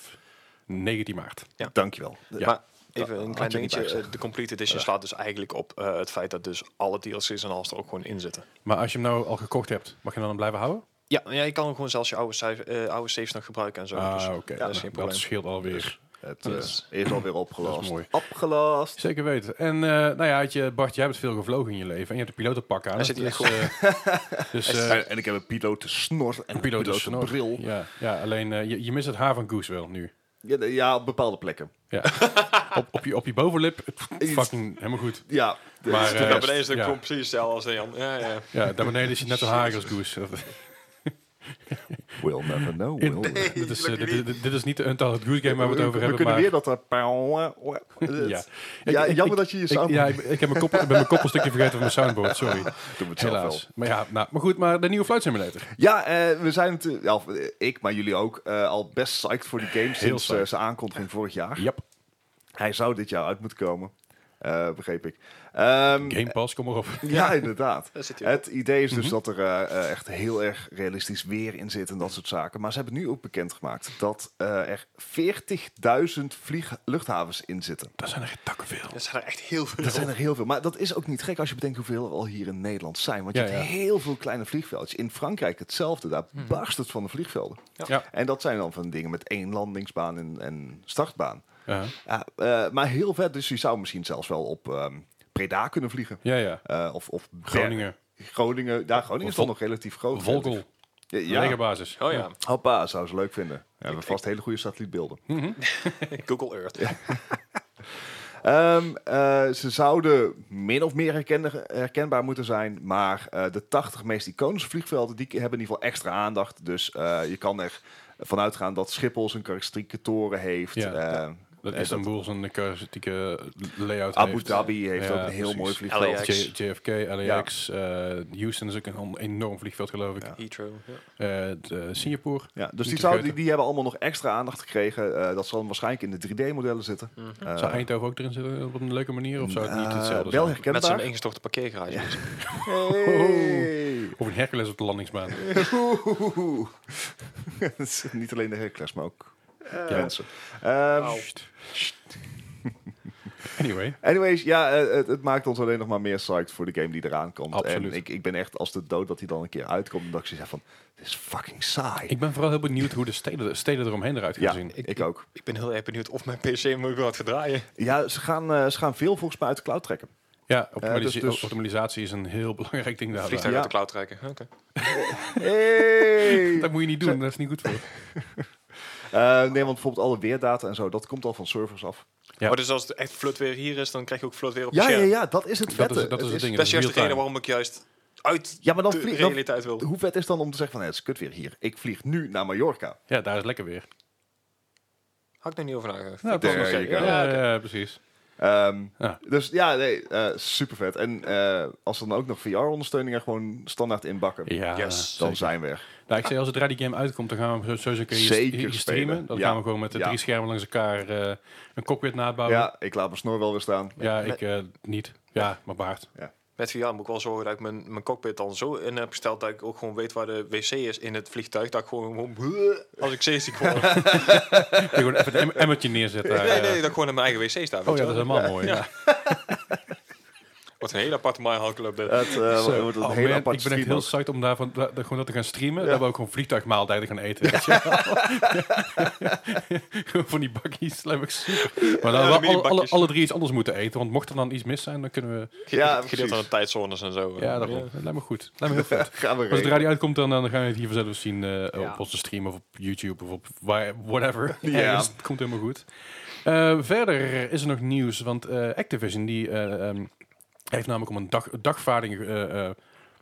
B: 19 maart.
C: dankjewel.
B: Ja.
A: Maar
C: Ja,
A: even een
C: had
A: klein
C: je niet
A: dingetje.
C: bijgezegd.
A: eh, De complete edition slaat dus eigenlijk op eh, het feit dat dus alle DLC's en alles er ook gewoon in zitten.
B: Maar als je hem nou al gekocht hebt, mag je hem dan blijven houden?
A: Ja, ja je kan hem gewoon zelfs je oude, cijf- eh, oude saves nog gebruiken en zo.
B: Ah,
A: dus
B: oké.
A: dat is geen
B: dat
A: probleem.
B: scheelt alweer.
C: Het eh, is alweer opgelost.
B: Dat is mooi.
C: Opgelost.
B: Zeker weten. En eh, nou ja, had je, Bart, jij hebt veel gevlogen in je leven. En je hebt een pilotenpak aan.
A: Hij zit
B: Dat
A: hier echt
B: is, eh, dus eh,
C: en, en ik heb een pilotensnor en een
B: pilotensnor.
C: pilotenbril.
B: Ja, ja alleen eh, je, je mist het haar van Goose wel nu.
C: Ja, de- ja, op bepaalde plekken.
B: Ja. op, op, je, op je bovenlip, pff, fucking helemaal goed.
C: Ja, Dus de-
B: Maar,
C: de
B: eh,
A: Ja,
C: rest.
A: beneden is het
B: Ja.
A: gewoon precies hetzelfde als Jan. Ja, ja.
B: Ja, daar beneden is je net een haar als Goose. Dat-
C: We'll never know.
B: in-
C: will we?
B: dit, is, eh, dit, dit- dit is niet de Untitled Goose Game waar we het over hebben.
C: kunnen
B: maar,
C: weer dat eh, er... Ja.
B: ja.
C: Ja,
B: Ik- ik-
C: jammer
B: ik-
C: dat je je
B: ik-
C: sound-
B: Ja, ik, ik heb mijn koppel, ik ben mijn koppelstukje vergeten van mijn soundboard, sorry.
C: Doen we het zelf wel.
B: Helaas. Maar, ja, nou, maar goed, maar de nieuwe Flight Simulator.
C: Ja, eh, we zijn natuurlijk, ja, of, eh, ik, maar jullie ook, eh, al best psyched voor die game sinds eh,
B: psyched.
C: zijn aankondiging vorig jaar.
B: Yep.
C: Hij zou dit jaar uit moeten komen, eh, begreep ik. Ehm,
B: Game Pass, kom maar op.
C: ja, inderdaad.
A: Daar zit hij op.
C: Het idee is dus
B: Mhm.
C: dat er eh, eh, echt heel erg realistisch weer in zit en dat soort zaken. Maar ze hebben nu ook bekendgemaakt dat eh, er 40.000 vlieg- luchthavens in zitten.
B: Dat zijn er echt takken veel.
A: Er zijn er echt heel veel.
C: Dat zijn er heel veel. Maar dat is ook niet gek als je bedenkt hoeveel er al hier in Nederland zijn. Want
B: Ja,
C: je hebt
B: ja. Mhm.
C: heel veel kleine vliegveldjes. In Frankrijk hetzelfde. Daar barst het van de vliegvelden.
B: Ja.
C: En dat zijn dan van dingen met één landingsbaan en, en startbaan.
B: Ja.
C: Ja, eh, maar heel vet. Dus je zou misschien zelfs wel op ehm Preda kunnen vliegen.
B: Ja, ja.
C: Eh, of, of Ber-
B: Groningen.
C: Groningen. Ja, Groningen is
B: Vol-
C: dan nog relatief groot.
B: Volkel.
C: Ja,
B: Ja.
C: ja.
B: basis.
A: Oh ja,
C: Hoppa, zou ze leuk vinden. We hebben vast hele goede satellietbeelden.
B: Mhm.
A: Google Earth.
C: Ehm, eh, ze zouden min of meer herken- herkenbaar moeten zijn, maar eh, de 80 meest iconische vliegvelden die hebben in ieder geval extra aandacht. Dus eh, je kan er vanuit gaan dat Schiphol zijn karakteristieke toren heeft.
B: Ja.
C: eh,
B: Dat
C: eh,
B: Istanbul zijn karakteristieke layout
C: Abu
B: heeft.
C: Dhabi heeft
B: Ja,
C: ook een heel
B: precies.
C: mooi vliegveld.
A: LAX.
B: J- JFK, LAX, eh, Houston is ook een on- enorm vliegveld geloof ik.
A: Heathrow. Ja.
B: Eh, d- eh, Singapore.
C: Ja, dus die,
B: Niet te
C: zouden, die,
B: vergeten.
C: die hebben allemaal nog extra aandacht gekregen. Eh, dat zal waarschijnlijk in de 3D-modellen zitten. Eh,
B: zou Eindhoven ook erin zitten op een leuke manier? Of zou het niet
C: eh,
B: hetzelfde
C: wel
B: zijn?
A: Met zo'n
C: herkenbaar.
A: ingestorte parkeergarage. dus.
C: Hey.
B: Of een Hercules op de landingsbaan.
C: Oeh. Het is Niet alleen de Hercules, maar ook
B: Eh.
C: mensen. Ehm,
B: Nou. anyway.
C: Anyways, ja, eh, het, het maakt ons alleen nog maar meer psyched voor de game die eraan komt.
B: Absoluut.
C: En ik, ik ben echt als de dood dat hij dan een keer uitkomt, dat ik zoiets heb van, dit is fucking saai.
B: Ik ben vooral heel benieuwd hoe de steden, steden eromheen eruit gaan
C: ja,
B: zien.
C: ik, ook.
A: Ik ben heel erg benieuwd of mijn PC me ook gaat verdraaien.
C: Ja, ze gaan, eh, ze gaan veel volgens mij uit de cloud trekken.
B: Ja, optimalisa-
C: dus- dus-
B: optimalisatie is een heel belangrijk ding daar.
A: Vliegtuig
C: Ja.
A: uit de cloud trekken. Oké.
C: Hey!
B: Dat moet je niet doen, dat is niet goed voor.
C: Eh, nee, want bijvoorbeeld alle weerdata en zo, dat komt al van servers af.
B: Ja.
A: Oh, dus als het echt flut weer hier is, dan krijg je ook flut weer op je
C: Ja, ja,
A: scherm.
C: ja, dat is het
B: Dat
C: vette.
B: is, dat is het ding.
A: Dat is juist de
B: real-time.
A: reden waarom ik juist uit
C: Ja, maar dan
A: de
C: vlieg- dan-
A: realiteit wil.
C: Hoe vet is het dan om te zeggen van, hé, het is kut weer hier. Ik vlieg nu naar Mallorca.
B: Ja, daar is het lekker weer.
A: Had ik nog niet over nagedacht.
B: Nou,
C: There
B: klopt.
C: you
B: Ja,
C: go.
B: ja, ja, precies.
C: Ehm,
B: Ja.
C: Dus ja, nee, super vet. En eh, als er dan ook nog VR-ondersteuning er gewoon standaard inbakken,
B: Ja,
A: Yes.
C: dan
B: zeker.
C: zijn we er.
B: Nou, ik zei, als zodra die game uitkomt, dan gaan we zo- sowieso kun je
C: Zeker
B: hier
C: spelen.
B: streamen. Dan
C: Ja.
B: gaan we gewoon met de
C: Ja.
B: drie schermen langs elkaar eh, een cockpit nabouwen. Ja,
C: Ja, ik laat mijn snor wel weer staan.
B: ik eh, niet. Ja, maar baard.
A: Met VR moet ik wel zorgen dat ik mijn, mijn cockpit dan zo in heb gesteld dat ik ook gewoon weet waar de wc is in het vliegtuig. Dat ik gewoon, gewoon- als ik zeesziek word.
B: Ik wil gewoon even een em- emmertje neerzetten. daar,
A: nee,
B: eh.
A: nee, dat ik gewoon in mijn eigen wc sta. weet
B: Oh
A: je
B: ja,
A: wel.
B: dat is helemaal mooi.
A: Ja. Wat een hele aparte My Hall Club. dit.
C: Het eh,
B: Zo.
C: wordt een
B: Oh,
C: hele
B: man,
C: aparte
B: ik ben echt
C: stream
B: heel
C: ook.
B: psyched om daarvan da- da- gewoon dat te gaan streamen. Dat we ook gewoon vliegtuigmaaltijden gaan eten. weet je wel. Van die bakjes lijkt me super. Maar dan
A: Ja,
B: wel
A: familie
B: alle, alle,
A: bakjes.
B: alle drie iets anders moeten eten. Want mocht er dan iets mis zijn, dan kunnen we...
C: Ja,
A: Gedeeld aan de
C: precies.
A: tijdzones en zo.
B: Ja, daarom. Dat lijkt me goed. Dat lijkt me heel vet.
C: Gaan we
B: Maar zodra
C: regelen.
B: die uitkomt, dan, dan gaan we het hier vanzelf zien eh,
C: Ja.
B: op onze stream of op YouTube of op waar- whatever.
C: Ja.
B: Ja. Het komt helemaal goed. Eh, verder is er nog nieuws, want eh, Activision die, eh, ehm, heeft namelijk om een dag, dagvaarding... eh, eh,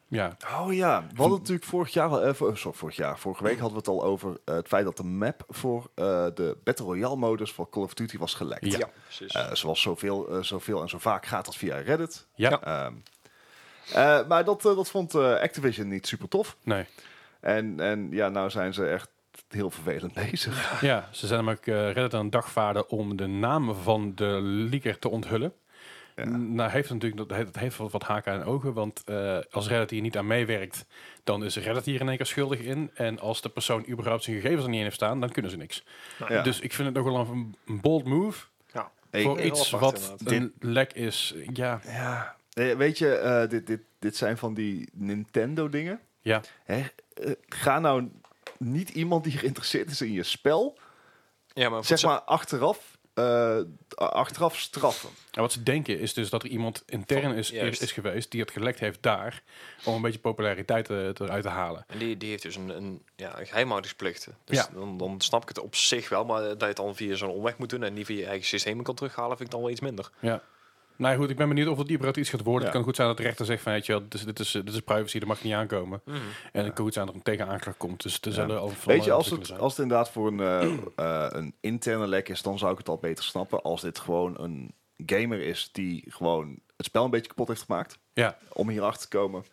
B: ja,
C: Oh ja, we hadden het natuurlijk vorig jaar, al- eh, voor- sorry, vorig jaar, vorige week hadden we het al over eh, het feit dat de map voor eh, de Battle Royale modus van Call of Duty was gelekt.
B: Ja.
A: Ja, precies.
C: Eh, zoals zoveel, eh, zoveel en zo vaak gaat dat via Reddit.
B: ja,
C: Ehm, eh, maar dat, eh, dat vond eh, Activision niet super tof.
B: nee.
C: En, en ja, nou zijn ze echt heel vervelend bezig.
B: Ja, ze zijn namelijk eh Reddit aan het dagvaarden om de naam van de leaker te onthullen.
C: Ja.
B: Nou, heeft het natuurlijk, dat heeft, dat heeft wel wat haken en ogen, want eh, als Reddit hier niet aan meewerkt, dan is Reddit hier in één keer schuldig in. En als de persoon überhaupt zijn gegevens er niet in heeft staan, dan kunnen ze niks.
C: Ja.
B: Dus ik vind het nog wel een, een bold move
A: Ja.
C: Hey,
B: voor
A: heel
B: iets
A: apart,
B: wat
A: inderdaad.
B: een lek is. Ja,
C: ja. Eh, Weet je, eh, dit, dit, dit zijn van die Nintendo dingen.
B: ja.
C: Hè? Eh, ga nou niet iemand die geïnteresseerd is in je spel,
A: ja, maar
C: zeg maar achteraf, eh, achteraf straffen.
B: En wat ze denken is dus dat er iemand intern is, is,
A: Juist.
B: is geweest die het gelekt heeft daar, om een beetje populariteit eh, eruit te halen.
A: En die, die heeft dus een, een, ja, een geheimhoudingsplicht. Dus
B: Ja.
A: dan, dan snap ik het op zich wel, maar dat je het dan via zo'n omweg moet doen en niet via je eigen systemen kan terughalen, vind ik dan wel iets minder.
B: Ja. Nou ja, goed, ik ben benieuwd of het überhaupt iets gaat worden.
C: Ja.
B: Het kan goed zijn dat de rechter zegt van, weet je wel, dit is, dit is, dit is privacy, daar mag je niet aankomen. En het kan goed zijn dat er een tegenaanklacht komt. Dus er zullen al van
C: Mm. Weet je, als het,
B: ontwikkelen
C: als het inderdaad voor een, eh, eh, een interne lek is, dan zou ik het al beter snappen. Als dit gewoon een gamer is die gewoon het spel een beetje kapot heeft gemaakt,
B: zijn. Ja,
C: om hierachter te komen.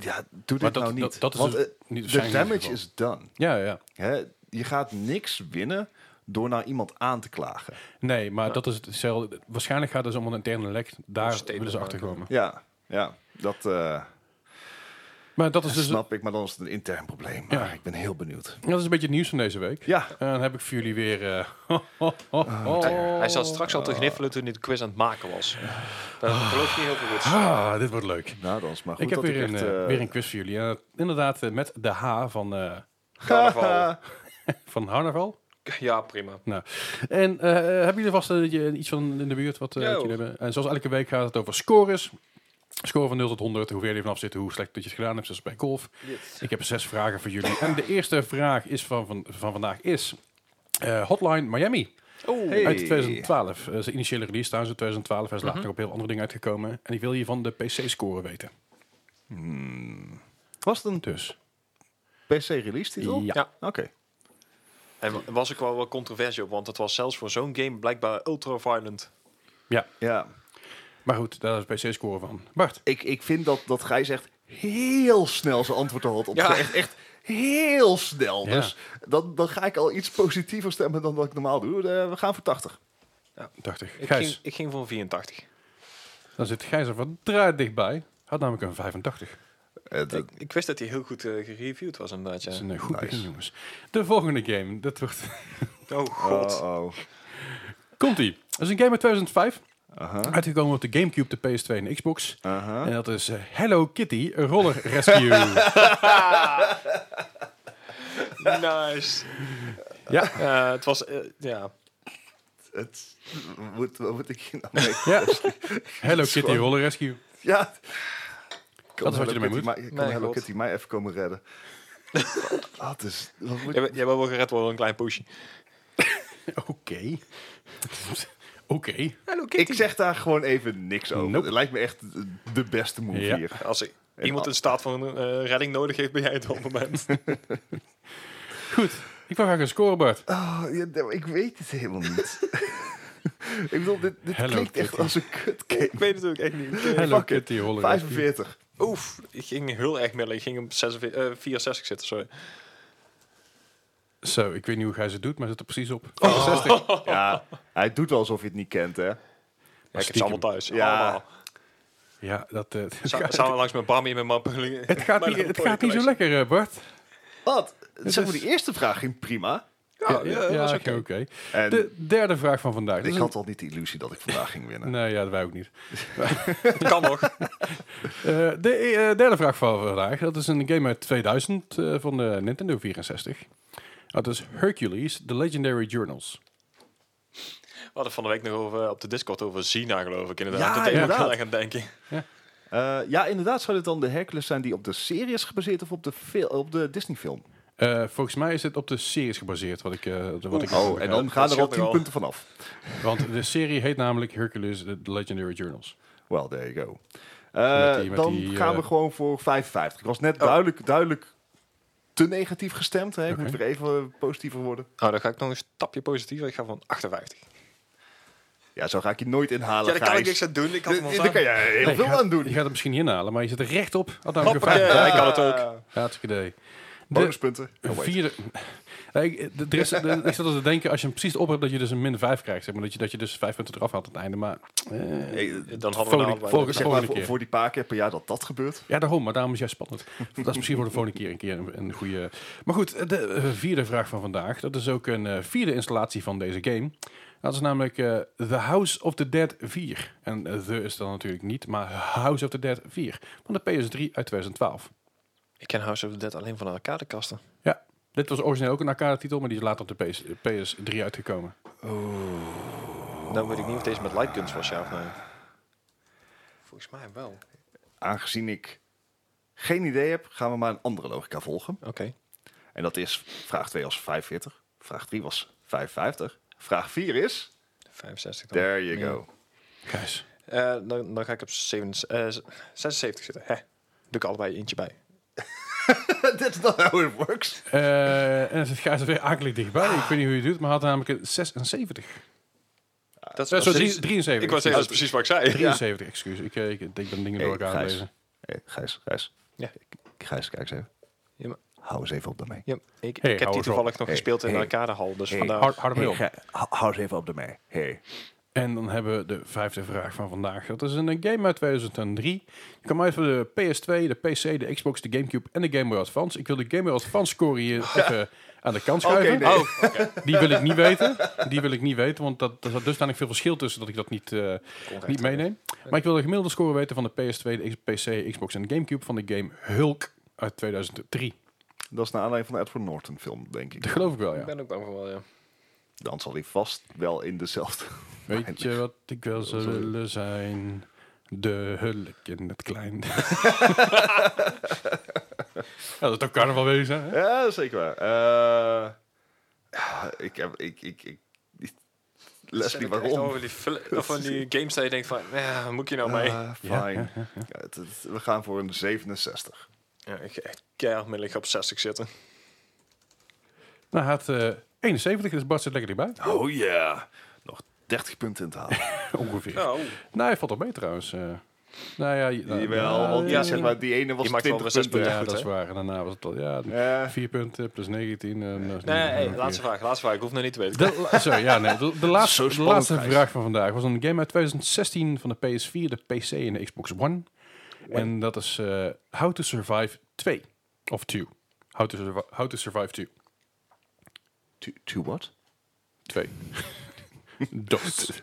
C: Ja, doe dit
B: Maar dat-
C: nou niet.
B: dat- dat is
C: Want
B: dus
C: eh,
B: niet
C: de
B: waarschijnlijk in
C: damage
B: ieder
C: is done.
B: ja, ja.
C: Hè? Je gaat niks winnen door naar iemand aan te klagen.
B: Nee, maar dat is hetzelfde. Waarschijnlijk gaat het dus om een interne lek. Daar
A: statement
B: willen ze
A: maken.
B: achterkomen.
C: Ja, ja dat eh,
B: Maar dat is dus
C: snap ik, maar dan is het een intern probleem. Maar
B: Ja.
C: ik ben heel benieuwd.
B: dat is een beetje het nieuws van deze week.
C: Ja, Ah,
B: En dan heb ik voor jullie weer... eh, ho, ho, ho, ho.
A: Hij zat straks al te
B: Oh.
A: gniffelen toen hij de quiz aan het maken was. Dat geloof ik niet heel veel goed.
B: Ah, dit wordt leuk.
C: nou dan is het maar goed
B: ik heb
C: dat
B: weer,
C: ik
B: een,
C: echt...
B: eh,
C: eh,
B: weer een quiz voor jullie. En, eh, inderdaad, eh, met de H van, eh
A: Carnaval.
B: van Harnaval.
A: Ja, prima.
B: Nou, en eh, eh, hebben jullie vast eh, je- iets van in de buurt wat, eh,
A: Ja,
B: wat jullie
A: hoor.
B: hebben? En zoals elke week gaat het over scores. Score van 0 tot 100, hoe ver je vanaf zit, hoe slecht dat je het gedaan hebt, zoals bij golf. Ik heb zes vragen voor jullie. En de eerste vraag is van, van, van vandaag is eh, Hotline Miami
A: Oeh.
C: Hey.
B: uit 2012. Eh, zijn initiële release trouwens uit 2012. Hij is later nog op heel andere dingen uitgekomen. En ik wil hier van de PC-score weten.
C: Was het een
B: Dus,
C: PC-release titel?
B: ja.
A: Ja.
C: Oké.
A: En wa- was ik wel wel controversie op, want het was zelfs voor zo'n game blijkbaar ultra violent.
C: Ja,
B: Maar goed, daar is PC-score van. Bart,
C: ik, ik vind dat, dat Gijs echt heel snel zijn antwoord al had op.
A: Ja.
C: Echt, echt heel snel.
B: Ja.
C: Dus dan, dan ga ik al iets positiever stemmen dan dat ik normaal doe. Eh, we gaan voor 80.
B: 80.
A: Ik
B: Gijs,
A: ging, ik ging voor een 84.
B: dan zit Gijs er wat draait dichtbij. Had namelijk een 85.
C: Eh, dat-
A: Ik, ik wist dat hij heel goed eh, gereviewd was inderdaad, ja.
B: Dat is een eh, goed
C: Nice.
B: begin, jongens. De volgende game, dat wordt...
A: Oh god.
C: Oh, oh.
B: Komt-ie. Dat is een game uit 2005,
C: Aha,
B: uitgekomen op de Gamecube, de PS2 en de Xbox.
C: aha.
B: En dat is eh, Hello Kitty Roller Rescue.
A: Nice.
B: ja,
A: Eh, het was, eh, ja.
C: Het, wat, wat moet ik hier nou mee?
B: ja. Hello Kitty
C: gewoon-
B: Roller Rescue.
C: Ja.
B: Dat is wat je ermee moet.
C: Maar, kan
A: Nee,
C: Hello
A: God.
C: Kitty mij even komen redden? dat is... Wat moet
A: Jij,
C: ik-
A: wil- jij wil wel gered worden door een klein poesje.
B: Oké. Oké.
A: Hallo
C: ik zeg daar gewoon even niks over.
B: Nope.
C: Het lijkt me echt de beste move
B: Ja.
C: hier.
A: Als ik,
C: En
A: iemand
C: al-
A: in staat van eh, redding nodig heeft, ben jij het op het moment.
B: Goed, ik wil graag een scorebord.
C: Ah, ja, nou, ik weet het helemaal niet. ik bedoel, dit, dit
B: Hello
C: klinkt echt
B: Kitty. Oh,
C: als een kutgame.
A: ik weet het ook echt niet. Eh,
B: Hello
C: fuck it.
B: Kitty, Holler.
C: 45.
A: Oef, ik ging heel erg middelen. Ik ging op 46, eh, 64 zitten, sorry.
B: Zo, ik weet niet hoe gij ze doet, maar ze zit er precies op.
C: Oh.
B: 64.
C: Ja, hij doet wel alsof je het niet kent, hè?
A: Ja, ik heb ze
B: stiekem.
A: allemaal thuis.
C: Ja.
A: Allemaal.
B: Ja, dat... eh, het
A: Sa-
B: gaat-
A: Samen langs met Bami en met Mappelingen.
B: het gaat, niet, het gaat niet zo lekker, eh, Bart.
C: Oh, Wat?
B: is-
C: Zeg maar, die eerste vraag ging prima.
A: Ja, ja, dat was
B: ja,
A: oké.
B: oké.
C: En
B: De derde vraag van vandaag. Dat
C: ik
B: is
C: had al niet de illusie dat ik vandaag ging
B: een-
C: winnen.
B: Nee, ja, wij ook niet.
A: Kan nog.
B: Eh, de eh, derde vraag van vandaag. Dat is een game uit 2000 eh, van de Nintendo 64. Dat is Hercules, The Legendary Journals.
A: We hadden van de week nog over, eh, op de Discord over Zina, geloof ik. Inderdaad.
C: Ja,
A: dat deed me ook
C: inderdaad.
A: heel erg aan denken.
C: Eh, ja, inderdaad, zou dit dan de Hercules zijn die op de serie is gebaseerd of op de, fil- op de Disney-film?
B: Eh, volgens mij is dit op de series gebaseerd. Wat ik, eh, wat ik
C: Oh, en dan gaan er al
A: scheelt
C: 10
A: nogal.
C: punten vanaf.
B: Want de serie heet namelijk Hercules, The Legendary Journals.
C: Well, there you go. Eh,
B: Met die- met
C: dan
B: die,
C: gaan we
B: eh, Oh.
C: gewoon voor 55. Ik was net duidelijk, duidelijk te negatief gestemd. Hè? Ik
B: Oké.
C: moet weer even eh, positiever worden.
A: Nou, dan ga ik nog een stapje positiever. Ik ga van 58.
C: Ja, zo ga ik je nooit inhalen.
A: Ja, daar kan ik
C: Gijs.
A: niks aan doen. Ik had
C: Dit-
A: hem al
C: dit- Daar kan jij heel
B: Nee,
C: veel
B: je gaat-
C: aan doen.
B: Je gaat het misschien niet inhalen, maar je zit er recht op. Had namelijk een
A: Hoppakee.
B: vraag.
A: Ja, ik kan het ook.
C: Ah,
B: Hartstikke idee. De
C: Bonuspunten. Oh, wait.
B: vierde... Nee, ik- de- er is- de- ik zat al te denken, als je hem precies op hebt, dat je dus een min 5 krijgt. Zeg maar, dat, je, dat je dus 5 punten eraf had aan het einde. Maar eh,
A: staan. Dan hadden we
B: volgende, volgende,
A: nou allebei-
C: Zeg maar,
B: volgende
C: voor,
B: keer.
C: voor die paar keer per jaar dat dat gebeurt.
B: Ja, daarom, maar daarom is juist spannend. Dat is misschien voor de volgende keer een keer een, een goede. Maar goed, de eh, vierde vraag van vandaag. Dat is ook een eh, vierde installatie van deze game. Dat is namelijk eh, The House of the Dead 4. En eh, The is dan natuurlijk niet, maar House of the Dead 4 van de PS3 uit 2012.
A: Ik ken House of the Dead alleen van de arcadekasten.
B: Ja, dit was origineel ook een arcade-titel, maar die is later op de PS, PS3 uitgekomen.
A: Dan weet ik niet of deze met lightguns was, ja of nee. Volgens mij wel. Oké.
C: Aangezien ik geen idee heb, gaan we maar een andere logica volgen. En dat is vraag 2 was 45. Vraag 3 was 55. Vraag 4
B: Oh,
C: is...
A: 65 dan.
C: There you go.
B: Gijs.
A: Eh, dan, dan ga ik op 77, eh, 76 zitten. Hè. Doe ik allebei eentje bij.
C: That's not how it works.
B: Eh, en het Gijs er weer akelig dichtbij. Ik weet niet hoe je het doet, maar had namelijk een 76.
A: Dat is
B: Eh, zo,
A: precies-
B: 73.
A: Ik was zeggen, dat is precies wat ik zei.
B: 73, excuus. Ik, eh, ik, ik ben dingen door elkaar aan het lezen.
C: Hey, Gijs, Gijs.
A: Ja.
C: Gijs, kijk eens even.
A: Ja, maar-
C: Hou eens even op daarmee.
A: Ja, ik,
B: Hey,
A: ik
B: hou
A: heb die
B: eens op.
A: toevallig nog
C: Hey,
A: gespeeld in
C: hey,
A: de arcadehal, dus
C: hey,
A: vandaar.
B: Hard, hard
C: Hey,
B: op.
C: Gij- hou- hou eens even op daarmee. Hey.
B: En dan hebben we de vijfde vraag van vandaag. Dat is een eh, game uit 2003. Die kwam uit voor de PS2, de PC, de Xbox, de Gamecube en de Game Boy Advance. Ik wil de Game Boy Advance score hier even aan de kant schuiven. Oh,
C: Oké, nee.
B: Die wil ik niet weten. Die wil ik niet weten, want dat, er zat dusdanig veel verschil tussen dat ik dat niet, eh, niet meeneem. Maar ik wil de gemiddelde score weten van de PS2, de X- PC, Xbox en de Gamecube van de game Hulk uit 2003.
C: Dat is naar aanleiding van de Edward Norton film, denk
B: Dat
C: ik.
B: geloof ik wel,
A: Ik
B: ja.
A: ben ook bang voor wel, ja.
C: Dan zal hij vast wel in dezelfde...
B: Weet je wat ik wel zou willen zijn? De hulk in het klein. ja, dat is toch carnaval wezen, hè?
C: Ja, zeker waar. Eh, ja, ik heb... Ik, ik, ik, ik- Leslie,
A: Zet ik echt
C: waarom?
A: Over die, fil- of van die games dat je denkt van, ja, moet je nou mee?
C: Ah, fine. Ja, het- het- we gaan voor een 67.
A: Ja, ik ga echt keihard middelig op 60 zitten.
B: Nou, hij had eh, 71, dus Bart zit lekker bij.
C: Oh ja. Nog 30 punten in te halen.
B: Ongeveer.
A: Nou,
B: Nou, hij valt al mee trouwens. eh. nou ja, je- nou,
C: Jawel,
B: nou,
C: want
A: ja,
C: ja, zeg maar, die ene was
A: je maakt wel
C: 20
A: weer zes
C: punten.
B: ja,
A: goed,
B: dat is
A: hè?
B: waar. En daarna was het al, ja,
C: Ja.
B: 4 punten plus 19. en, eh, nou,
A: nee, hey,
B: ongeveer.
A: laatste vraag, laatste vraag. Ik hoef nog niet te weten.
B: De, la- sorry, ja, nee, de, de laatste,
C: Zo
B: de
C: spannend,
B: laatste
C: Gijs.
B: vraag van vandaag was een game uit 2016 van de PS4, de PC en de Xbox One. En dat is eh, How to Survive 2. Of 2. How to, survi- how to Survive 2.
C: To, to what?
B: 2. Dood.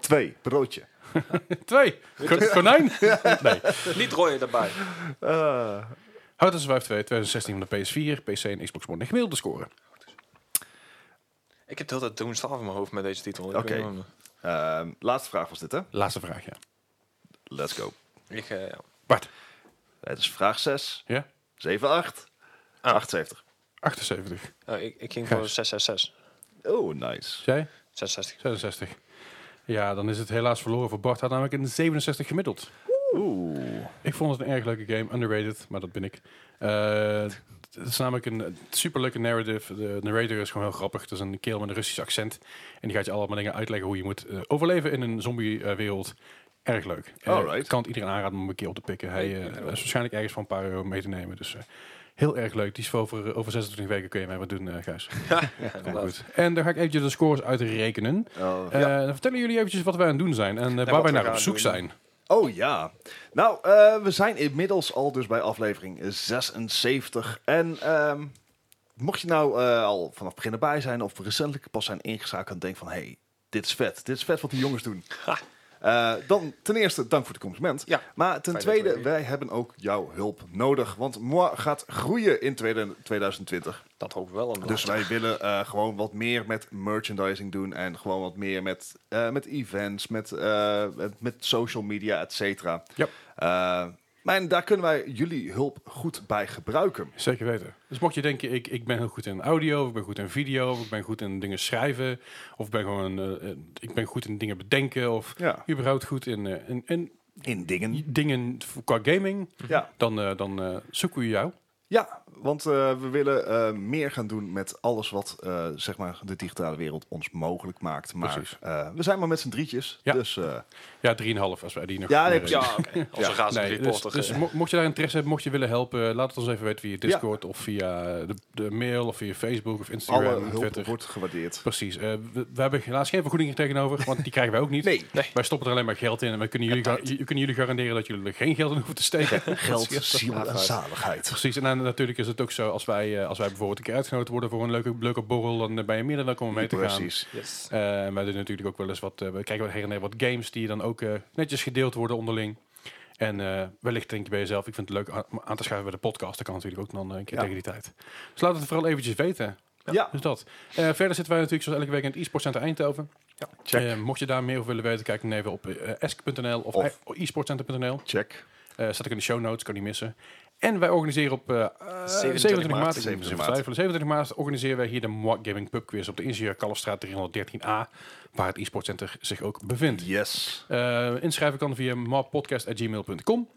C: Twee, broodje.
B: 2. konijn? Nee.
A: Niet rooien daarbij.
C: Eh,
B: How to Survive 2, 2016 van de PS4, PC en Xbox One. De gemiddelde score.
A: Ik heb de hele tijd Doomstar in mijn hoofd met deze titel. Ik
C: Oké.
A: weet niet waarom.
C: ehm, laatste vraag was dit, hè?
B: Laatste vraag, ja.
C: Let's go.
A: Ik, eh, ja.
B: Bart.
C: Het is vraag 6,
B: Ja?
C: 7, 8,
A: Ah.
C: 78.
B: 78.
A: Nou, ik, ik ging voor 666.
C: Oh, nice.
B: Jij?
A: 66.
B: 66. Ja, dan is het helaas verloren voor Bart. Had namelijk een 67 gemiddeld.
C: Oeh.
B: Ik vond het een erg leuke game, underrated, maar dat ben ik. Eh, het is namelijk een super leuke narrative. De narrator is gewoon heel grappig. Het is een kerel met een Russisch accent. En die gaat je allemaal dingen uitleggen hoe je moet eh, overleven in een zombie-wereld. Erg leuk. Eh,
C: Alright.
B: Ik kan het iedereen aanraden om hem een keer op te pikken. Hij eh, is waarschijnlijk ergens van een paar euro mee te nemen. Dus eh, heel erg leuk. Die is voor over, over 26 weken. Kun je mij wat doen, eh Gijs? Komt
A: inderdaad.
B: goed. En daar ga ik eventjes de scores uitrekenen.
C: Oh.
B: Eh, Dan vertellen jullie eventjes wat wij aan het doen zijn. En eh, waar
A: wat
B: wij
A: we
B: naar op
A: gaan
B: zoek
A: doen.
B: zijn.
C: Oh ja. Nou, eh, we zijn inmiddels al dus bij aflevering 76. En ehm, mocht je nou eh, al vanaf het begin erbij zijn of recentelijk pas zijn ingeschakeld en denken van... hé, hey, dit is vet. Dit is vet wat die jongens doen. Eh, dan ten eerste, dank voor het compliment.
A: Ja.
C: Maar ten
A: Fijn dat
C: tweede,
A: we-
C: wij hebben ook jouw hulp nodig. Want Moi gaat groeien in 2020.
A: Dat hoop ik wel. inderdaad.
C: Dus wij willen eh, gewoon wat meer met merchandising doen. En gewoon wat meer met, eh, met events, met, eh, met, met social media, et cetera.
B: Ja.
C: Eh, maar en daar kunnen wij jullie hulp goed bij gebruiken.
B: Zeker weten. Dus mocht je denken, ik, ik ben heel goed in audio, of ik ben goed in video, of ik ben goed in dingen schrijven, of ik ben gewoon, eh, eh, ik ben goed in dingen bedenken, of
C: Ja.
B: überhaupt goed in, eh, in, in
C: In dingen.
B: dingen qua gaming,
C: Ja,
B: dan, eh, dan eh, zoeken we jou.
C: ja want eh, we willen eh, meer gaan doen met alles wat eh, zeg maar de digitale wereld ons mogelijk maakt. Maar
B: Precies.
C: eh, we zijn maar met z'n drietjes.
B: Ja.
C: Dus eh,
B: Ja, 3,5 als wij die nog
C: Ja, nee,
B: eh,
A: Ja, oké. als een razende
B: Nee, dus,
A: reporter.
B: dus
A: eh,
B: mo- mocht je daar interesse hebben, mocht je willen helpen, eh, laat het ons even weten via Discord of via de, de mail of via Facebook of Instagram.
C: alle hulp
B: Twitter.
C: wordt gewaardeerd.
B: Precies. eh, we, we hebben helaas geen vergoedingen tegenover, want die krijgen wij ook niet.
C: Nee.
B: Wij stoppen er alleen maar geld in en we kunnen jullie, gar- ju- kunnen jullie garanderen dat jullie er geen geld in hoeven te steken.
C: Geld, ziel en zaligheid.
B: Precies, en dan, natuurlijk is het ook zo, als wij, eh, als wij bijvoorbeeld een keer uitgenodigd worden voor een leuke, leuke borrel, dan eh, ben je meer dan welkom om mee te gaan.
C: Precies.
A: yes.
B: Eh, en wij doen natuurlijk ook wel eens wat, eh, we kijken wat her en der wat games die dan ook eh, netjes gedeeld worden onderling. En eh, wellicht denk je bij jezelf, ik vind het leuk a- om aan te schuiven bij de podcast, dat kan natuurlijk ook dan eh, een keer
C: Ja.
B: tegen die tijd. Dus laat het vooral eventjes weten.
C: Ja.
B: Dus dat. Eh, verder zitten wij natuurlijk zoals elke week in het e-sport center Eindhoven.
C: Check.
B: Eh, mocht je daar meer over willen weten, kijk dan even op eh, esk.nl of,
C: Of-
B: e- esportcenter.nl.
C: Check.
B: Eh staat ook in de show notes, kan niet missen. En wij organiseren op eh, eh, 27,
A: 27
B: maart,
A: maart.
B: 27
C: maart.
B: maart. 27 maart organiseren wij hier de Moa Gaming Pub Quiz op de Ingenieur Kalfstraat 313a, waar het e-sportcenter zich ook bevindt.
C: Yes.
B: Eh, inschrijven kan via moapodcast.gmail.com.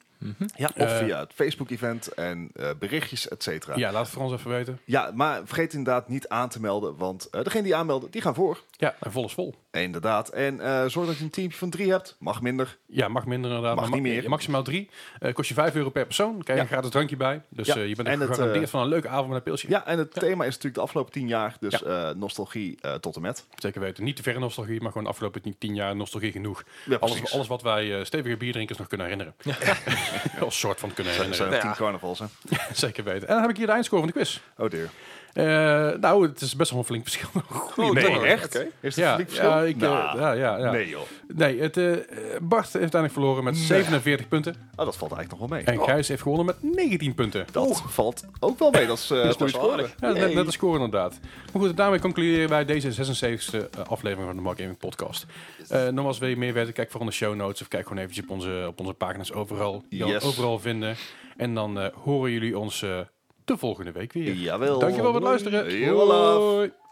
C: Ja, of via het Facebook-event en eh, berichtjes, et cetera. Ja.
B: Eh. Ja, laat het voor ons even weten.
C: maar vergeet inderdaad niet aan te melden, want eh, degene die aanmelden, die gaan voor.
B: Ja, en vol is vol.
C: Inderdaad. En eh, zorg dat je een teampje van drie hebt. Mag minder.
B: Ja, mag minder inderdaad.
C: Mag
B: maar
C: niet meer.
B: Maximaal drie. Eh, kost je 5 euro per persoon. Krijg je een gratis drankje bij. Dus
C: Ja,
B: eh, je bent
C: en het,
B: gegarandeerd
C: eh,
B: van een leuke avond met een pilsje.
C: Ja, en het thema is natuurlijk de afgelopen tien jaar, dus eh, nostalgie eh, tot en met.
B: Zeker weten. Niet te verre nostalgie, maar gewoon de afgelopen tien- tien jaar nostalgie genoeg.
C: Ja,
B: alles,
C: precies.
B: alles wat wij eh, stevige bierdrinkers nog kunnen herinneren. Als soort van kunnen
C: Er zijn
B: herinneren.
C: er
A: Ja.
C: Dus, eh, tien carnavals, hè?
B: Zeker weten. En dan heb ik hier de eindscore van de quiz.
C: Oh dear.
B: Eh, nou, het is best wel een flink verschil. Goeie
A: nee,
B: lord.
A: echt?
C: Oh,
A: Oké.
C: Is het
B: Ja,
C: flink verschil?
B: ja, ik, eh,
C: Nou,
B: ja, ja, ja.
C: Nee joh.
B: Nee, het, eh, Bart heeft uiteindelijk verloren met 47 punten.
C: Oh, dat valt eigenlijk nog wel mee.
B: En Gijs heeft gewonnen met 19 punten.
C: Dat valt ook wel mee, dat is eh,
A: Dat is
C: goede
A: best wel
C: score.
A: aardig.
B: Ja, net,
A: Hey.
B: net een score inderdaad. Maar goed, daarmee concluderen wij deze 76e aflevering van de Mark Gaming Podcast. Eh nogmaals, wil je meer weten, kijk vooral in de show notes of kijk gewoon eventjes op onze, op onze pagina's overal. Je kan het
C: Yes.
B: overal vinden. En dan eh, horen jullie ons eh, de volgende week weer.
C: Jawel.
B: Dankjewel voor het luisteren.
C: Heel af.
B: Hoi.